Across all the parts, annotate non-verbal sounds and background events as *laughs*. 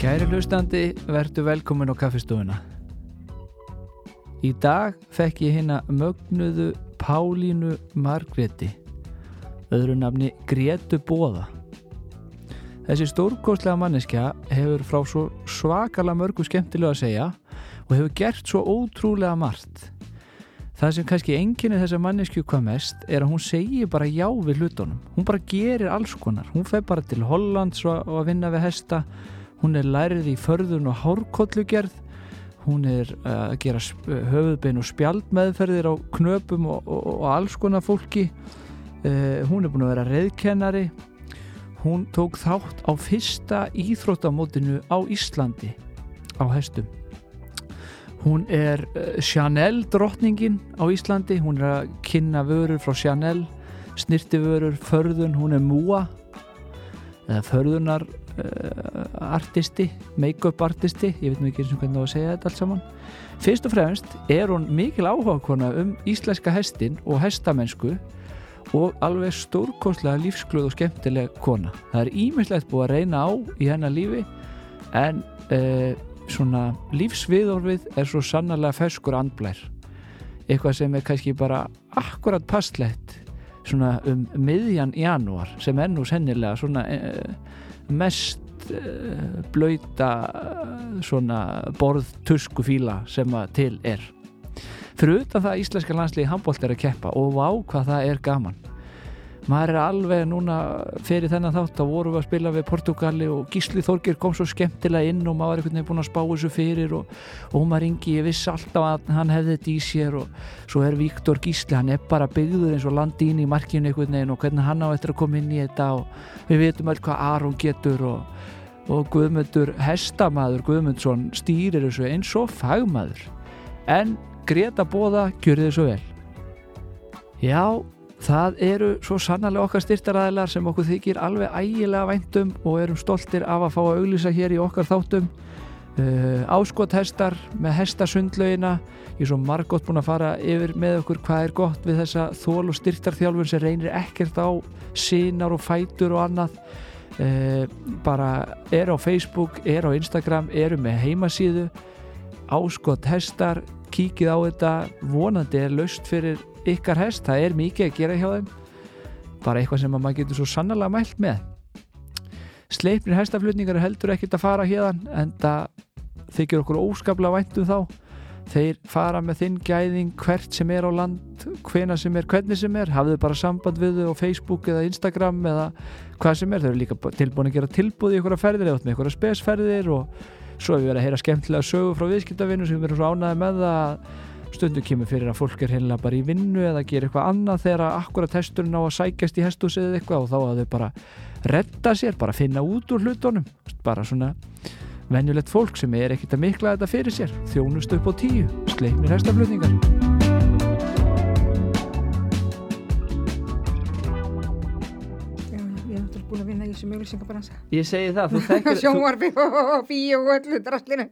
Hlustandi, verðu velkomin á kaffistofuna. Í dag fekk ég hérna mögnuðu Pálínu Margreti, öðru nafni Gretu Bóða. Þessi stórkostlega manneskja hefur frá svo svakalega mörgu skemmtilega að segja og hefur gert svo ótrúlega margt. Það sem kannski enginni þessa manneskju hvað mest er að hún segir bara já við hlutunum. Hún bara gerir alls konar. Hún fer bara til Hollands og og að vinna við hesta. Hún er lærið í förðun og hárkollugerð. Hún er uh, að gera sp- höfuðbein og spjaldmeðferðir á knöpum og, og, og alls konar fólki. Uh, hún er búin að vera reyðkennari. Hún tók þátt á fyrsta íþróttamótinu á Íslandi á hestum. Hún er eh, Chanel drottningin á Íslandi, hún er að kynna vörur frá Chanel, snirtivörur, förðun, hún er múa, eða förðunar uh, artisti, make-up artisti, ég veit nú ekki eins og hvernig á að segja þetta allt saman. Fyrst og fremst er hún mikil áhugakona um íslenska hestin og hestamennsku og alveg stórkostlega lífsglöð og skemmtileg kona. Það er ímislegt búið að reyna á í hennar lífi en uh, svona lífsviðorfið er svo sannarlega ferskur andblær eitthvað sem er kannski bara akkurat passlegt svona um miðjan janúar sem er nú sennilega svona uh, mest uh, blöyta eh, svona borð tuskufíla sem að til er fyrir utan það að íslenska landsliði handbólt er að keppa og vá hvað það er gaman maður er alveg núna fyrir þennan þátt að vorum við að spila við Portugali og Gísli Þorgir kom svo skemmtilega inn og maður er einhvern veginn búin að spá þessu fyrir og Ómar Ingi, ég viss alltaf að hann hefði þetta í sér og svo er Viktor Gísli, hann er bara byggður eins og landi inn í markinu einhvern veginn og hvernig hann á eftir að koma inn í þetta og við veitum öll hvað Aron getur og, og Guðmundur Hestamaður Guðmundsson stýrir þessu eins og fagmaður en Greta Bóða gjörði þessu vel Já, það eru svo sannarlega okkar styrtaræðilar sem okkur þykir alveg ægilega væntum og erum stoltir af að fá að auglýsa hér í okkar þáttum. Uh, áskothestar með hestasundlaugina ég er svo margótt búin að fara yfir með okkur hvað er gott við þessa þól og styrtarþjálfur sem reynir ekkert á sínar og fætur og annað uh, bara er á Facebook, er á Instagram eru með heimasíðu áskot hestar kíkið á þetta, vonandi er löst fyrir ykkar hest, það er mikið að gera hjá þeim bara eitthvað sem að maður getur svo sannarlega mælt með sleipnir hestaflutningar er heldur ekkert að fara hérðan en það þykir okkur óskaplega vænt um þá þeir fara með þinn gæðing hvert sem er á land hvena sem er, hvernig sem er hafðu bara samband við þau á Facebook eða Instagram eða hvað sem er, þau eru líka tilbúin að gera tilbúð í ykkur ferðir eða ykkur spesferðir og svo hefur við verið að heyra skemmtilega sögur frá viðskiptavinnu sem eru svo ánæði með það að stundum kemur fyrir að fólk er heila bara í vinnu eða gerir eitthvað annað þegar að akkurat hesturinn á að sækjast í hestus eða eitthvað og þá að þau bara redda sér, bara finna út úr hlutunum bara svona venjulegt fólk sem er ekkert að mikla þetta fyrir sér þjónust upp á tíu, sleipnir hestaflutningar Já, ég er náttúrulega búin að vinna í þessum auglýsingabransa. Ég segi það, *laughs* þú þekkir, þú, Sjónvarfi og fíu og öllu draslinu.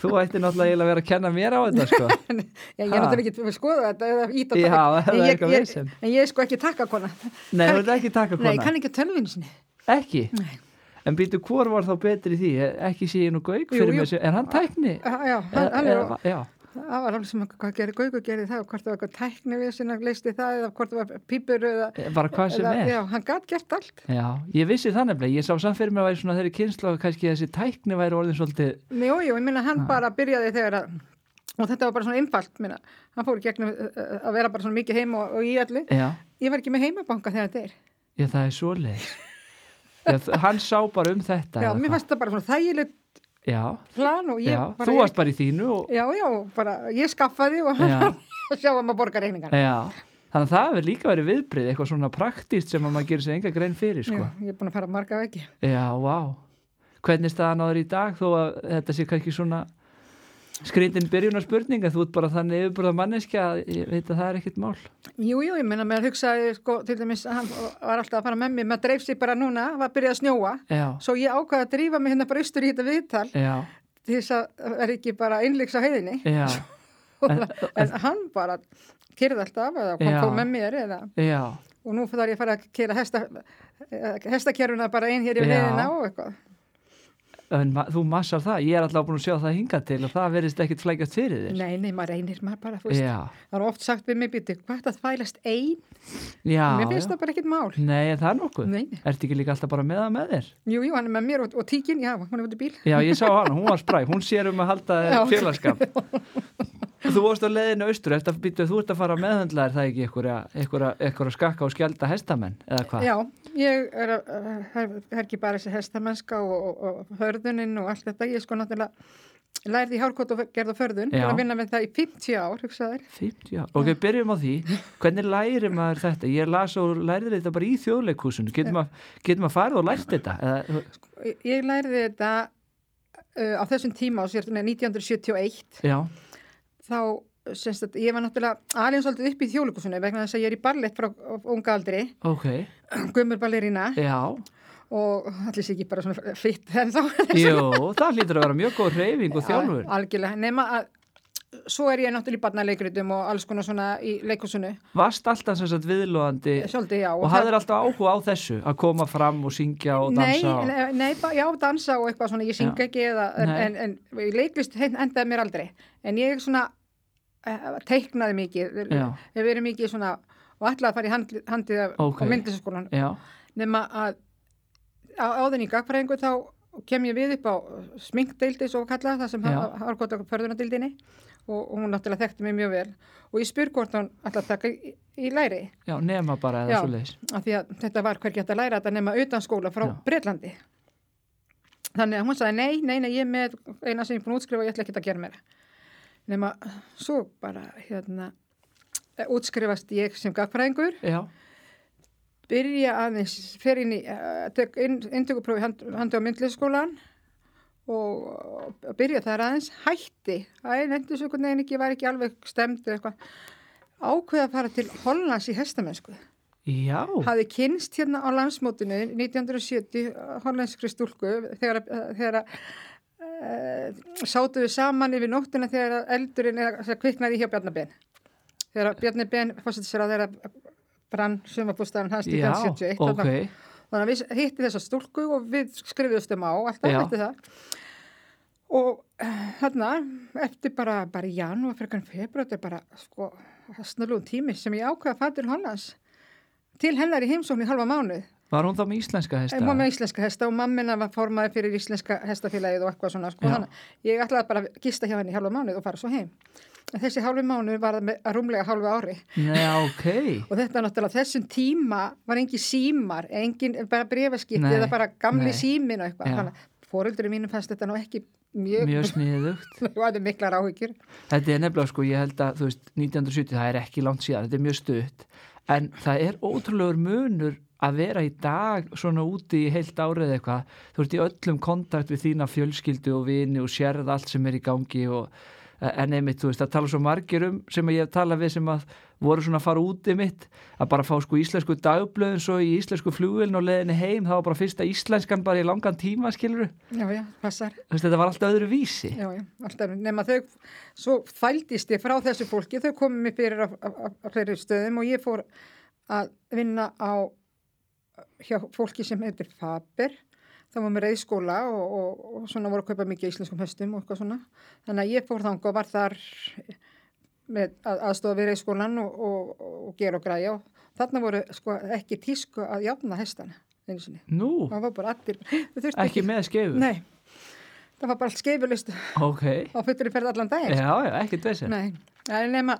þú ætti náttúrulega eiginlega að vera að kenna mér á þetta *laughs* sko. Já, ég Ha? er náttúrulega ekki að skoða þetta eða íta Já, það er en ég, eitthvað ég, vesen. en ég er sko ekki takkakona. Nei, þú ert ekki takkakona. Nei, ég kann ekki tölvinu sinni. Ekki? Nei. En býtu, hvor var þá betri í því? E- Ekki sé ég nú gauk Jú, fyrir jú. mér, sem- er hann tækni? Já, já, hann, hann er, Eða- Já, það var alveg sem að hvað gerir Gaugur gerir það og hvort það var eitthvað tækni við sinna leisti það eða hvort það var pípur eða... E- bara Eh, hvað sem eða- er. Já, hann gat gert allt. Já, ég vissi það nefnilega, ég sá samt fyrir mér að væri svona þeirri kynsla og kannski þessi tækni væri orðin svolítið, Jú, jú, ég minna Ah. hann bara byrjaði þegar að... Og þetta var bara svona einfalt, minna. Hann fór í gegnum uh, uh, að vera bara svona mikið heima og, og í öllu. já, Ég var ekki með heimabanka þegar þetta er. já það er svoleiðis. *laughs* Já, þ- hann sá bara um þetta. Já, eða mér hvað? fannst þetta bara svona þægilegt Já, plan og ég já, bara... þú varst bara í þínu og, Já, já, bara ég skaffaði og *laughs* Já. sjá að maður borgar reyningar. já, þannig að það hefur líka verið viðbrið, eitthvað svona praktíst sem að maður gerir sér enga grein fyrir, sko. Já, ég er búin að fara marga veggi. Já, vá. Hvernig er staðan á þér í dag þó að þetta sé kannski svona skrýndin byrjunar spurninga, þú ert bara þannig yfirbúrða manneskja að ég veit að það er ekkert mál. Jú, jú, ég meina, mér hugsaði, sko, til dæmis, hann var alltaf að fara með mér, maður dreif sér bara núna, var að byrja að snjóa, Já, svo ég ákvaði að drífa mig hérna bara austur í þetta viðtal, já, til þess að vera ekki bara innleiks á heiðinni, já, *laughs* en, hann bara kyrði alltaf, eða kom Já. fór með mér, eða, já. og nú þarf ég að fara að kýra hesta, eh, hestakerfuna bara inn hér í Já. heiðina og eitthvað. en ma þú massar það, ég er alltaf búin að sjá það hinga til og það verðist ekkit flækjast fyrir þér Nei, nei, maður reynir maður bara, þú veist. já, Það er oft sagt við mig býti, hvað er það þvælast einn? já, Mér finnst já. það bara ekkit mál. nei, en það er nokkuð Nei, nei. ertu ekki líka alltaf bara með það með þér Jú, jú, hann er með mér og, og tíkin, já, hún er út í bíl. já, ég sá hana, hún var spræk, hún sér um að halda þér Já. félagskap þú varst á leiðinu austur, ertu að býta þú ert að fara meðhandla er það ekki einhverja, einhverja, einhverja skakka og skjálta hestamenn eða hvað, Já, ég er að það er ekki bara þessi hestamennska og, og, og förðunin og allt þetta. Ég sko náttúrulega lærði í hárkot og gerð og förðun. Já. Ég er að vinna með það í 50 ár, hugsaður. 50 ár, ok, byrjum á því hvernig læri maður þetta, ég las og læri þetta bara í þjóðleikúsinu getur maður getur maður farið og lært þetta eða, Ég- Ég lærði þetta uh, á þessum tíma á sér, 1971. já, Þá, semst að ég var náttúrulega alveg svolítið upp í þjóðlugusunni vegna þess að ég er í ballett frá unga aldri, *clears throat* ok gömur ballerína já, og allir sé ekki bara svona fitt en þá. Jú, það hlýtur að vera mjög góð reyfing og þjálfur. Algjörlega, nema að svo er ég náttúrulega í barnaleikritum og alls konar svona í leikursunni. Varst alltaf sem sagt viðlóðandi Svolítið, já. og hafðir alltaf áhuga á þessu að koma fram og syngja og Nei, dansa. og... nei, nei, ba- já, dansa og eitthvað svona, ég syng Já. ekki eða, en, Nei. en, en í leiklist hen- endaði mér aldrei, en ég svona eh, teiknaði mikið, Já. hef verið mikið svona, og ætlaði að fara í handli, handið af, Ókei. á myndlistaskólan, Já, nema að á, áðin í gagfræðingu þá kem ég við upp á sminkdeildi svo kallað, það sem Já. harkótt okkur förðunadeildinni og, og hún náttúrulega þekkti mig mjög vel og ég spyr hvort hún alltaf taka í, í læri já, nema bara eða Já. svo leiðis. af því að þetta var hvergi hægt að læra þetta nema utan skóla frá Já. Breitlandi þannig að hún sagði nei, nei, nei, ég er með eina sem ég er búin að útskrifa og ég ætla ekki að gera meira nema svo bara hérna eh, útskrifast ég sem gagfræðingur Já, byrja aðeins, fer inn í eh, tek inn, inntökuprófi hand, handi á myndlisskólan og byrja þar aðeins hætti æ, nefndi svo einhvern veginn ekki, var ekki alveg stemd eða eitthvað ákveða að fara til Hollands í hestamennsku já, hafði kynst hérna á landsmótinu 1970 uh, hollenskri stúlku þegar, að- þegar að, uh, sátu við saman yfir nóttina þegar að eldurinn eða sem kviknaði hjá Bjarni Ben þegar að Bjarni Ben fórsetið sér að þeirra brann sumabústæðan hans já, 1971 ok, þarna- þannig að við hitti þessa stúlku og við skrifiðustum á alltaf Já. eftir það og hérna eftir bara, bara í janúar fyrir kannan februar þetta er bara sko snurlun tími sem ég ákveða að fara til Hollands til hennar í heimsókn í halva mánuð var hún þá með íslenska hesta? Ég var með íslenska hesta og mammina var formaði fyrir íslenska hestafélagið og eitthvað svona sko, Já. þannig að ég ætlaði bara að gista hjá henni í halva mánuð og fara svo heim en þessi halvi mánuð var það með rúmlega halva ári Nei, ok, og þetta er náttúrulega þessum tíma var engin símar, engin bara brefaskipti Nei, eða bara gamli nei. símin og eitthvað, Já. þannig að fóruldurinn mínum fannst þetta nú ekki mjög, mjög sniðugt. og þetta er *laughs* miklar áhyggjur Þetta er nefnilega sko, ég held að, þú veist, 1970, það er ekki langt síðan, þetta er mjög stutt. En það er ótrúlegur munur að vera í dag svona úti í heilt árið eitthvað. Þú ert í öllum kontakt við þína fjölskyldu og vini og sérð allt sem er í gangi og e, en einmitt, þú veist, það tala svo margir um sem ég hef talað við sem að voru svona að fara úti mitt, að bara fá sko íslensku dagblöðin svo í íslensku flugilin og leðinni heim, það var bara fyrsta íslenskan bara í langan tíma, skilur já, já, passar, þú veist, þetta var alltaf öðru vísi já, já, alltaf nema þau, svo þældist ég frá þessu fólki, þau komið mér fyrir á, á, á, á fleiri stöðum og ég fór að vinna á hjá fólki sem heitir Faber þá var mér reyðskóla og, og, og svona voru að kaupa mikið íslenskum höstum og eitthvað svona þannig að ég fór þang og var þar með að, aðstofa við reyðskólan og, og, og, gera og græja og þarna voru sko ekki tísku að jafna hestana einu sinni, Nú, það var bara allir þau þurftu ekki með skefur Nei, það var bara allt skeifulist á Ok, fullur í ferð allan daginn sko. já, já, ekkert þessi Nei, það er nema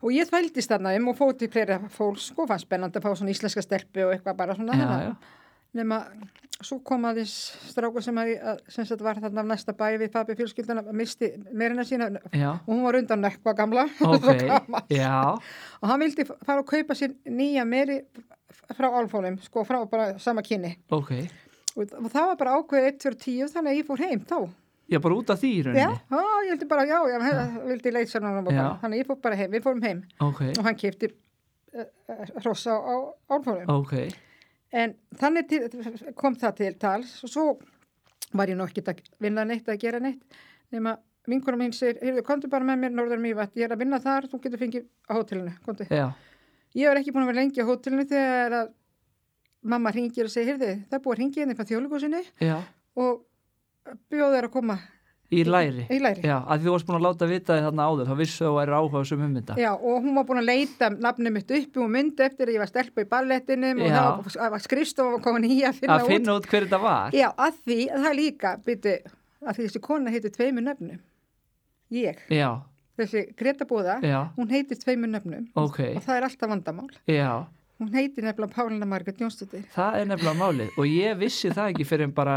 og ég þvældist þarna um og fóti fleira fólk sko, fannst spennandi að fá svona íslenska stelpu og eitthvað bara svona Já, þannig að- já, nema svo kom að því stráku sem, að, að, sem sagt var þarna af næsta bæ við Fabi fjölskyldan að misti meirina sína og *laughs* já, hún var undan nekva gamla *laughs* ok, Svo gamall. já, og hann vildi fara og kaupa sér nýja meiri frá álfólum sko frá bara sama kynni ok og, og það var bara ákveðið 1 fyrir 10 þannig að ég fór heim þá Já, bara út af því í rauninni já, á, ég vildi bara, já, já, já. vildi leit sér núna bara. Já. þannig að ég fór bara heim, við fórum heim Ok, og hann kefti hrossa á, á álfólum ok, En þannig til, kom það til tals og svo var ég nú ekkert að vinna neitt að gera neitt nema vinkunum mín segir, heyrðu, komdu bara með mér norður mývat, ég er að vinna þar, þú getur fengið á hótelinu, komdu. já, Ég var ekki búin að vera lengi á hótelinu þegar að mamma hringir hérna og segir, heyrðu, það er búið að hringi henni frá þjóðlugusinu já og bjóð þær að koma Í læri. í læri. Já, að því þú varst búin að láta vita því þarna áður, þá vissu þú um væri áhuga sem ummynda. Já, og hún var búin að leita nafnum mitt uppi og myndi eftir að ég var stelpa í ballettinum Já. og það var skrifstofa og komin í að finna, Að finna út hver þetta var. Já, að því, að það er líka, byrju, að því þessi kona heitir tveimur nöfnum. Ég, Já, þessi Greta Bóða, já, hún heitir tveimur nöfnum ok, og það er alltaf vandamál. já. Hún heitir nefnilega Pálina Margrét Jónsdóttir. Það er nefnilega málið og ég vissi það ekki fyrir en bara,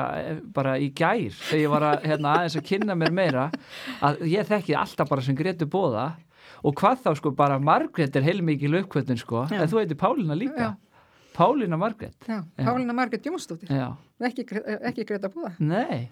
bara í gær þegar ég var að, hérna, aðeins að kynna mér meira að ég þekki alltaf bara sem Gretu Bóða og hvað þá sko bara Margrét er heilmikið lögkvöldin sko en þú heitir Pálína líka. Pálína Margrét. Já, Pálina Margrét Jónsdóttir, Já, ekki, Gre- eh, ekki Greta Bóða. nei.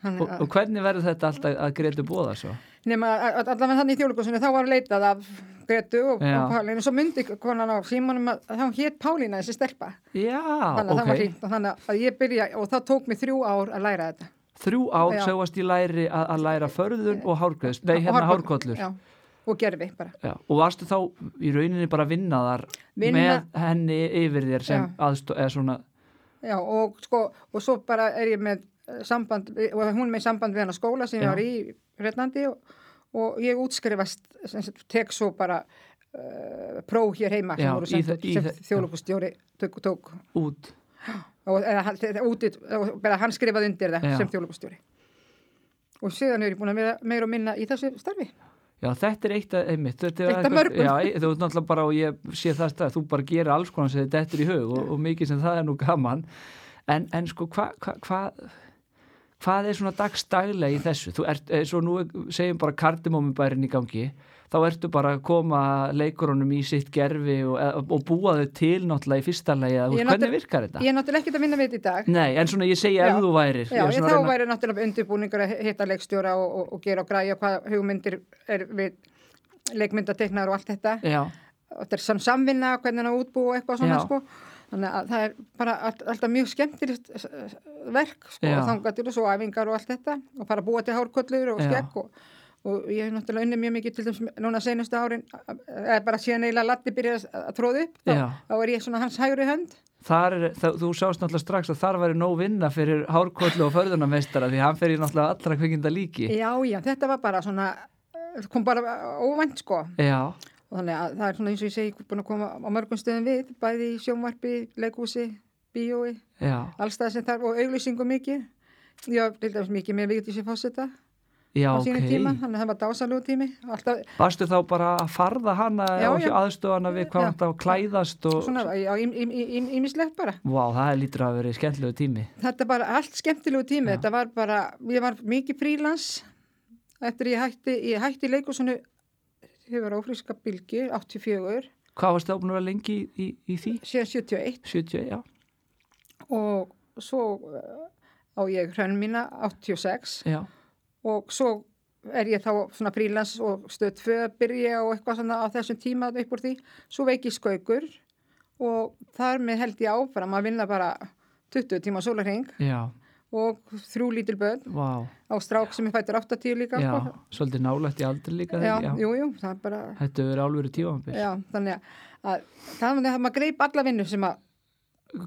Og, og hvernig verður þetta alltaf að Gretu Bóða svo? Nefna, allavega þannig í þjóðlugunsunni, þá var leitað af Gretu og, Já. og Pálina og svo myndi konan á símanum að, að hún hétt Pálina þessi stelpa. Já, þannig að það var ok. hreint og þannig að ég byrja og það tók mig þrjú ár að læra þetta Þrjú ár Já. sögast í læri að, að læra förðun og hárgöðst, nei hérna Og hárkollur. já, og gerfi bara Já, og varstu þá í rauninni bara að vinna þar Vinna- með henni yfir þér sem Já. aðstó, eða svona, já, og, sko, og svo bara er ég með eh, samband, við- og hún er með samband við hennar skóla sem Já. ég var í Redlandi og, og ég útskrifast sem sagt, tek svo bara uh, pró hér heima Já, sem, voru í send, þe- út í sem þe- þjóðlokustjóri tók, tók út og, eða, hann- eða, úti, eða hann skrifaði undir það Já. sem þjóðlokustjóri og síðan er ég búin að vera meira og minna í þessu starfi Já, þetta er eitt að, einmitt, þetta er Eitt af eitthvað- mörgum. Já, e- þú ert náttúrulega bara og ég sé það stað, þú bara gerir alls konar sem þetta er í hug og, og mikið sem það er nú gaman en, en sko, hvað hva, hva, hvað er svona dagstaglega í þessu? Þú ert, eins og nú segjum bara kardimómi bærin í gangi þá ertu bara að koma leikurunum í sitt gerfi og, eða- og búa þau til náttúrulega í fyrsta lagi að, þú Ég veist, hvernig náttúrulega- virkar þetta? ég er náttúrulega ekkert að vinna við þetta í dag Nei, en svona ég segja ef Já. þú værir Já, ég er ég svona þá að reyna- væri náttúrulega undirbúningur að hitta leikstjóra og, og, og gera og græja hvað hugmyndir er við leikmyndateiknar og allt þetta Já, og þetta er sam samvinna, hvernig hann á að útbúa og eitthvað svona Já. sko þannig að það er bara allt, alltaf mjög skemmtilegt s- s- verk sko Já. og þangatil og svo æfingar og allt þetta og fara að búa til hárkollur og Já. skekk og, og ég hef náttúrulega unnið mjög mikið til þess núna senustu árin eða bara síðan eiginlega Latti byrjaði að- að tróði upp þá, Já. þá er ég svona hans hægri hönd þar er, það, þú sást náttúrulega strax að þar væri nóg vinna fyrir hárkollu og förðunarmeistara því hann fer í náttúrulega allra kvikinda líki Já, já, þetta var bara svona eh, kom bara eh, óvænt sko Já, og þannig að það er svona eins og ég segi búin að koma á mörgum stöðum við, bæði í sjónvarpi, leikhúsi, bíói, já, allstað sem þarf og auglýsingu mikið. Já, til dæmis mikið með Vigdísi Fosseta já, á sínu Ah, tíma, ok þannig að það var dásalú tími. Alltaf Varstu þá bara að farða hana Já, og já. aðstofa hana við hvað Já. þetta að klæðast og svona, já, ímislegt bara. Vá, það er lítur að verið skemmtilegu tími Þetta bara allt skemmtilegu tími, þetta var bara, ég var mikið frílans eftir ég hætti, ég hætti í leikhúsinu, ég var ófríska bylgi, 84, Hvað varstu þá búin að vera lengi í, í, í því? síðan 71 70, já, og svo eh, á ég hrönn mína 86 já, og svo er ég þá svona frílans og stöð 2 að byrja og eitthvað svona á þessum tíma upp úr því. Svo veik ég skaukur og þar með held ég áfram að vinna bara 20 tíma sólarheng já, og þrjú lítil börn vá á strák sem ég fættur 80 líka. Já, sko. svolítið nálægt í aldri líka já, þegar, já. jú, jú, það er bara, Þetta hefur verið álverið tífambil já, þannig að það er að maður greip alla vinnu sem að,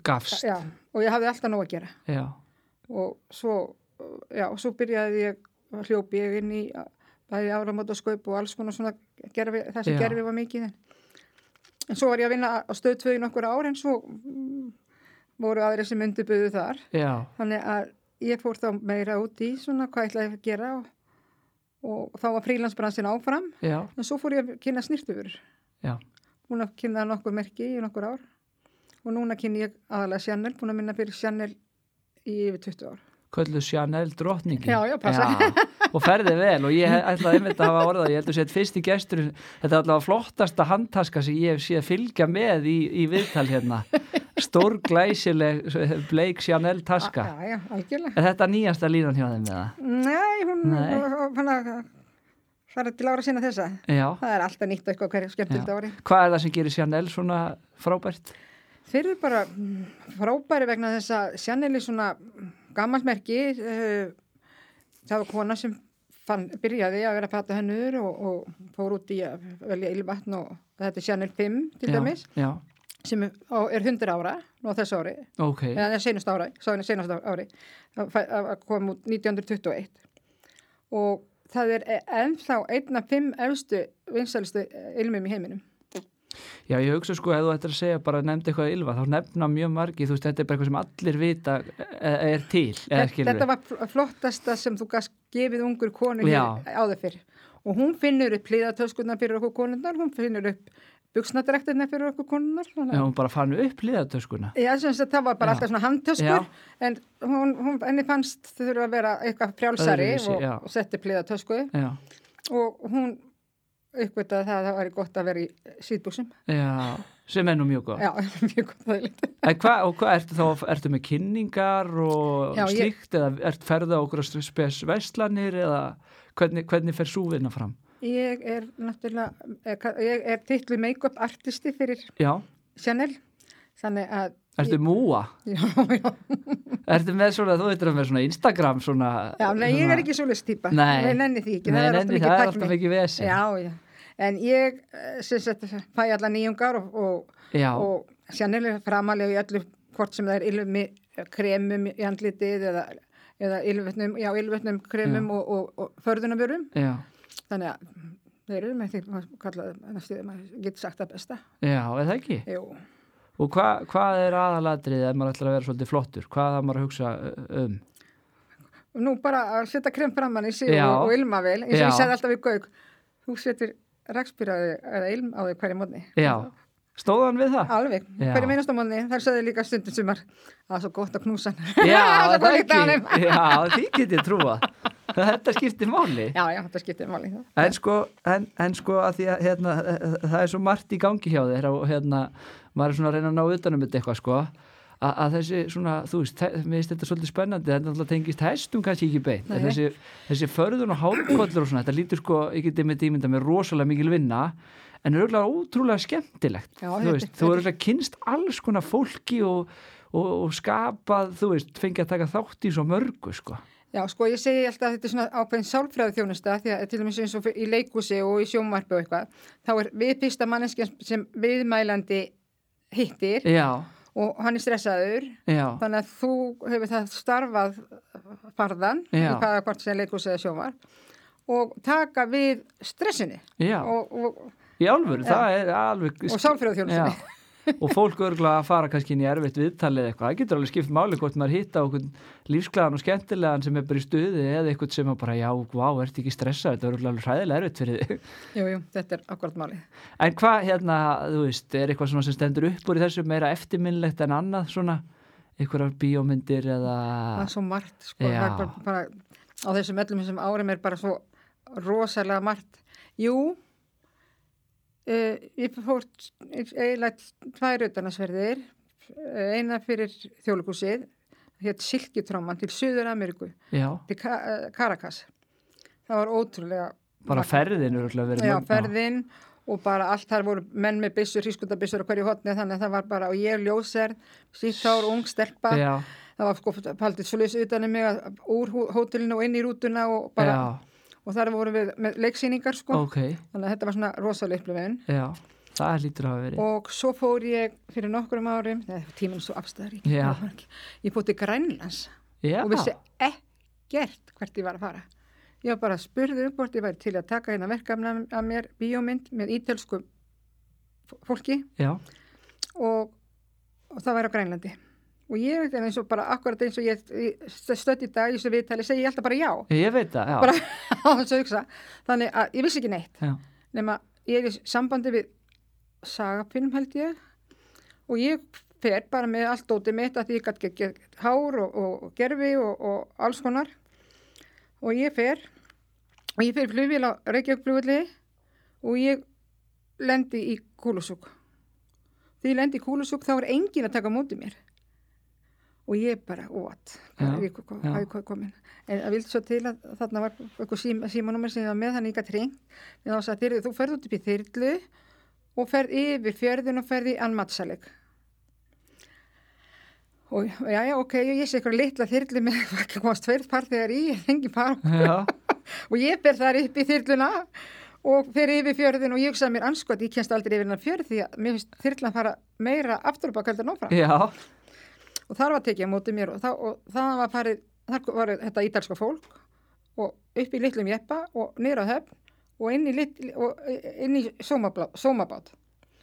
Gafst, já, og ég hafði alltaf nóg að gera. já, og svo, já, og svo byrjaði ég, hljópi ég inn í bæði áramóta skaup og alls konar svona gerfi, þessi Já. gerfi var mikið en, en svo var ég að vinna á stöð 2 í nokkur ár en svo mm, voru aðri sem undirbyðu þar já þannig að ég fór þá meira út í svona hvað ætlaði ég að gera og, og þá var frílansbransin áfram Já, en svo fór ég að kynna snirtufur já, búin að kynna nokkur merki í nokkur ár og núna kynni ég aðalega Chanel búin að minna fyrir Chanel í yfir 20 ár köllu Chanel drottningin. Já, já, passa. og ferði vel og ég he- ætlaði einmitt að hafa orðað, ég held að segja fyrsti gestur, þetta er allavega flottasta handtaska sem ég hef séð fylgja með í, í viðtal hérna. Stór glæsileg bleik Chanel taska. Já, Ah, já, algjörlega. Er þetta nýjasta línan hjá þeim með það? Nei, hún Nei. fann að fara til ára sinna þessa. Já. Það er alltaf nýtt og eitthvað hverju skemmtilegt Já. ári. Hvað er það sem gerir Chanel svona frábært? Þeir eru bara mm, frábæri vegna þess að Sjanneli svona gammalt merki, eh, það var kona sem fann, byrjaði að vera að pata hennur og, og fór út í að velja ylvatn og þetta er Sjannel 5 til Já, dæmis Já, sem er á- er 100 ára nú á þessu ári, ok, eða það er senast ára, sáðinni senast ári, að fæ- að að koma út 1921 og það er e- ennþá einn af fimm efstu vinsælustu e, ilmum í heiminum. já ég hugsa sko ef þú ættir að segja bara nefndi eitthvað ylva þá nefna mjög margi, þú veist þetta er bara eitthvað sem allir vita eh, er til eða Þetta, skilur þetta var fl- flottasta sem þú gast gefið ungur konu Já. hér áður fyrr. Og hún finnur upp pliðatöskunnar fyrir okkur konunnar, hún finnur upp buksnadrektirna fyrir okkur konunnar. Já, Já. hún bara fann upp liðatöskuna. Já, sem sagt, það var bara Já. alltaf svona handtöskur, Já. en hún, hún, henni fannst þau þurfa að vera eitthvað frjálsari Öðruvísi, og, já. og setti pliðatösku Já, og hún uppgöttaði það að það væri gott að vera í síðbúsum. já, sem er nú mjög góð. Já, *laughs* mjög gott það er litið. En hvað, og hvað ertu þá, ertu með kynningar og Já, ég- slíkt eða ert ferða okkur að spes verslanir eða hvernig, hvernig fer súvinna fram? Ég er náttúrulega, eh, ég er titlu make-up artisti fyrir Já, Chanel, þannig að *laughs* ertu múa? Já, já, Ertu með svona, þú veitir að með svona Instagram svona... já, nei, ég er ekki svoleiðst típa, Nei. ég nenni því ekki, Nei, það er nenni, það alltaf mikið er alltaf tækni. mikið vesi. Já, já, en ég, eh, sem sagt, fæ alla nýjungar og, og, já, og sjannilega framalega í öllu, hvort sem það er ilmi, kremum í andlitið eða, eða ylvetnum, já, ylvetnum kremum og, og, og förðunabjörum, já, þannig að þeir eru með því, maður kallaði, næstu, maður getur sagt það besta, já, eða ekki. jú. Og hva, hvað er aðalatriðið ef maður ætlar að vera svolítið flottur? Hvað það maður að hugsa uh, um? Nú bara að setja krem framann í sig Já. og, og ilma vel, eins Já. og ég sagði alltaf við Gauk, þú setur rakspýraði eða ilm á þig hverju mótni. Já, stóð hann við það? Alveg, Já. hverju meinast á mótni, þar sagði líka stundum sumar, það er svo gott að knúsa hann. *laughs* Já, *laughs* það það er ekki. ekki. Já, því get ég trúa. *laughs* Þetta skiptir máli. Já, já, þetta skiptir máli. En sko, en, en sko að því að hérna, það er svo margt í gangi hjá þér og hérna, maður er svona að reyna að ná utanum þetta eitthvað sko, að, að þessi svona, þú veist, þe- mér finnst þetta svolítið spennandi, þetta náttúrulega tengist hestum kannski ekki beint, en Nei. þessi, þessi förðun og hálfkollur og svona, þetta lítur sko, ég geti með dýmynda með rosalega mikil vinna, en er auðvitað ótrúlega skemmtilegt, Já, þú þetta- veist, þú er auðvitað kynst alls konar fólki og, og, og skapað, þú veist, fengið að taka þátt í svo mörgu sko. Já, sko, ég segi alltaf að þetta er svona ákveðin sálfræði þjónusta, því að til dæmis eins og í leikúsi og í sjónvarpi og eitthvað, þá er við fyrsta manneskjan sem viðmælandi hittir Já, og hann er stressaður já, Þannig að þú hefur það starfað farðan í Já. hvaða hvort sem leikus eða sjómar og taka við stressinu já. og, og, Í alvöru, það er alveg... og sálfröðþjónustinni. Já. Og fólk örgulega að fara kannski inn í erfitt viðtalið eitthvað. Það getur alveg skipt máli hvort maður hitta okkur lífsglæðan og skemmtilegan sem er bara í stuði eða eitthvað sem að bara, já, vá, ert ekki stressað, þetta er örugglega alveg hræðilega erfitt fyrir þig. *laughs* *laughs* Jú, jú, þetta er akkurat málið. En hvað, hérna, þú veist, er eitthvað svona sem stendur upp úr í þessu meira eftirminnlegt en annað svona, einhverjar bíómyndir eða... Það er svo margt, sko. Já. Það er bara, bara, á þessum öllum þessum árum er bara svo rosalega margt. Jú, uh, ég fór t- eiginlega tvær utanasverðir, eh, eina fyrir þjóðleikúsið, hétt Silkitráman til Suður-Ameríku. Já, til Ka- eh, Caracas. Það var ótrúlega, bara ferðin er örgulega verið... já, mögnuð. ferðin og bara allt þar voru menn með byssur, hrískundabissur og hverju hotni þannig að það var bara, og ég er ljóserð, síðtár, ung, stelpa, Já, það var sko paldið svoleiðs utanum mig að- úr hú- hótelinu og inn í rútuna og bara, já, og þar voru við með leiksýningar sko, ok, þannig að þetta var svona rosalega upplifun. já, það lítur að hafa verið. Og svo fór ég fyrir nokkrum árum, það er tíminn svo afstæðar, ég, Já. get- ég fór til Grænlands Já, og vissi ekkert hvert ég var að fara. Ég var bara að spurði um hvort ég væri til að taka hérna verkefna að mér, bíómynd með ítölsku f- fólki já, og, og það væri á Grænlandi. Og ég er eins og bara akkurat eins og ég stödd í dag í þessu viðtali, segi ég alltaf bara já, ég veit það, já. bara á þessu hugsa. Þannig að ég vissi ekki neitt, Já, nema ég er í sambandi við sagapinum held ég og ég fer bara með allt dótið mitt að því ég gæti ekki hár og, og gerfi og, og alls konar og ég fer og ég fer flugvél á Reykjavík flugvilli og ég lendi í kúlusúk því ég lendi í kúlusúk þá er engin að taka á móti mér og ég bara, what Já, hvað er ég kom- já. hvað er ég komin en það vildi svo til að þarna var eitthvað sím, símanúmer sem ég var með þannig ég gæti hring en þá sagði, "Heyrðu, þú ferð út upp í þyrlu og ferð yfir fjörðin og ferð í anmatsaleg og já, já, ok, ég sé eitthvað litla þyrlu með *laughs* hvað komast tveir farþegar í, engin far já, og ég ber þar upp í þyrluna og fer yfir fjörðin og ég hugsaði mér anskot, ég kennst aldrei yfir hennar fjörð því að mér finnst þyrlan fara meira aftur upp að kalda nófram Já, og þar var tekið á móti mér og, það, og það var farið, þar var þetta ítalska fólk og upp í litlum jeppa og niður á höfn og inn í, litl, og inn í sómablá, sómabát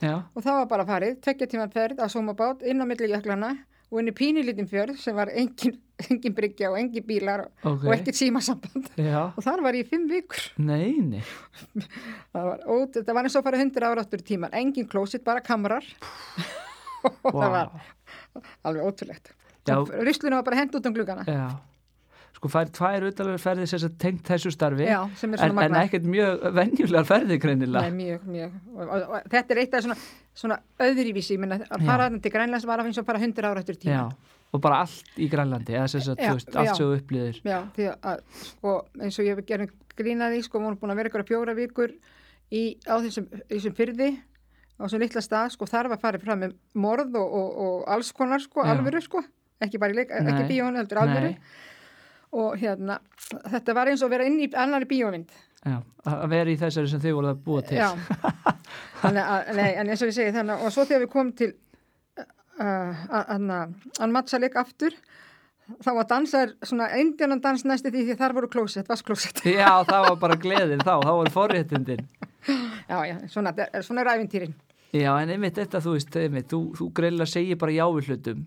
já, og það var bara farið, tvekja tíma ferð á sómabát inn á milli jöklana og inn í pínilitin fjörð sem var engin, *laughs* engin bryggja og engin bílar og, ok. og ekkert símasamband Já, og þar var ég í fimm vikur neini. það var, ótt, það var eins og farið hundur ára áttur tíman engin klósitt, bara kamrar *laughs* *laughs* og það var alveg ótrúlegt Já. Ryslunum var bara hend út um glugana Já. Sko fær tvær utalvegar ferðir sem þess að tengt þessu starfi. Já, sem er svona En, en magnað. ekkert mjög venjulegar ferðir greinilega. Nei, mjög, mjög. Og, og, og, þetta er eitt af svona, svona öðrivísi, ég minna, að Já. fara þarna til Grænlands var að finnst að fara 100 ára eftir tíma. Já, og bara allt í Grænlandi, eða sem sagt, Já, þú veist, allt já. sem þú upplýðir. Já, því að, sko, eins og ég hef gerðin grínaði, sko, hún er búin að vera ykkur að fjóra vikur í, á þessum, þessum fyrði, á þessum litla stað, sko, þar var farið fram með morð og, og, og alls konar, sko, Já. alvöru, sko, ekki bara í leik, Nei. ekki bíón, heldur alvöru. Nei. Og hérna, þetta var eins og að vera inn í annari bíómynd. Já, að að vera í þessari sem þið voruð að búa til. Já, *laughs* Þannig að- nei, en eins og ég segi þannig og svo þegar við komum til uh, hann mattsaleg aftur þá var dansar svona indjánan dans næsti því því þar voru klósett, vasklósett Já, það var bara gleðin þá, þá voru forréttindin. já, já, *laughs* svona, svona er æfintýrin Já, en einmitt þetta, þú veist, einmitt, þú, þú greinilega segir bara já við hlutum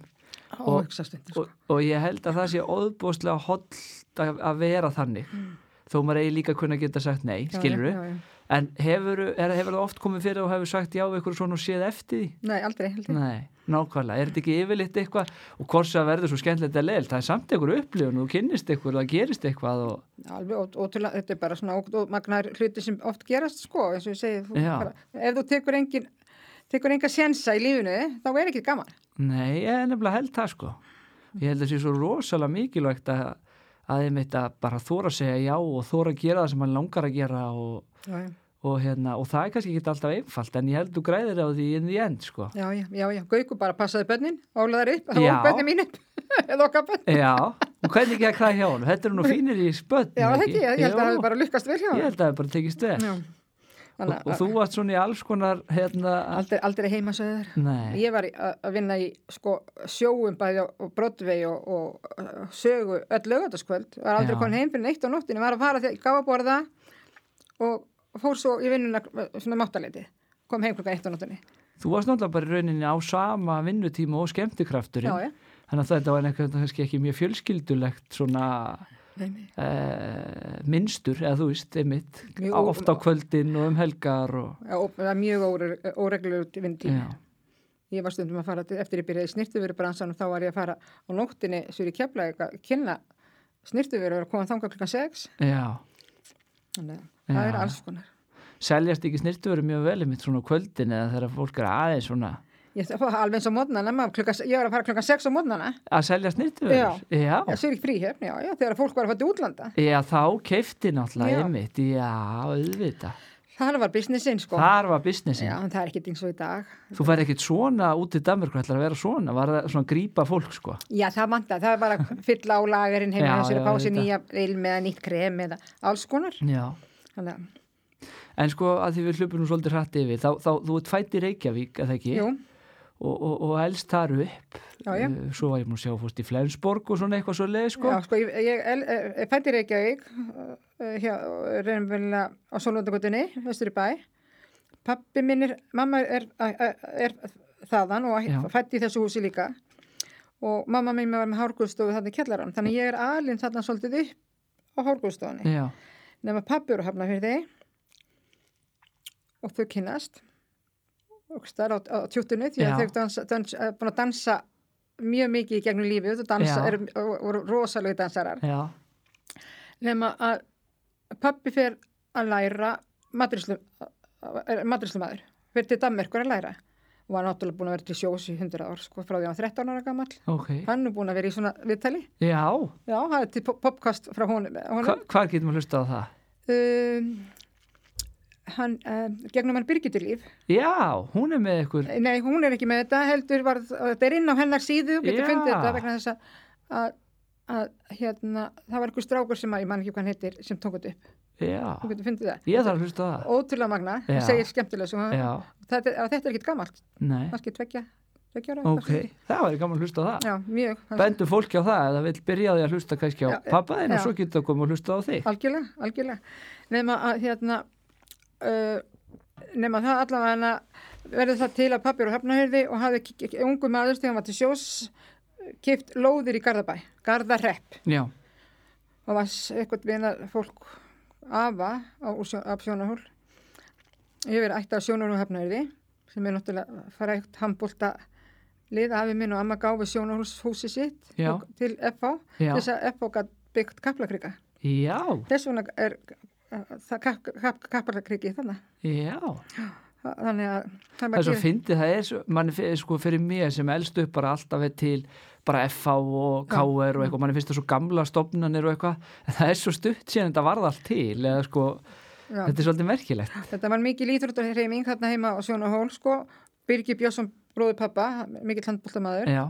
og hugsaðstundir og, og ég held að það sé óðbúslega holdt að, að vera þannig þó maður eigi líka kunna geta sagt nei, skilur Mm. já, já. en hefur, er, hefur það oft komið fyrir og hefur sagt já við ykkur svona og séð eftir því? nei, aldrei, aldrei. Nei, nákvæmlega, er þetta ekki yfirleitt eitthvað og hvort sem það verður svo skemmtilegt að leil það er samt ykkur upplifun, þú kynnist ykkur það gerist eitthvað og alveg ó- ótrúlega, þetta er bara svona ó- ó- magnar hluti sem oft gerast sko, eins og ég segi þú Já. bara, ef þú tekur engin tekur enga sjensa í lífinu þá er ekki gaman nei, ég er nefnilega held það sko ég held að það sé svo rosalega mikilvægt að að þeim þetta bara þóra að segja já og þóra að gera það sem mann langar að gera og, já, já, og, hérna, og það er kannski ekki alltaf einfalt en ég held þú græðir á því inn í end sko. já, já, já, já. Gauku bara passaði bönnin, álaðar upp Já. og bönnin mín upp, *laughs* eða okkar bönn Já, og hvernig ekki að klæða hjá honum? Þetta eru nú fínir í spötn, Já, það ekki, ég held að það hefði bara lukkast vel hjá Ég hann. held að það er bara tekist vel. Já. Og, Þannig og þú varst svona í alls konar, hérna, að aldrei, aldrei heima söður. nei, Ég var í- að að vinna í sko, sjóum bæði á- og brotvei og, og uh, sögu öll lögataskvöld. Var aldrei Já. komin heim fyrir neitt á nóttinu, var að fara þegar ég gaf að borða og fór svo í vinnuna eh, svona máttaleiti. Kom heim klukka eitt á nóttinu. þú varst náttúrulega bara í rauninni á sama vinnutíma og skemmtikrafturinn. Já, já. Þannig að þetta var eitthvað kannski ekki mjög fjölskyldulegt svona Nei, nei. eh, minstur, eða þú veist, einmitt, Mjög á, ó- oft á kvöldin og um helgar og, Já, og Það var mjög óre- óreglulegur vindtími. já, Ég var stundum að fara til, eftir ég byrjaði í snirtuveru bransanum, þá var ég að fara á nóttinni svo ég keflaði að kynna snirtuveru og koma þangað klukkan 6. já. Þannig að Já. það er alls konar. Seljast ekki snirtuveru mjög vel einmitt svona á kvöldin eða þegar fólk er aðeins svona Ég, það var alveg eins á mótnana, maður klukka, ég var að fara klukkan 6 á mótnana, að selja snirtuverur. Já. oh. svo er ekki fríhefn, já, já, þegar fólk var að fara til útlanda. Já, þá keifti náttúrulega Já. einmitt, já, auðvita. Það var businessin, sko. Þar var businessin. Já, en það er ekkert eins og í dag. Þú fær ekkit svona út í Danmörku, ætlar að vera svona, var það svona að grípa fólk, sko. Já, það manta, það er bara að fylla á lagerinn heima Já, hjá sér já, að fá sér auðvitað. nýja ilm eða nýtt krem eða alls konar. Já. Þannig að, En sko, að því við hlupum nú svolítið hratt yfir, þá, þá þú ert fætt í Reykjavík, eða ekki? jú, Og, og, og elst þar upp. Já, já. Eh, Svo var ég múin að sjá fórst í Flensborg og svona eitthvað svo leið, sko. já, sko, ég, ég, el- eh, ég fætti Reykjavík, eh, hjá, reynumvelina á Sólundagotunni, vestur í bæ. Pappi minn er, mamma er, er, er þaðan Já. og fætti í þessu húsi líka. og mamma mín var með hárgúðstofu þarna í kjallarann þannig ég er alinn þarna svolítið upp á hárgúðstofunni Já. nema pappi eru hafna fyrir þig og þau kynnast og stær á, á tjúttunni því Já. að þau dans, dans, eh, búin að dansa mjög mikið í gegnum lífið og dansa, Já. er, voru rosalegi dansarar Já. nema að pappi fer að læra matrislu, matrislumadur fyrir til Danmerkur að læra og var náttúrulega búin að vera til sjós í 100 ár sko, frá því að hann var 13 ára gamall Ok. hann er búin að vera í svona viðtali Já. Já, það er til pop- popkast frá honum. Hva, honum. hvað getum við hlusta á það? Um, hann, um, gegnum hann Birgiturlíf. Já, hún er með ykkur. Nei, hún er ekki með þetta, heldur var, þetta er inn á hennar síðu, þú getur Já. fundið þetta vegna þess að, að, að hérna, það var einhver strákur sem að, ég man ekki hvað hann heitir, sem tók þetta upp. já, þú getur fundið það. ég þarf að hlusta á það Ótrúlega magna, Já. það segir skemmtilega svo. já, Þetta, er- þetta er ekkit gammalt, nei, kannski tveggja, tveggja ára. ok það væri gaman að hlusta á það Já, mjög. bendum fólki á það að það vil byrja á því að hlusta kannski á Já, pappa þinn og já. svo getur það komið að hlusta á þig Algjörlega, algjörlega. Nefna að hérna, uh, nefna það allavega hana verður það til að pappir og hafnahyrði og hafði k- k- ungu maður þegar hann var til sjós kipt lóðir í Garðabæ, Garðarepp já, og var s- eitthvað vina fólk afa á, úr sjó, af sjónarhól. Ég hef verið ætti af sjónarhól og hafnahyrði sem er náttúrulega frægt handbólta lið afi minn og amma gáfi sjónarhúshúsi sitt Já. og- til FH, já, þess að FH gætt byggt kaplakrika já, þess vegna er uh, það kapp, kapp, kapparkriki þannig já Þa- þannig að það er það er bara svo að gera- fyndið, það er svo, mann, sko, fyrir mér sem elst upp bara alltaf er til bara FH og Já. KR og eitthvað, mann finnst það svo gamla stofnanir og eitthvað, en það er svo stutt síðan þetta varð allt til, eða sko já, þetta er svolítið merkilegt. þetta var mikil íþróttarheiming þarna heima á Sjóna Hól sko, Birgir Björnsson bróður pappa mikill handbóltamaður Já,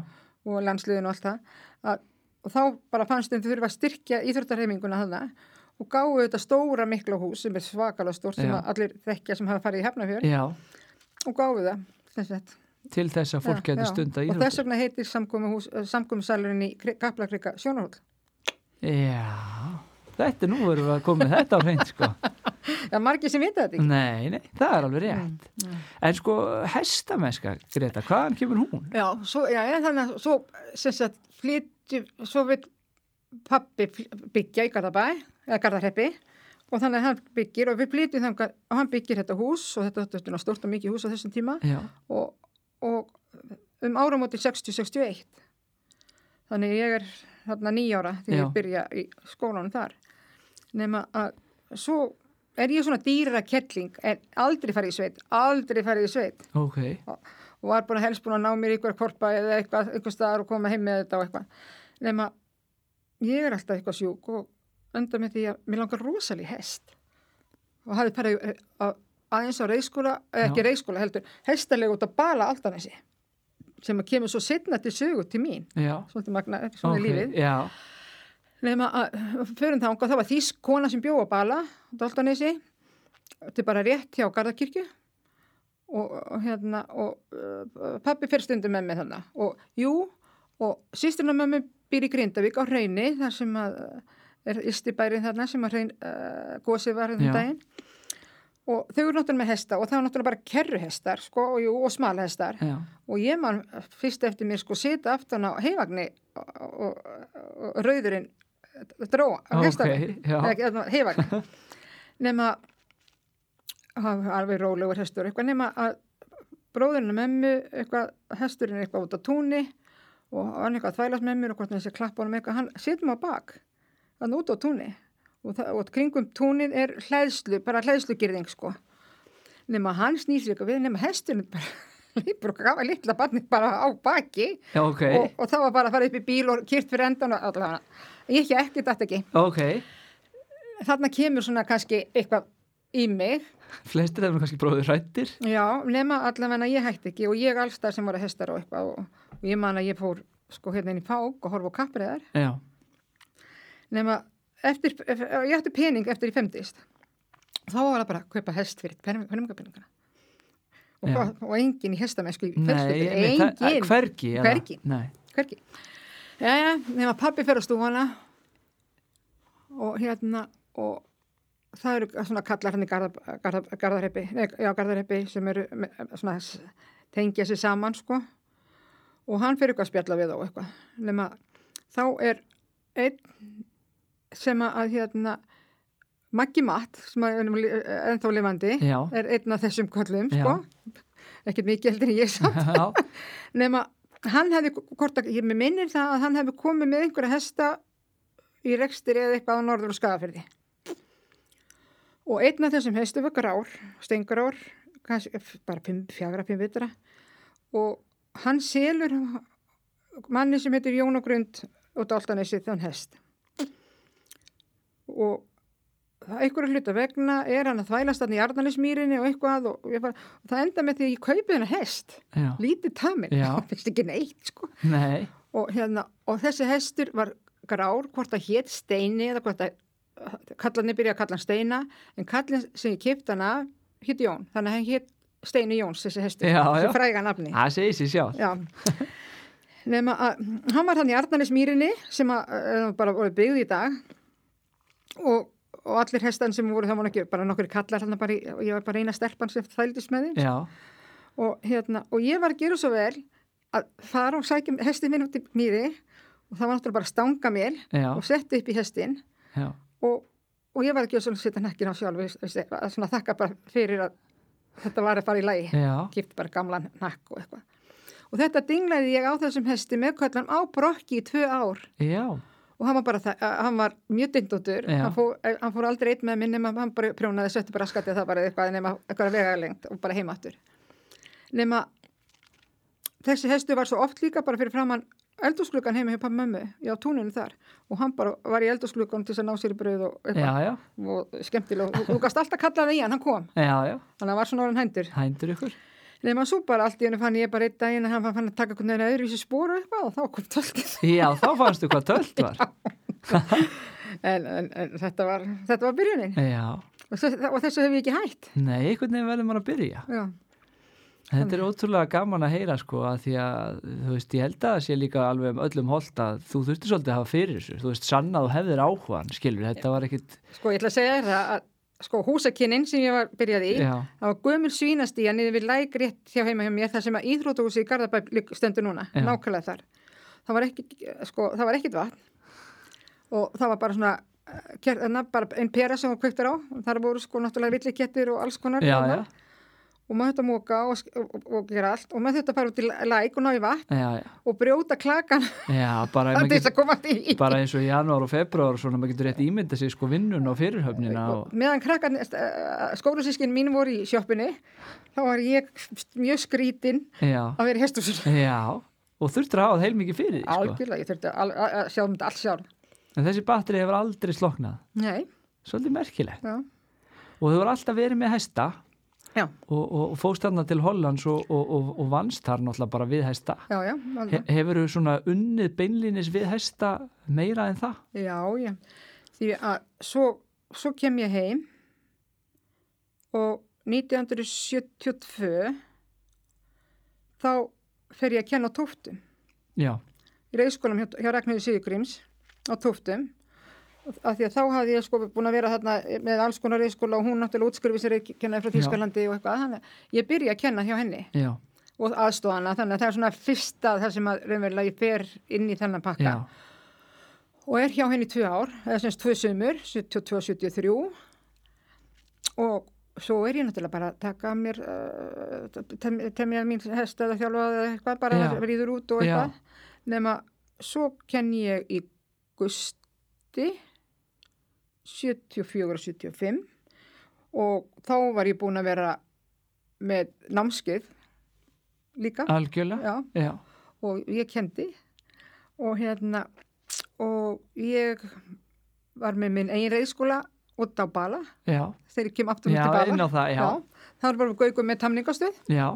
og landsliðin og allt það að, og þá bara fannst þeim þau þurfa að styrkja íþróttarheiminguna þannig og gáðu þetta stóra mikla hús sem er svakalega stórt sem Já. að allir þekkja sem hafa farið í hefnafjör já, og gáðu það sem sagt. til þess að fólk Já, getur já. stunda og þess íþróttir. vegna heitir samkomisalurinn í Kaplakrika Sjónahól Já, þetta nú erum við að koma með þetta á hreint *laughs* sko. það er margir sem vita þetta ekki Nei, nei, það er alveg rétt. En sko, hestamesska, Greta, hvaðan kemur hún? Já, svo, já, já, þannig að svo, sem sagt, flytjum, svo vil pappi fl- byggja í Garðabæ, eða Garðarheppi og þannig að hann byggir og við flytjum þangar og hann byggir þetta hús og þetta þetta er svona stórt og mikið hús á þessum tíma Já, og, og um áramóti 60-61 þannig að ég er þarna nýja ára þegar Já. ég byrja í skólanum þar nema að svo er ég svona dýra kettling en aldrei farið í sveit, aldrei farið í sveit ok, og var bara helst búin að ná mér í einhver korpa eða eitthvað, eitthvað staðar og koma heim með þetta og eitthvað. Nefn að ég er alltaf eitthvað sjúk og enda með því að mér langar rosalí hest og hafði pæri aðeins á reyskóla, eða ekki Já. reyskóla heldur, hestarlega út að bala altanessi sem að kemur svo setna til sögu til mín, já, svolítið magna, svona okay. lífið. ok, já, Nefna að fyrir þánga, það var þýsk kona sem bjóð á Bala, Daltanesi, til bara rétt hjá Garðakirkju og, og hérna, og uh, pappi fer stundum með mig þannig og jú, og sýsturna með mig býr í Grindavík á Hreini, þar sem að uh, er ystibærið þarna sem að Hrein uh, gósið var Já. þannig daginn og þau eru náttúrulega með hesta og það var náttúrulega bara kerruhestar, sko, og jú, og smalhestar já, og ég man fyrst eftir mér sko sita aftan á heifagni og, og, og rauðurinn dró á Ok, hestafni já. heifagni nema hann var alveg rólegur hestur eitthvað nema að bróðurinn og memmu eitthvað, hesturinn er eitthvað út á túnni og hann eitthvað að þvælast með mér og hvort hann sé klappa honum eitthvað, hann situm á bak þannig út á túnni og, það, og kringum túnin er hlæðslu, bara hlæðslugirðing sko nema hann snýr sér eitthvað við, nema hesturinn bara *laughs* lípur og gafa litla barnið bara á baki já, ok, og, og það var bara að fara upp í bíl og kýrt fyrir endan og allavega ég ekki ekki, þetta ekki ok, þarna kemur svona kannski eitthvað í mig flestir þeim eru kannski bróður rættir. Já, nema allavega ég hætti ekki og ég alls þar sem voru hestar og eitthvað og, og ég man að ég fór sko hérna inn í fák og horfa á kappriðar Já, nema eftir, ef, ég ætti pening eftir ég femtist þá var það bara að kaupa hest fyrir peningapenningana og, Já. hvað- og engin í hestamennsku í Nei, fjölskyldu, nei, það- að- engin, hvergi, eða? Hvergi. Nei, hverki Jæja, nema pappi fer á stúfana og hérna og það eru svona kallar hann í garða, garða, garðarheppi, nei, já, garðarheppi sem eru með- svona s- tengja sér saman sko og hann fer eitthvað að spjalla við á eitthvað nema þá er einn sem að hérna Maggi Matt sem að er nú li- ennþá lifandi Já. er einn af þessum köllum Já. sko ekkert mikið heldur en ég *laughs* samt já, nema hann hefði, hvort að, ég mig minnir það að hann hefði komið með einhverja hesta í rekstir eða eitthvað á norður og skafafyrði og einn af þessum hestum var grár, stengrár kannski f- bara fimm, fjagra, fimm vitra og hann selur manni sem heitir Jón og Grund og Daltanesi þann hest og það einhverju hluta vegna er hann að þvælast hann í Arnalismýrinni og eitthvað og, ég bara, og það enda með því að ég kaupi hennar hest já, lítið tamin, Já. finnst ekki neitt sko. nei, og, hérna, og þessi hestur var grár, hvort það hétt steini eða hvort það kallanir byrja að kalla hann Steina en kallin sem ég kipt hann af hitt Jón, þannig að hann hitt Steini Jóns þessi hestur, Já, já. þessi fræga nafni það segir sér sjálf Já Nefna að hann var hann í Arnanesmýrinni sem að, að bara voru byggð í dag og, og allir hestan sem voru þá var ekki bara nokkur kallar hann bara, í- og ég var bara eina stelpan sem þældist með þeim já, og, hérna, og ég var að gera svo vel að fara og sækja hestin minn út í mýri og það var náttúrulega bara stanga mér já, og setti upp í hestin já, og, og ég var ekki að svona setja nekkin á sjálf veist, veist, að svona þakka bara fyrir að þetta var að fara í lagi já kipti bara gamlan nakk og eitthvað og þetta dinglaði ég á þessum hesti með kallan á brokki í tvö ár já, og hann var bara það, að- hann var mjög dindóttur Já. hann, fór- eh, hann fór aldrei einn með minn nema hann bara prjónaði söttu bara skatið það bara eitthvað nema eitthvað vegalengt og bara heimáttur nema þessi hestu var svo oft líka bara fyrir framann eldúsklukkan heima hjá pappa mömmu já, túninu þar og hann bara var í eldúsklukkan til þess að ná sér í bröð og, já, eitthvað. já, og skemmtilega og þú gast alltaf kallaði í hann, hann kom já, já þannig að hann var svona orðin hendur hændur ykkur Nefnum að svo bara allt í hennu fann ég bara einn daginn að hann fann að taka einhvern veginn öðru í þessu spóru eitthvað og þá kom tölkið. já, þá fannstu hvað tölt var *laughs* En, en, en þetta, var, þetta var byrjunin já, og, svo, og þessu hef ég ekki hætt. nei, einhvern veginn verður maður að byrja Já, Þetta er ótrúlega gaman að heyra sko að því að þú veist ég held að það sé líka alveg um öllum holt að þú þurftir svolítið að hafa fyrir þessu, þú veist sannað og hefðir áhugan skilur, þetta var ekkit sko ég ætla að segja þér það að sko húsakinnin sem ég var byrjað í, já, það var gömul svínastíja niður við læk rétt hjá heima hjá mér þar sem að íþrótahúsi í Garðabæ ligg- stendur núna, Já. nákvæmlega þar. Það var, ekki, sko, það var ekkit vatn og það var bara svona eh, kjarna, bara einn pera sem hún kveiktar á og þar voru sko náttúrulega villikettir og alls konar já, blómar. já, og maður þetta móka og, sk- og, og, og gera allt og maður þetta fara út í læ- læk og ná í vatn já, já, og brjóta klakan já bara, að maður þess getur, að koma því bara eins og í janúar og februar og svona maður getur rétt ímynda sér sko vinnun og fyrirhöfnina og meðan eh, krakkan skólusískin mín voru í sjoppinni þá var ég mjög skrítin já, að vera *laughs* í sko. hesthúsinu já og þurftir að hafa heil mikið fyrir því, sko, algjörlega, ég þurfti að, að, að sjá um þetta allt sjálf en þessi batteri hefur aldrei sloknað, nei, svolítið merkilegt já, og þú hefur alltaf verið með hesta já, og, og, og fóst þarna til Hollands og, og, og, og vannst þar náttúrulega bara við hesta já, já, alveg. He, hefur þú svona unnið beinlínis við hesta meira en það? já, já. því að svo, svo kem ég heim og 1972 þá fer ég að kenna á tóftum Já, í reyðskólam hjá, hjá Ragnhildur Sigurgríms á tóftum af því að þá hafði ég sko búin að vera þarna með alls konar reyðskóla og hún náttúrulega útskrifi sér kennaði frá Já. Þýskalandi og eitthvað þannig að ég byrja að kenna hjá henni já, og aðstofana þannig að það er svona fyrsta þar sem að raunverulega ég fer inn í þennan pakka já, og er hjá henni í tvö ár eða semst tvö sömur, 72-73 og svo er ég náttúrulega bara að taka að mér uh, temja mín hest eða þjálfa eða eitthvað, bara Já. yeah. ríður út og Já. eitthvað nema svo kenn ég í gusti 74-75 og þá var ég búin að vera með námskið líka Ah. algjörlega, Já já, og ég kendi og hérna og ég var með minn eigin reyðskóla út á Bala já, þegar ég kem aftur já, út til inn á Bala það, já, þar varum við gaugum með tamningastöð já,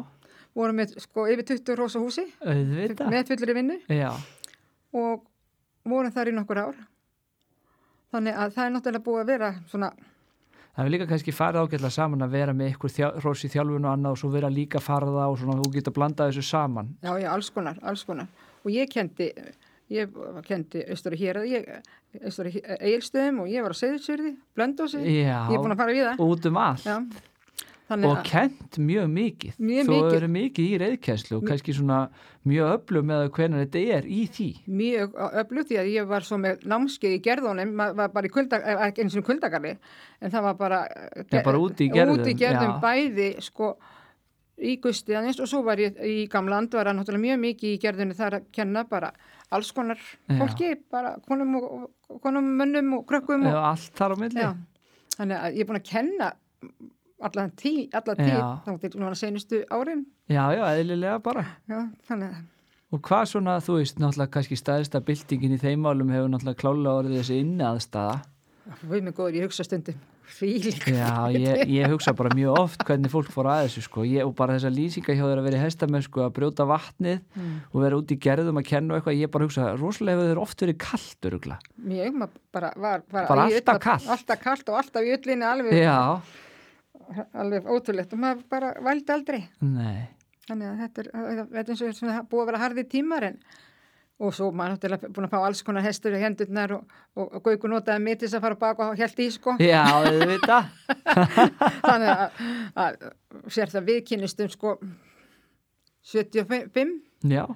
vorum með sko yfir 20 rosa húsi auðvitað, með fullri vinnu já, og vorum þar í nokkur ár þannig að það er náttúrulega búið að vera svona það hefur líka kannski farið ágætlega saman að vera með ykkur þjá, hross í þjálfun og annað og svo vera líka farða og svona þú getur að blanda þessu saman, Já, já, alls konar, alls konar. Og ég kendi, ég kendi austur og hér, ég austur og eigilstöðum og ég var á Seyðisfjörði, Blöndósi, Já. ég er búin að fara við það. út um allt Já, þannig og að, kent mjög mikið, Mjög þú mikið. eru mikið í reyðkjænslu og kannski svona mjög öflum með hvernig þetta er í því, mjög öflug því að ég var svo með námskeið í gerðunum, maður var bara í kuldag, eh, ekki eins og kuldagarði, en það var bara, eh, Já, bara úti í Gerðum, úti í gerðum já. bæði, sko, í gustiðanist og svo var ég í gamland, var hann náttúrulega mjög mikið í gerðunni þar að kenna bara alls konar Já. fólki, bara konum, og, konum mönnum og krökkum og, og allt þar á milli, Já, þannig að ég er búin að kenna allan tí, alla tí, Já. þá til núna senustu árin. já, já, eðlilega bara. Já, þannig að, Og hvað svona, þú veist, náttúrulega kannski staðista byltingin í þeim álum hefur náttúrulega klálega orðið þessi innaðstaða. við mig góður, ég hugsa stundum, fílík. Já, ég, ég hugsa bara mjög oft hvernig fólk fór að þessu sko ég, og bara þessa lýsinga hjá þeir að vera í hestamenn sko að brjóta vatnið Mm. og vera út í gerðum að kenna og eitthvað, ég bara hugsa rosalega hefur þeir oft verið kallt örugla Mjög, maður bara var bara, Bara í alltaf ullar- kalt. Alltaf kallt og alltaf í öllinni alveg, Já, alveg ótrúlegt og maður bara vældi aldrei. nei Þannig að þetta er, þetta er eins og svona búið að vera harði tímar en og svo maður náttúrulega búin að fá alls konar hestur í hendurnar og, og, og Gauku notaði mig til þess að fara á bak og held í sko. Já, þið vita Þannig að, að sér það viðkynnistum sko 75 Já,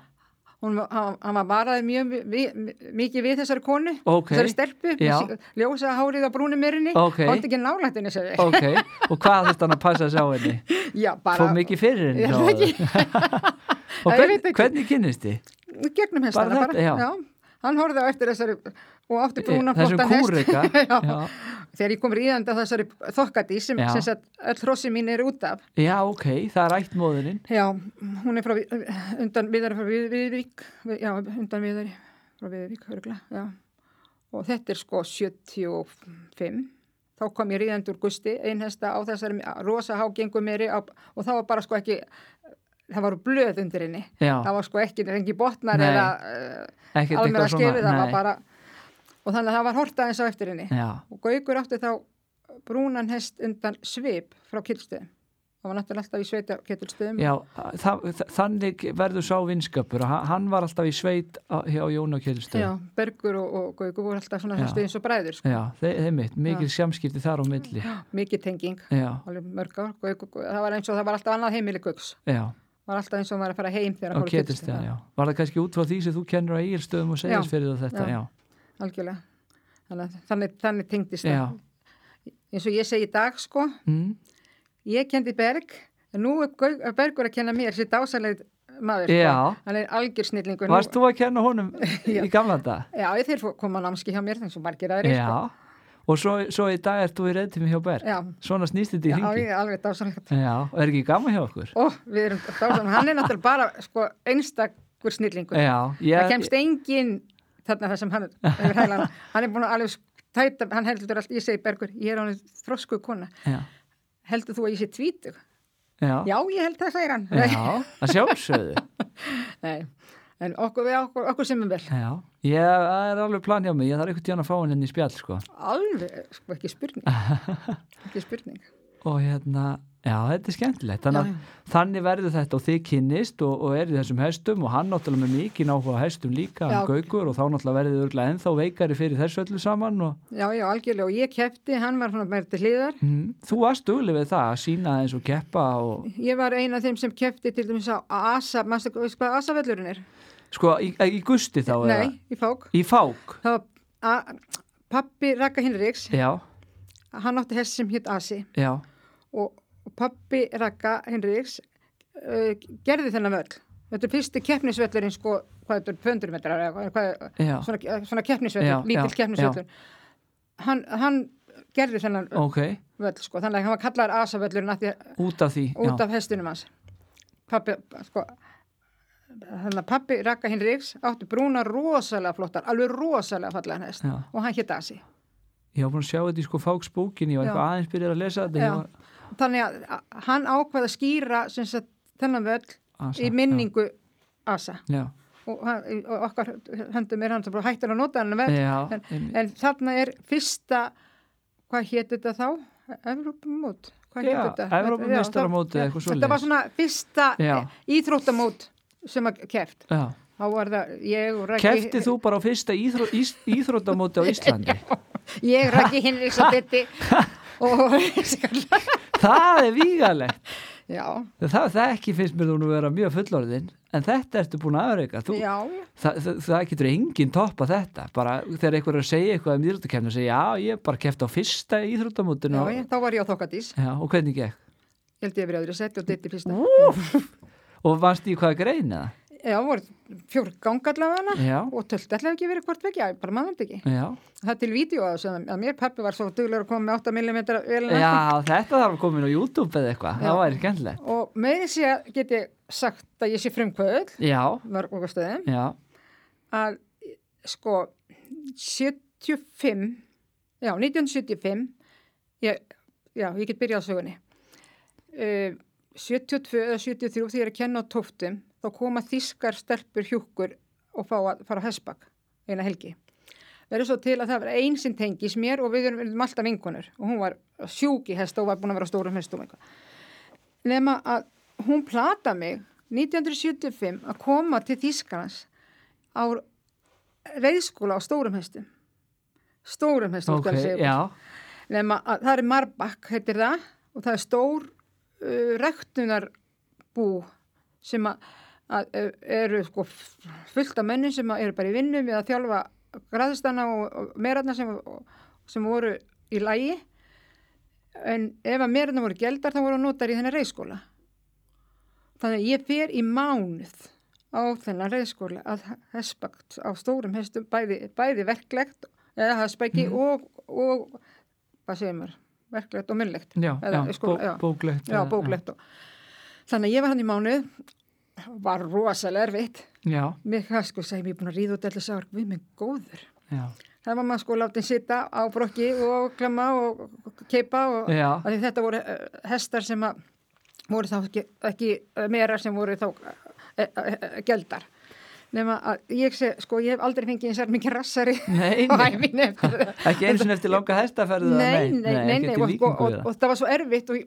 hún, var- hann, hann var varaði mjög vi- vi- mikið við þessari konu Ok. þessari stelpu, Já. með sí- ljósa hárið á brúnum myrni, Ok. hótt ekki nálægt henni sér ok og hvað þurft hann að passa þessi á henni? Já, Fó bara mikið fyrir henni Ég þá? veit Og Ég hvern, veit ekki. hvernig kynnist þið? gegnum hestana Bara bara, þetta, já. hann horfði á eftir þessari og átti brúna Þessum kúrika *laughs* já. Já, þegar ég kom ríðandi á þessari þokkadí sem, Já. sem sagt, öll hrossi mín er út af Já, ok, það er ætt móðurinn já, hún er frá Vi- undan viðari frá við, Viðvík Vi- já, undan viðari frá Viðvík örgla, já. og þetta er sko 75 þá kom ég ríðandi úr gusti einhesta á þessari rosa hágengu meiri á, og það var bara sko ekki það var blöð undir henni Já, það var sko ekki, ekki botnar Nei. eða uh, ekkert almenna eitthvað svona skefið, það var nei. bara og þannig að það var horta eins á eftir henni Já, og Gaugur átti þá brúnan hest undan svip frá kilstöðum það var náttúrulega alltaf í sveita kilstöðum já þa þa þannig verður sá vinskapur og hann- hann var alltaf í sveit á- hjá Jón og Kjeldstöð Bergur og, og Gaugur voru alltaf svona Já. þessu eins og bræður sko. Já, þe þeim mitt, mikil sjámskipti þar á milli mikið tenging, Já, alveg mörg ár Gaukur, það var eins og það var alltaf annað heimili Gauks já, það var alltaf eins og hann var að fara heim þegar á hann fór í Ketilsstöð, Kjeldstöð Já, var það kannski út frá því sem þú kennur á Egilstöðum og segist Já, fyrir þetta, já, já. algjörlega þannig, að þannig, þannig tengdist já. það eins og ég segi í dag sko Mm. ég kendi Berg en nú er Gaug- Bergur að kenna mér sér dásalegð maður Já. sko. hann er algjör snillingur Sko, Nú- Varst þú að kenna honum í gamla dag? *laughs* Já, ég þeir fó- koma námski hjá mér þannig sem margir aðri. Já, og svo, svo í dag ert þú í reyðtími hjá Berg sko. Já. Svona snýst þetta í Já, hringi ég Sko, er alveg dásanlegt. Já, og er ekki gaman hjá okkur? Ó, við erum dásan. Hann er náttúrulega bara sko, einstakur snillingur. Já, Það ég, kemst engin þarna það sem hann er hefur heilan. Hann er búin að alveg tæta, hann heldur allt, ég segi Bergur, ég er hann þroskuð kona. já, Heldur þú að ég sé tvítug? já, Já, ég held það, segir hann. já, að sjálfsögðu *laughs* Nei, en okkur, við, okkur, okkur sem er vel. Já, ég það er alveg plan hjá mig, ég þarf einhvern tíðan að fá hann inn í spjall sko Alveg, sko, ekki *laughs* spurning. ekki spurning. og hérna, já þetta er skemmtilegt þannig, Já, að þannig verður þetta og þið kynnist og, og er í þessum hestum og hann náttúrulega með mikið náhuga á hestum líka Já. hann gaukur og þá náttúrulega verður þið örugglega ennþá veikari fyrir þessu öllu saman og Já, já, algjörlega. Og ég kefti, hann var svona meir til hliðar. mm, þú varst dugleg við það að sína eins og keppa og Ég var eina af þeim sem kefti til dæmis á Asa, maður veist hvað Asavellurinn er? sko í, í gusti þá eða? Nei, í fók. í fák, Það var a, pappi Raka Hinriks, já, hann átti hest sem hétt Asi já og, og pappi Raka Hinriks uh, gerði þennan völl. Þetta er fyrsti keppnisvöllurinn sko, hvað þetta er, 200 metrar eða hvað, hvað Já. svona, eh, svona Já, keppnisvöllur, lítill já, keppnisvöllur. Hann, hann gerði þennan ok, völl sko, þannig að hann var kallar Asavellurinn að því að út af því út já. af hestunum hans pappi, sko þannig að pappi Raka Hinriks átti brúna rosalega flottar, alveg rosalega fallega hest Já. og hann hétt Asi ég var búin að sjá þetta í sko fáksbókin ég var Já. eitthvað aðeins byrjar að lesa þetta Já. ég var, þannig að að hann ákvaði að skýra sem sagt, þennan völl Asa, í minningu Asa já, og, hann, og okkar höndum er hann sem bara hættir að nota hann völl já en, einmitt. en þarna er fyrsta hvað hétt þetta þá? Evrópumót Já, hvað hét þetta? Evrópumeistaramótið, Já, þá- eitthvað þetta var svoleiðis. svona fyrsta eh, Já. íþróttamót sem að keft já Þá var það, ég og Raggi... Keftið þú bara á fyrsta íþró, ís, *laughs* íþróttamóti á Íslandi? Ég, *laughs* Raggi Hinriks og Bitti og... *laughs* það er vígalegt. já, Það, það ekki finnst mér þú nú vera mjög fullorðin, en þetta ertu búin að aðreika. Þú, já, það, það, það getur enginn toppa þetta. Bara þegar einhver er að segja eitthvað um íþróttakefni og segja, já, ég bara kefti á fyrsta já, íþróttamótinu. já, þá var ég á þokkadís. já, og hvernig gekk? Ég held ég verið öðru sett og Bitti fyrsta. Úf! Og varst í hvaða grein eða? Já, voru fjór gangallavana Já. og tölti allavega ekki verið hvort vekja, bara maður veit ekki. Já, Það er til vídeo að þessu, að mér pappi var svo duglegur að koma með 8 mm velina já þetta þarf að koma inn á YouTube eða eitthvað. Það Já. væri skemmtilegt. og meiri sé að get ég sagt að ég sé frumkvöðl, Já, mörg okkur stöðum, já, að sko 75 já, 1975 ég, já, ég get byrjað á sögunni. Uh, 72 eða 73 þegar ég er að kenna á tóftum þá koma þískar stelpur hjúkur og fá að fara á hessbakk eina helgi. Verður svo til að það var einn sem tengis mér og við erum, erum alltaf vinkonur og hún var sjúk í hesta og var búin að vera á stórum hestum og eitthvað. Nefna að hún plata mig 1975 að koma til Þískarans á reyðskóla á stórum hestum. Stórum hestum, ok, skal ég segja. já, Nefna að það er Marbakk, heitir það, og það er stór uh, rektunarbú sem að, að eh, eru sko fullt af mönnum sem að eru bara í vinnum eða þjálfa græðstana og, og meirarna sem, sem voru í lægi. En ef að meirarna voru geldar þá voru notar í þennan reyskóla. Þannig að ég fer í mánuð á þennan reyskóla að hespakt á stórum hestum bæði, bæði verklegt eða hespæki og, og hvað segir maður, verklegt og munnlegt já, Eða já, skóla- bó, já. bóklegt já, eða- bóklegt og þannig að ég var hann í mánuð var rosalega erfitt Já, mér hvað sko segi, mér er búin að ríða út allir sár við minn góður, já, það var maður sko látið sitta á brokki og klemma og keipa og já, af því þetta voru eh, hestar sem að voru þá ekki, ekki eh, merar sem voru þá eh, eh, eh, geldar nema að ég seg, sko, ég hef aldrei fengið eins og mikið rassari nei, *laughs* á nei. æfinni eftir þetta ekki eins og eftir langa hestaferðu nei, nei, nei, nei, og, sko, og, og, og það var svo erfitt og,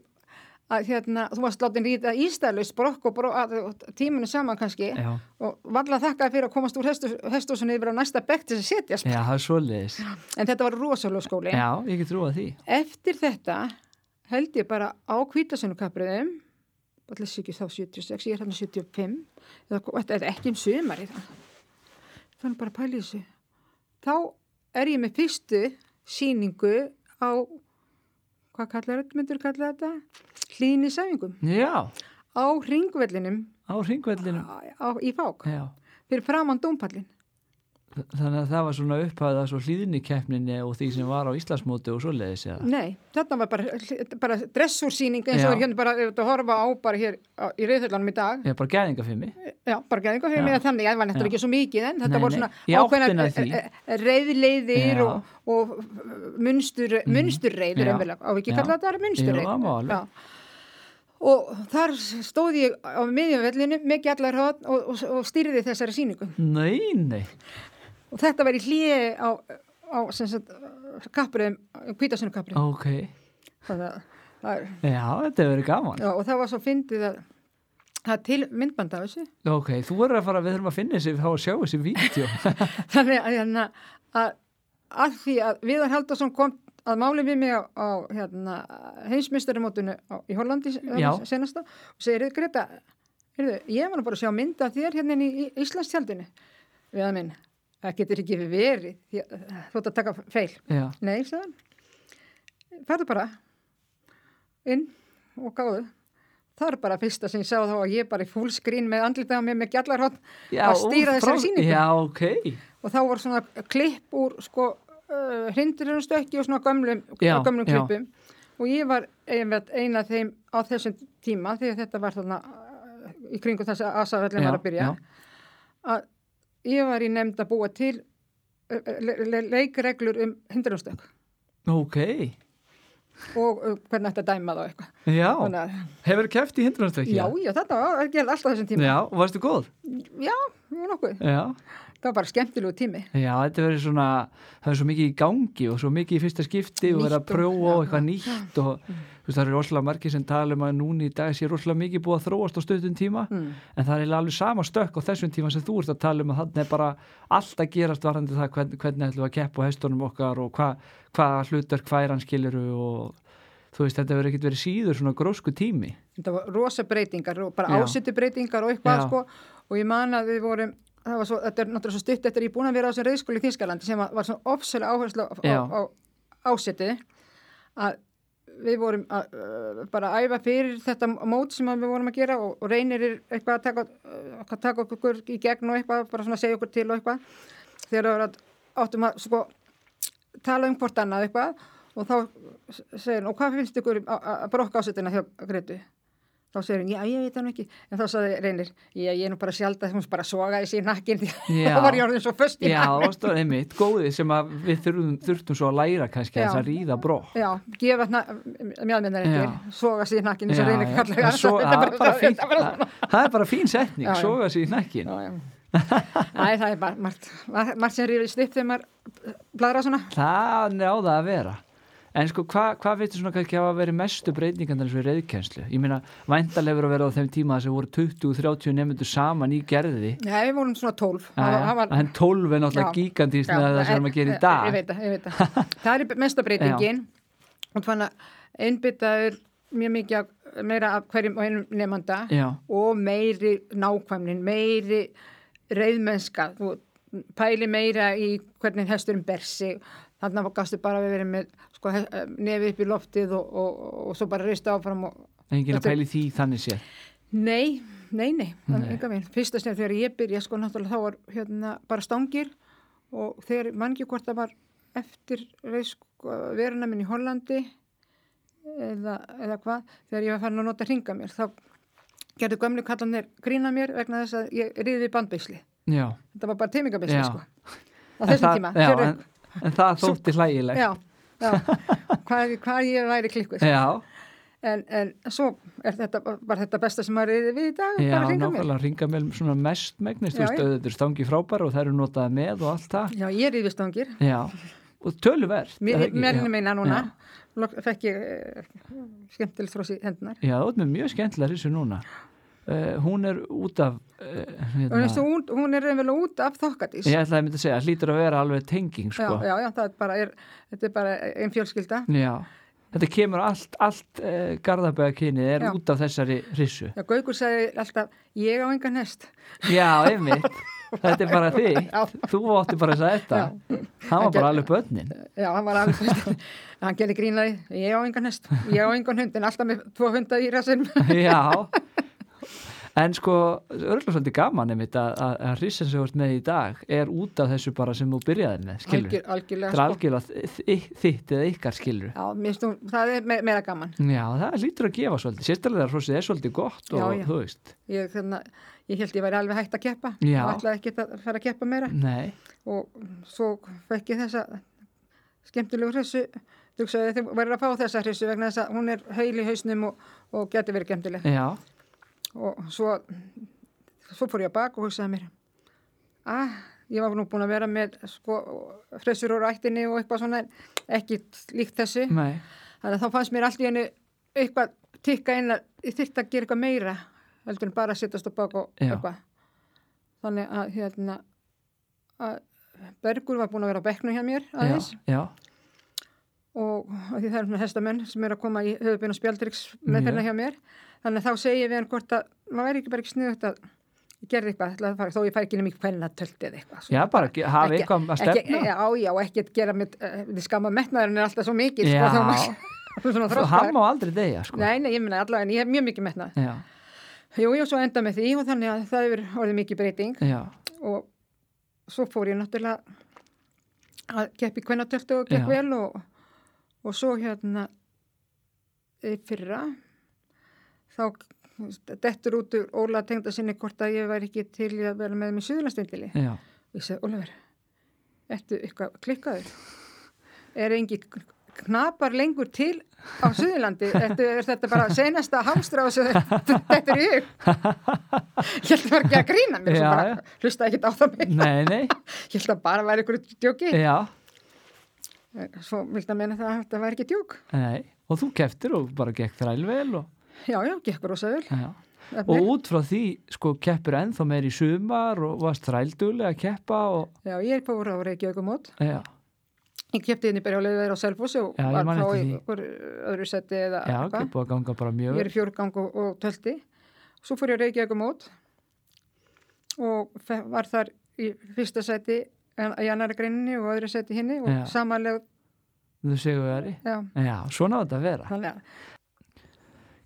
að hérna, þú varst látin ríta ístæðlaus brokk og, bro, að, og tíminu saman kannski já, og valla þakkaði fyrir að komast úr hestus, hestúsunni yfir á næsta bekk til þess að setjast já, það er svoleiðis en þetta var rosalega skóli já, ég get trúið því eftir þetta held ég bara á kvítasunnukapriðum allir sé ekki þá 76, ég er hérna 75 eða þetta er ekki um sumari það þannig bara pæli þessu þá er ég með fyrstu síningu á hvað kallar þetta, myndur kalla þetta hlýnisæfingum já, á ringvellinum á ringvellinu á, á, í fák já, fyrir framann dómpallin þannig að það var svona upphæða svo hlýðinni keppninni og því sem var á Íslandsmóti og svoleiðis eða Nei, þetta var bara, bara dressúrsýning eins og Já. er hérna bara ef þú ert að horfa á bara hér á, í reyðhullanum í dag Já, bara gæðingafimi. Já, bara geðingar fyrir Já. mig að þannig, það Já. var nættur ekki svo mikið en þetta Nei, voru nei. svona Í áttina ákveðna að því. eh, eh, reiðleiðir Já. Mhm. og, og eh, munstur, munsturreiðir Já. umverulega, á ekki Já. kalla þetta Jú, það má munsturreið. alveg. Já. Og þar stóð ég á miðjumvellinu með gjallar hótt og, og, og stýrði þessari síningu. Nei, nei. Og þetta var í hlýi á, á sem sagt, kapriðum, kvítasunum kapriðum. Ok. Þannig að það er, Já, þetta hefur verið gaman. já, og það var svo fyndið að það er til myndband af þessu. Ok, þú verður að fara, við þurfum að finna þessi, þá að sjá þessi vídeo. *laughs* þannig að, hérna, að að því að Viðar Haldarsson kom að máli við mig á, á hérna, heimsmyndstarimótinu í Hollandi s- Já. senasta og segir, Greta, heyrðu, ég var nú bara að sjá mynd af þér hérna inni í, í Íslandstjaldinu við að minn, það getur ekki verið því að- eh, þú ert að taka feil Já, Nei, sagði hann. Færðu bara inn og gáðu. Það er bara fyrsta sem ég sá þá að ég bara í full screen með andlitað á mér með gjallarhótt já. að stýra og þessari sýningu. Já, ok. Og þá voru svona klipp úr sko uh, hrindirunastökki og svona gömlum, Já, gömlum já. klippum. Og ég var einmitt eina af þeim á þessum tíma því að þetta var þarna uh, í kringu þess að Asafellin var að byrja. Að ég var í nefnd að búa til uh, le le leikreglur um hrindirunastökk. Ok. og uh, hvernig ætti að dæma þá eitthvað. Já, Þannig að, hefur kæft í hindrunastökki? já, já, þetta var ekki alltaf þessum tíma. Já, og varstu góð? Já, já nokkuð. Já. Það var bara skemmtilegu tími. Já, þetta verður svona, það er svo mikið í gangi og svo mikið í fyrsta skipti og verður að Nýtt og- prjóa og já. Mm. eitthvað nýtt og þú veist, það eru rosalega margir sem tala um að núna í dag sé rosalega mikið búið að þróast á stöðum tíma Mm. en það er eiginlega alveg sama stökk á þessum tíma sem þú ert að tala um að þannig er bara allt að gerast varandi það hvern, hvernig ætlum við að keppa á hestunum okkar og hva, hvað hlutverk færan skilur og þú veist þetta verður ekkert verið síður svona grósku tími Þetta var rosa breytingar og bara Já. ásettu breytingar og eitthvað Já. sko. Og ég man að við vorum, það var svo, þetta er náttúrulega svo stutt eftir að ég er búin að vera á þessum reyðskóli í Þýskalandi sem var- var svona ofsælega áherslu á, Já. á, á ásetu að við vorum að, uh, bara að æfa fyrir þetta mót sem að við vorum að gera og, og reynir er eitthvað að taka, uh, að taka okkur í gegn og eitthvað, bara svona að segja okkur til og eitthvað þegar það var að áttum að sko tala um hvort annað eitthvað og þá segir hann, og hvað finnst ykkur um að brokka ásettina hjá Gretu? þá segir hún, já, ég veit hann ekki en þá sagði reynir, já, ég er nú bara sjálf að hún bara sogaði sér nakkin því *laughs* Já. þá var ég orðin svo föst í Já, það stóð einmitt, góðið sem að við þurfum, þurftum svo að læra kannski Já. þess að ríða brott. Já, gefa mjölmennar Já. eitthvað, soga sér nakkin eins og reynir kallar En svo- þetta er það er bara fín- þetta er bara það- það er bara fín setning, Já, já. soga sér í nekkin. Já, já. Æ, það er bara margt, margt margt sem rífist upp þegar maður bladra svona. Það náða að vera. En sko, hva- hvað hva veitir svona kannski hafa verið mestu breytingarnar eins og í reyðkjenslu? Ég meina, vændalefur að vera á þeim tíma þess að voru 20-30 nefndu saman í gerði. Já, við vorum svona tólf. Jæja, En 12 er náttúrulega Já. gíkandist með það sem við erum að gera í Ég dag. veit það, ég veit *laughs* það. það er mesta breytingin og þannig að einbyttaður mjög mikið af, meira af hverjum og einum nefnda Já, og meiri nákvæmnin, meiri reyðmennska, þú pæli meira í hvernig hesturinn ber sig, þannig að gastu bara að vera með sko, nefi upp í loftið og, og, og, og svo bara reysta áfram og, enginn að Þetta er- pæli því þannig séð. Nei, nei, nei, Nei. enga minn. Fyrsta sem þegar ég byrja, sko, náttúrulega þá var hérna bara stangir og þegar mann ekki hvort það var eftir reis, sko, veruna minn í Hollandi eða, eða hvað, þegar ég var farin að nota hringa mér, þá gerðu gömlu kallanir grína mér vegna þess að ég riði bandbeisli. Já. Þetta var bara teimingabeisli, Já. sko. Á *laughs* En þessum það- tíma. Já, þegar- en, en það þótti hlægilegt. já, já. hvað, hvað ég væri klikkuð. sko. Já, En, en svo er þetta, var þetta besta sem maður riði við í dag, já bara hringa mér. nákvæmlega ringa með svona mest megnist, þú Já, veist, já. auðvitað er stangi frábær og það eru notaði með og allt það. Já, ég riði stangir. Já, og töluvert. er það Mér ekki? mér já. meina núna, Lok- fekk ég eh, skemmtilegt frá sér hendunar. Já, það er með mjög skemmtilega rissu núna. Uh, hún er út af, uh, Og hérna, veistu, hún, hún er raunverulega út af þokkadís. ég ætlaði að mynda að segja, hlýtur að vera alveg tenging, sko. já, já, já, það er bara, er, þetta er bara einn fjölskylda. Já. Þetta kemur allt, allt uh, garðabæðakynið er Já. út af þessari rissu. Já, Gaugur sagði alltaf, ég á engan hest. Já, einmitt. Þetta er bara þig. Já. Þú átti bara þess að þetta. Það var bara alveg börnin. Já, hann var alveg *laughs* fyrst, hann gerði grínaði, ég á engan hest, ég á engan hund, en alltaf með tvo hunda í *laughs* rassinum. Já, en sko, örgulega svolítið gaman einmitt að, að, að rissin sem þú ert með í dag er út af þessu bara sem þú byrjaði með, skilur. Algjör, algjörlega. sko. Þetta er algjörlega þi- þi- þitt eða ykkar skilur. Já, mér stú, það er me, meira gaman. Já, það lítur að gefa svolítið. Sérstælega þegar hrósið er svolítið gott og Já, já. þú veist. Ég, þarna, ég held ég væri alveg hægt að keppa. Já. Og ætlaði ekki að fara að keppa meira. Nei, og svo fekk ég þessa skemmtilegu hressu hugsaði að þið verður að fá þessa hressu vegna þess að hún er heil í hausnum og, og geti verið skemmtileg já, og svo, svo fór ég að baka og hugsaði mér ah, ég var nú búin að vera með sko, hressur úr ættinni og eitthvað svona ekki líkt þessu nei, þannig að þá fannst mér allt í hennu eitthvað tikka inn að ég þyrfti að gera eitthvað meira heldur en bara að sittast á bak og Já. eitthvað þannig að hérna að Bergur var búin að vera á bekknu hjá mér já, aðeins já, og af því það er svona hestamenn sem eru að koma í höfubinn og spjaldriks meðferðna Já. hjá mér þannig að þá segi ég við hann hvort að maður væri ekki bara ekki sniðut að ég gerði eitthvað ætla að fara, þó ég fæ ekki nefnir hvenna töltið eitthvað sko. já, bara ge- hafa Ekki- eitthvað að ekki, stefna. já, já, ekki gera með, uh, skamma metnaðurinn er alltaf svo mikið Já. sko, þá maður- þú er *laughs* svona Þú- þroskaður. Hann má aldrei degja, sko. Nei, nei, ég minna allavega en ég hef mjög mikið metnað. Já, Jú, jú, svo enda með því og þannig að það hefur orðið mikið breyting já, og svo fór ég náttúrulega að keppi kvennatöftu og Já. gekk vel og, og svo hérna í fyrra þá dettur út úr Óla tengda sinni hvort að ég væri ekki til í að vera með mér suðurlandstendili. já, Ég segi, Ólafur, ertu eitthvað klikkaður? Er engi knapar lengur til á Suðurlandi? Ertu, er þetta bara senasta hamstra sem þetta er í hug? Ég held bara ekki að grína mér, Já, svo bara hlusta ekki á það mig. nei, *laughs* nei, Ég held að bara væri ykkur djóki. já, Svo vildi að menna það að þetta væri ekki djók. nei. Og þú keftir og bara gekk þrælvel og... Já, já, gekk rosa vel. Já. Efnir. Og út frá því, sko, keppur ennþá meir í sumar og varst þrældulega að keppa og, Já, ég er fór á Reykjavíkumót. já, Ég kefti inn í berjálega þeirra á Selfossi og Já, ég var man þá eftir í því. ykkur öðru seti eða já, ekki búið að ganga bara mjög Ég vel. er í fjórgang og, og tölti. Svo fór ég að reykja eitthvað mót og fe- var þar í fyrsta seti en- í annari greininni og öðru seti hinni og Já. já. samanlega, Þú segur veri. já, Já, svona á þetta að vera. þannig að,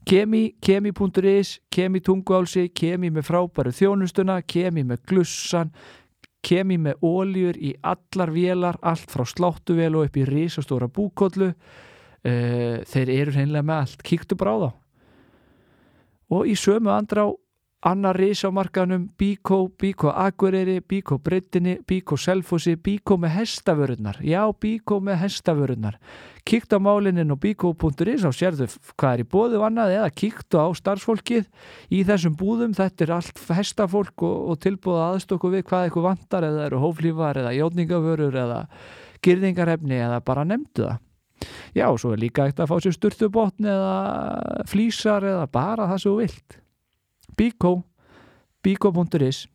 Kemi, kemi.is, kemi tunguálsi, kemi með frábæru þjónustuna, kemi með glussan, kemi með óljur í allar vélar, allt frá sláttuvél og upp í risastóra Eh, búkollu. Uh, þeir eru hreinlega með allt, kíktu bara á þá. og í sömu andrá annar reis á markanum Bíkó, Bíkó Akureyri, Bíkó Breytinni, Bíkó Selfossi, Bíkó með hestaförunar. Já, Bíkó með hestaförunar. Kíktu á málinin og bíkó.is og sérðu f- hvað er í bóðu annað eða kíktu á starfsfólkið í þessum búðum. Þetta er allt hestafólk og, og tilbúða aðstöku við hvað eitthvað vantar eða eru hóflífar eða játningavörur eða gyrðingarefni eða bara nefndu það. Já, svo er líka eitt að fá sér sturtubotn eða flýsar eða bara það sem þú vilt. Bíkó, bíkó.is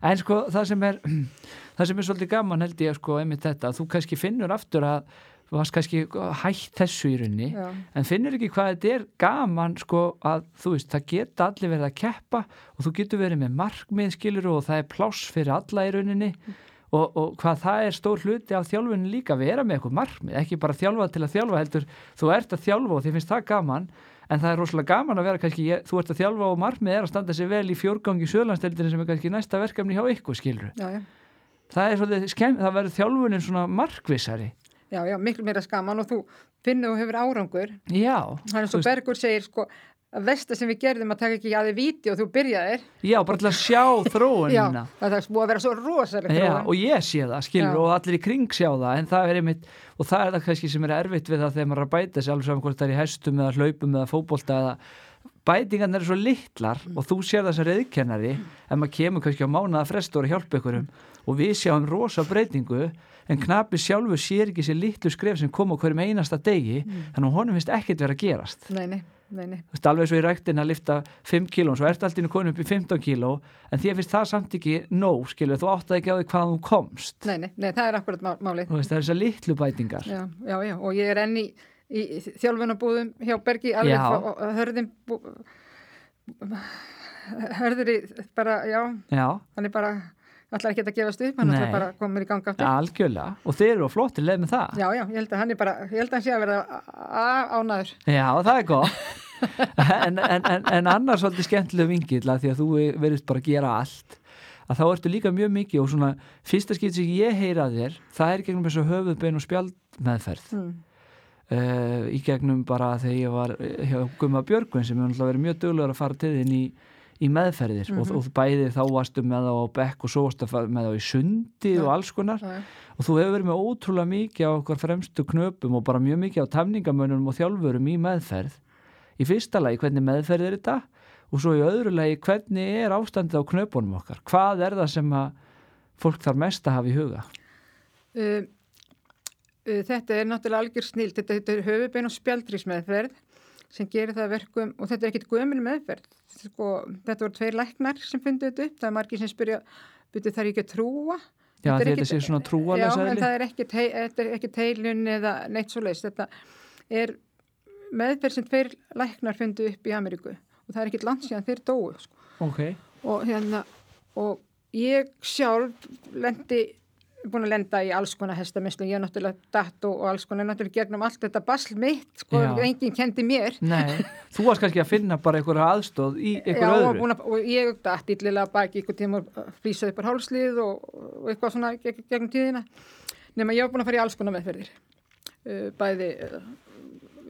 En sko það sem er *clears throat* það sem er svolítið gaman held ég sko einmitt þetta að þú kannski finnur aftur að þú varst kannski hætt þessu í runni já, en finnur ekki hvað þetta er gaman sko að þú veist, það geta allir verið að keppa og þú getur verið með markmið skilur og það er pláss fyrir alla í rauninni og, og hvað það er stór hluti af þjálfunni líka að vera með eitthvað markmið ekki bara þjálfa til að þjálfa heldur þú ert að þjálfa og þér finnst það gaman en það er rosalega gaman að vera kannski ég, þú ert að þjálfa og markmið er að standa sér vel í fjórgangi söðlandsteldinu sem er kannski næsta verkefni hjá ykkur skilur já, já. það er svolítið skemm, það verður þjálfunin svona markvissari Já, já, miklu meira skaman og þú finnur og hefur árangur. já, Það er eins þú og veist- Bergur segir, sko, að versta sem við gerðum að taka ekki að þið víti og þú byrjaðir. já, bara til að sjá Já, þróunina það er búið að vera svo rosalega Já, og ég sé það, skilur, Já. og allir í kring sjá það, en það er einmitt, og það er það kannski sem er erfitt við það þegar maður er að bæta sig alveg saman hvort það er í hestum eða hlaupum eða fótbolta eða bætingarnar eru svo litlar og þú sér það sem reyðkennari en maður kemur kannski á mánuða frestur að hjálpa ykkurum og við sjáum rosa breytingu en knapi sjálfu sér ekki sér litlu skref sem kom á hverjum einasta degi þannig að honum finnst ekkert vera að gerast Nei, nei, nei, nei. Þú veist, alveg svo í ræktin að lifta 5 kílón, svo ertu alltaf konu upp í 15 kíló, en því finnst það samt ekki nóg, skilur, þú áttaði ekki á því hvaðan þú komst. Nei, nei, nei, það er akkurat má- málið. Þú veist, það er þessar litlu bætingar. Já, já, já, og ég er enn í, í þjálfunabúðum hjá Bergi alveg Já. frá og hörðin bú, hörður í bara, já, Já, hann er bara ætlar ekki að gefast upp, hann Nei. ætlar bara að koma í gang aftur. algjörlega. Og þeir eru á flottir leið með það. Já, já, ég held að hann er bara, ég held að hann sé að vera ánaður. það er gott. *laughs* en, en, en, en annars svolítið skemmtileg vingill að því að þú verðist bara að gera allt að þá ertu líka mjög mikið og svona fyrsta skipt sem ég heyra af þér það er í gegnum þessu höfuðbein og spjaldmeðferð Mm. uh, í gegnum bara þegar ég var eh, hjá Guma Björgvin sem hefur náttúrulega verið mjög duglegur að fara til þinn í, í meðferðir og, Mhm. og bæði þá varstu með þá á bekk og svo varstu að fara með þá í sundi og alls konar Já, já. og þú hefur verið með ótrúlega mikið á okkar fremstu knöpum og bara mjög mikið á tamningamönnum og þjálfurum í meðferð í fyrsta lagi hvernig meðferð er þetta og svo í öðru lagi hvernig er ástandið á knöpunum okkar hvað er það sem að fólk þarf mest að hafa í huga Uh, uh, þetta er náttúrulega algjör snilt, þetta, þetta er höfubein og spjaldrísmeðferð sem gerir það að verkum og þetta er ekkit gömul meðferð sko, þetta voru tveir læknar sem fundu þetta upp það er margir sem spyrja, byrju þarf ég ekki að trúa Já, Þetta er því þetta ekkit- sé svona trúalega Já, en sæðli það er ekki, tei, þetta er ekki teilun eða neitt svo leist. Þetta er meðferð sem tveir læknar fundu upp í Ameríku og það er ekkit land síðan þeir dóu. Sko. Ok, Og, hérna, og ég sjálf lendi, búin að lenda í alls konar hestamislu, ég er náttúrulega datt og, og alls konar, náttúrulega gegnum allt þetta basl mitt, sko, Já. enginn kendi mér. nei Þú varst kannski að finna bara einhverja aðstóð í Já, einhverju og, öðru búin að, og ég dætt illilega baki ykkur tíma og flýsaði upp á hálslið og, og eitthvað svona gegn, gegnum tíðina nema ég var búin að fara í alls konar meðferðir uh, bæði uh,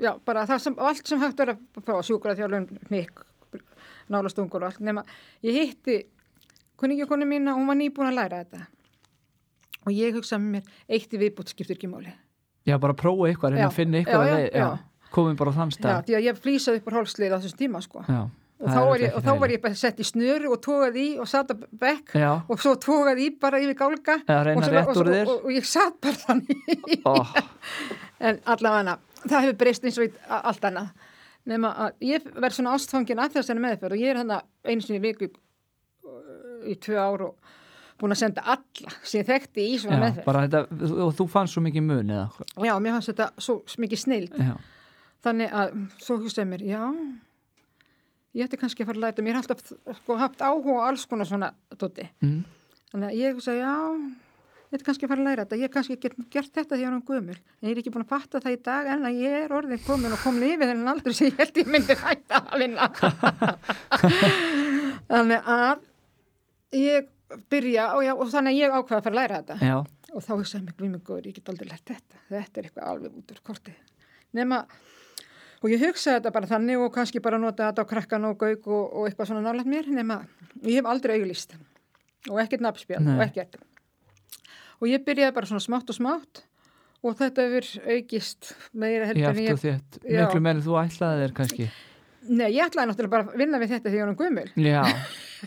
já, bara það sem, allt sem hægt er að fá sjúkra þjálfum, mikk nálastungur og allt, nema ég hitti kunningjukonu mín og hún var nýbúin að læra þetta og ég hugsaði með mér eitt í viðbútt skiptir ekki máli Já, bara að prófa eitthvað, reyna Já, að finna já, eitthvað já, leið, já, já. Komum bara á þann já, stað því að ég flýsaði upp á hálslið á þessum tíma sko Já, og þá, var ég, og þá var ég bara sett í snöru og tógaði í og sat að bekk Já. og svo tógaði í bara yfir gálga Eða reyna og, svo- rétt og, svo- úr þér. og, og ég sat bara þannig *laughs* oh, en allavega það hefur breyst eins og í a- allt annað nema að ég verð svona ástfangin að þessari meðferð og ég er hann að einu sinni í viku uh, í tvö ár og búin að senda alla sem ég þekkti í svona já, meðferð bara þetta, Og þú fannst svo mikið mun eða já, mér fannst þetta svo mikið snild Já, þannig að svo hugsaði mér, já ég ætti kannski að fara að læta mér er alltaf sko haft áhuga á alls konar svona tóti, mm, þannig að ég hugsaði, já ég ætti kannski að fara að læra þetta, ég kannski get gert þetta því að ég er um gömul, en ég er ekki búin að fatta það í dag en að ég er orðin komin og komin yfir þennan aldur sem ég held ég myndi hætta að vinna þannig að ég byrja, og, já, og þannig að ég ákvaða að fara að læra þetta já, og þá hugsaði mig, við mig góður, ég get aldrei lært þetta þetta er eitthvað alveg út úr kortið nema og ég hugsaði þetta bara þannig og kannski bara nota þetta á krakkan og gaug og, og eitthvað svona nálægt mér nema ég hef aldrei auglýst og ekkert nafnspjál Nei. og ekkert og ég byrjaði bara svona smátt og smátt og þetta hefur aukist meira í heldur en aftur ég þétt, Já. miklu meira en þú ætlaði þér kannski Nei, ég ætlaði náttúrulega bara að vinna við þetta því ég var um gömul Já,